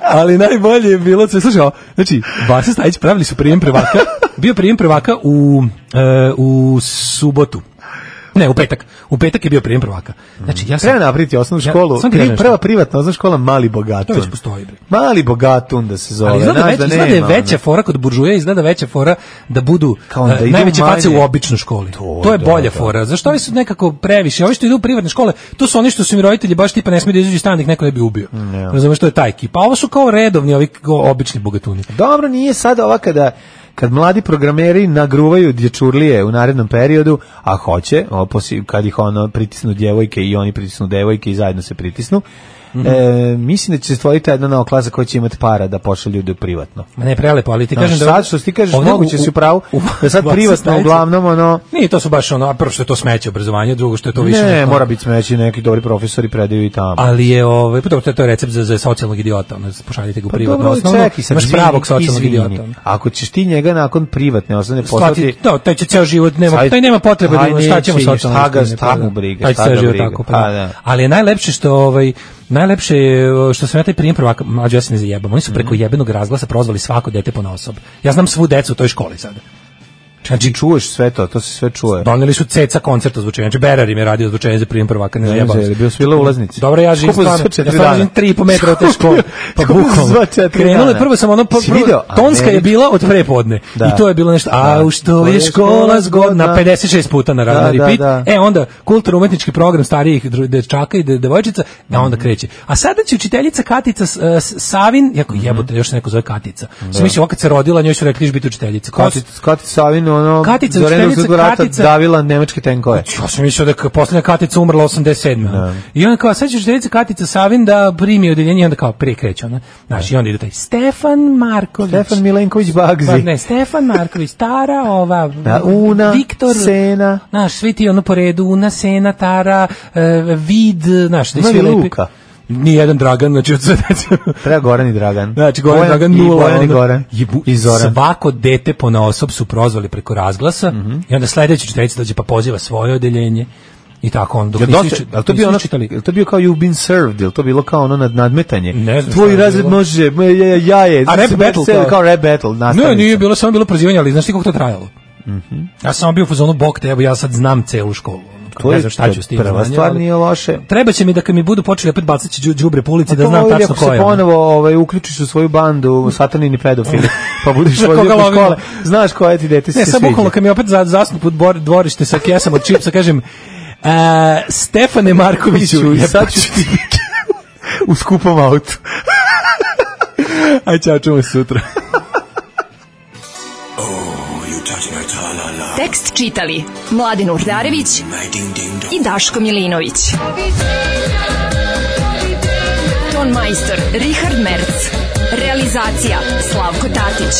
Speaker 5: Ali najbolje je bilo sve slušao. Znači, Vasa Stajić pravili su prijem prvaka. Bio prijem prvaka u, e, u subotu. Ne, u petak. U petak je bio prijem prvaka. Znači, ja sam...
Speaker 6: Treba napraviti osnovnu
Speaker 5: Ja-
Speaker 6: školu,
Speaker 5: samo ti
Speaker 6: pri-
Speaker 5: kažem nešto.
Speaker 6: prva privatna osnovna škola Mali
Speaker 5: To
Speaker 6: Bogatun.
Speaker 5: već postoji. Bre.
Speaker 6: Mali Bogatun da se zove.
Speaker 5: Ali izgleda,
Speaker 6: znaš
Speaker 5: već,
Speaker 6: da
Speaker 5: izgleda je
Speaker 6: nema, ono.
Speaker 5: veća fora kod buržuje, izgleda veća fora da budu
Speaker 6: Kao da
Speaker 5: e,
Speaker 6: idu
Speaker 5: najveće
Speaker 6: manje.
Speaker 5: face u običnoj školi.
Speaker 6: To,
Speaker 5: To, je
Speaker 6: da,
Speaker 5: bolja
Speaker 6: da.
Speaker 5: fora. Zašto ovi su nekako previše? Ovi što idu u privatne škole, to su oni što su mi roditelji baš tipa ne smiju da izađu iz stana da ih neko ne bi ubio.
Speaker 6: Mm,
Speaker 5: Razumeš, to je taj ekipa. A ovo su kao redovni, ovi kao obični bogatuni.
Speaker 6: Dobro, nije sada ova kada kad mladi programeri nagruvaju dječurlije u narednom periodu, a hoće, o, posi- kad ih ono pritisnu djevojke i oni pritisnu devojke i zajedno se pritisnu,
Speaker 5: Mhm.
Speaker 6: e, mislim da će se stvoriti jedna nova klasa koja će imati para da pošalju ljude u privatno.
Speaker 5: Ma ne prelepo, ali ti
Speaker 6: Znaš,
Speaker 5: kažem da
Speaker 6: sad što ti kažeš, moguće si u pravu, da sad privatno uglavnom ono
Speaker 5: Nije, to su baš ono, a prvo što je to smeće obrazovanje, drugo što je to više
Speaker 6: ne,
Speaker 5: neko-
Speaker 6: mora biti smeći neki dobri profesori predaju i tamo.
Speaker 5: ali je ovaj pa dobro, to je to je recept za za socijalnog idiota, ono pošaljite ga u
Speaker 6: Pa
Speaker 5: privatno
Speaker 6: dobro, ali
Speaker 5: osnovno.
Speaker 6: čekaj sad,
Speaker 5: imaš
Speaker 6: izvini,
Speaker 5: pravog socijalnog
Speaker 6: izvini.
Speaker 5: idiota. ono.
Speaker 6: Ako ćeš ti njega nakon privatne osnovne poslati...
Speaker 5: Shvati, da, taj će ceo život nema, taj nema potrebe da ima, šta ćemo
Speaker 6: socijalno?
Speaker 5: socijalno.
Speaker 6: Šta ga,
Speaker 5: iskrenje,
Speaker 6: šta
Speaker 5: pa
Speaker 6: mu
Speaker 5: da.
Speaker 6: briga,
Speaker 5: Taj će
Speaker 6: šta
Speaker 5: ceo
Speaker 6: ga
Speaker 5: život
Speaker 6: briga.
Speaker 5: tako, pa
Speaker 6: Pa
Speaker 5: da.
Speaker 6: da.
Speaker 5: Ali je najlepše što ovaj najlepše je što sam ja taj prijem prvaka, mlađe ja se ne zajebam.
Speaker 6: Mhm.
Speaker 5: Oni su preko jebenog razglasa prozvali svako dete po osob. Ja znam svu decu u toj školi sada.
Speaker 6: Znači, čuješ sve to, to se sve čuje.
Speaker 5: Doneli su ceca koncert ozvučenja. Znači, Berar im je radio ozvučenje za prijem prvaka, ne
Speaker 6: Ne
Speaker 5: zajebam.
Speaker 6: znam, je li bio svila ulaznici?
Speaker 5: Dobro, ja živim
Speaker 6: Skupili su
Speaker 5: stvarno,
Speaker 6: sve četiri
Speaker 5: ja stvarno
Speaker 6: dana.
Speaker 5: živim 3,5 metra od te škole. Pa
Speaker 6: Skupili su
Speaker 5: bukvalno.
Speaker 6: sva četiri
Speaker 5: Krenulo je
Speaker 6: dana.
Speaker 5: prvo sam ono,
Speaker 6: Si
Speaker 5: prvo,
Speaker 6: video?
Speaker 5: tonska je
Speaker 6: Američki.
Speaker 5: bila od prepodne.
Speaker 6: Da.
Speaker 5: I to je bilo nešto, a u što je škola zgodna, 56 puta na, na
Speaker 6: Da, da,
Speaker 5: repeat.
Speaker 6: da.
Speaker 5: E, onda kulturno-umetnički program starijih dru- dečaka i de- devojčica, da
Speaker 6: Mhm.
Speaker 5: onda kreće. A sada će učiteljica Katica S- S- Savin, jako jebote, još se neko zove Katica.
Speaker 6: Mhm. Da.
Speaker 5: Sam mislio, ona kad se rodila, njoj su rekli, "Ćeš biti učiteljica. Ko su-
Speaker 6: Katica, Katica Savin, ono,
Speaker 5: Katica,
Speaker 6: za vreme
Speaker 5: učiteljica
Speaker 6: drugog rata
Speaker 5: Katica.
Speaker 6: davila nemačke tenkove.
Speaker 5: Ja sam mislio da je poslednja Katica umrla 87.
Speaker 6: Da.
Speaker 5: ono. I onda kao, sad ćeš delica Katica Savin da primi odeljenje i onda kao prekreće ona. Znaš, i onda ide taj Stefan Marković.
Speaker 6: Stefan Milenković
Speaker 5: Pa
Speaker 6: Bagzi.
Speaker 5: ne, Stefan Marković, Tara, ova,
Speaker 6: Da, Una,
Speaker 5: Viktor,
Speaker 6: Sena.
Speaker 5: Znaš, svi ti ono po redu, Una, Sena, Tara, e, Vid, znaš, ti
Speaker 6: Ima
Speaker 5: svi
Speaker 6: li
Speaker 5: lepi.
Speaker 6: Luka?
Speaker 5: Nijedan Dragan, znači od sve dece.
Speaker 6: Treba Goran i Dragan.
Speaker 5: Znači, Goran
Speaker 6: Bojan
Speaker 5: Dragan
Speaker 6: i
Speaker 5: nula.
Speaker 6: Bojan i
Speaker 5: ono.
Speaker 6: Goran.
Speaker 5: Jebu-
Speaker 6: I Zoran.
Speaker 5: Svako dete po naosob su prozvali preko razglasa
Speaker 6: Mhm.
Speaker 5: i onda sledeći čiteljica dođe pa poziva svoje odeljenje i tako on dok
Speaker 6: Jel
Speaker 5: nisu
Speaker 6: dosta-
Speaker 5: čit-
Speaker 6: jel to
Speaker 5: nisu
Speaker 6: bio ono,
Speaker 5: čitali.
Speaker 6: jel to bio kao you've been served, jel to bilo kao ono nad nadmetanje?
Speaker 5: Ne znam šta
Speaker 6: Tvoj
Speaker 5: je
Speaker 6: razred
Speaker 5: bilo.
Speaker 6: može, m- ja, ja, ja je.
Speaker 5: A rap
Speaker 6: Se-
Speaker 5: battle
Speaker 6: se-
Speaker 5: kao?
Speaker 6: Kao rap battle,
Speaker 5: Ne,
Speaker 6: nastavnica.
Speaker 5: nije bilo, samo bilo prozivanje, ali znaš ti kako to trajalo?
Speaker 6: Mhm.
Speaker 5: Ja sam bio u fazonu, bok te, evo ja sad znam celu školu. ono,
Speaker 6: To
Speaker 5: ne
Speaker 6: je-
Speaker 5: znam šta ću s tim
Speaker 6: prva
Speaker 5: znanjem,
Speaker 6: stvar
Speaker 5: ali-
Speaker 6: nije loše.
Speaker 5: Treba će mi da kad mi budu počeli opet bacati đu- đubre po ulici da
Speaker 6: To
Speaker 5: znam
Speaker 6: ili
Speaker 5: tačno
Speaker 6: ako
Speaker 5: ko je.
Speaker 6: se
Speaker 5: ono.
Speaker 6: ponovo ovaj, uključiš u svoju bandu satanini
Speaker 5: <laughs>
Speaker 6: pedofili, pa budeš
Speaker 5: Za
Speaker 6: vozio
Speaker 5: koga
Speaker 6: po
Speaker 5: lovimo?
Speaker 6: škole, znaš koje ti dete se
Speaker 5: Ne,
Speaker 6: sviđa.
Speaker 5: sad bukvalno kad mi opet za- zasnu pod bor- dvorište sa kesama od čipsa, kažem, e, Stefane Markoviću,
Speaker 6: I sad ću ti u skupom autu.
Speaker 5: Aj, čao, čujemo se sutra.
Speaker 4: Tekst čitali Mladin Urdarević i Daško Milinović. Ton majstor Richard Merc. Realizacija Slavko Tatić.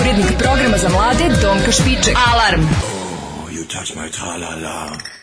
Speaker 4: Urednik programa za mlade Donka Špiček. Alarm!
Speaker 14: You touch my tra-la-la.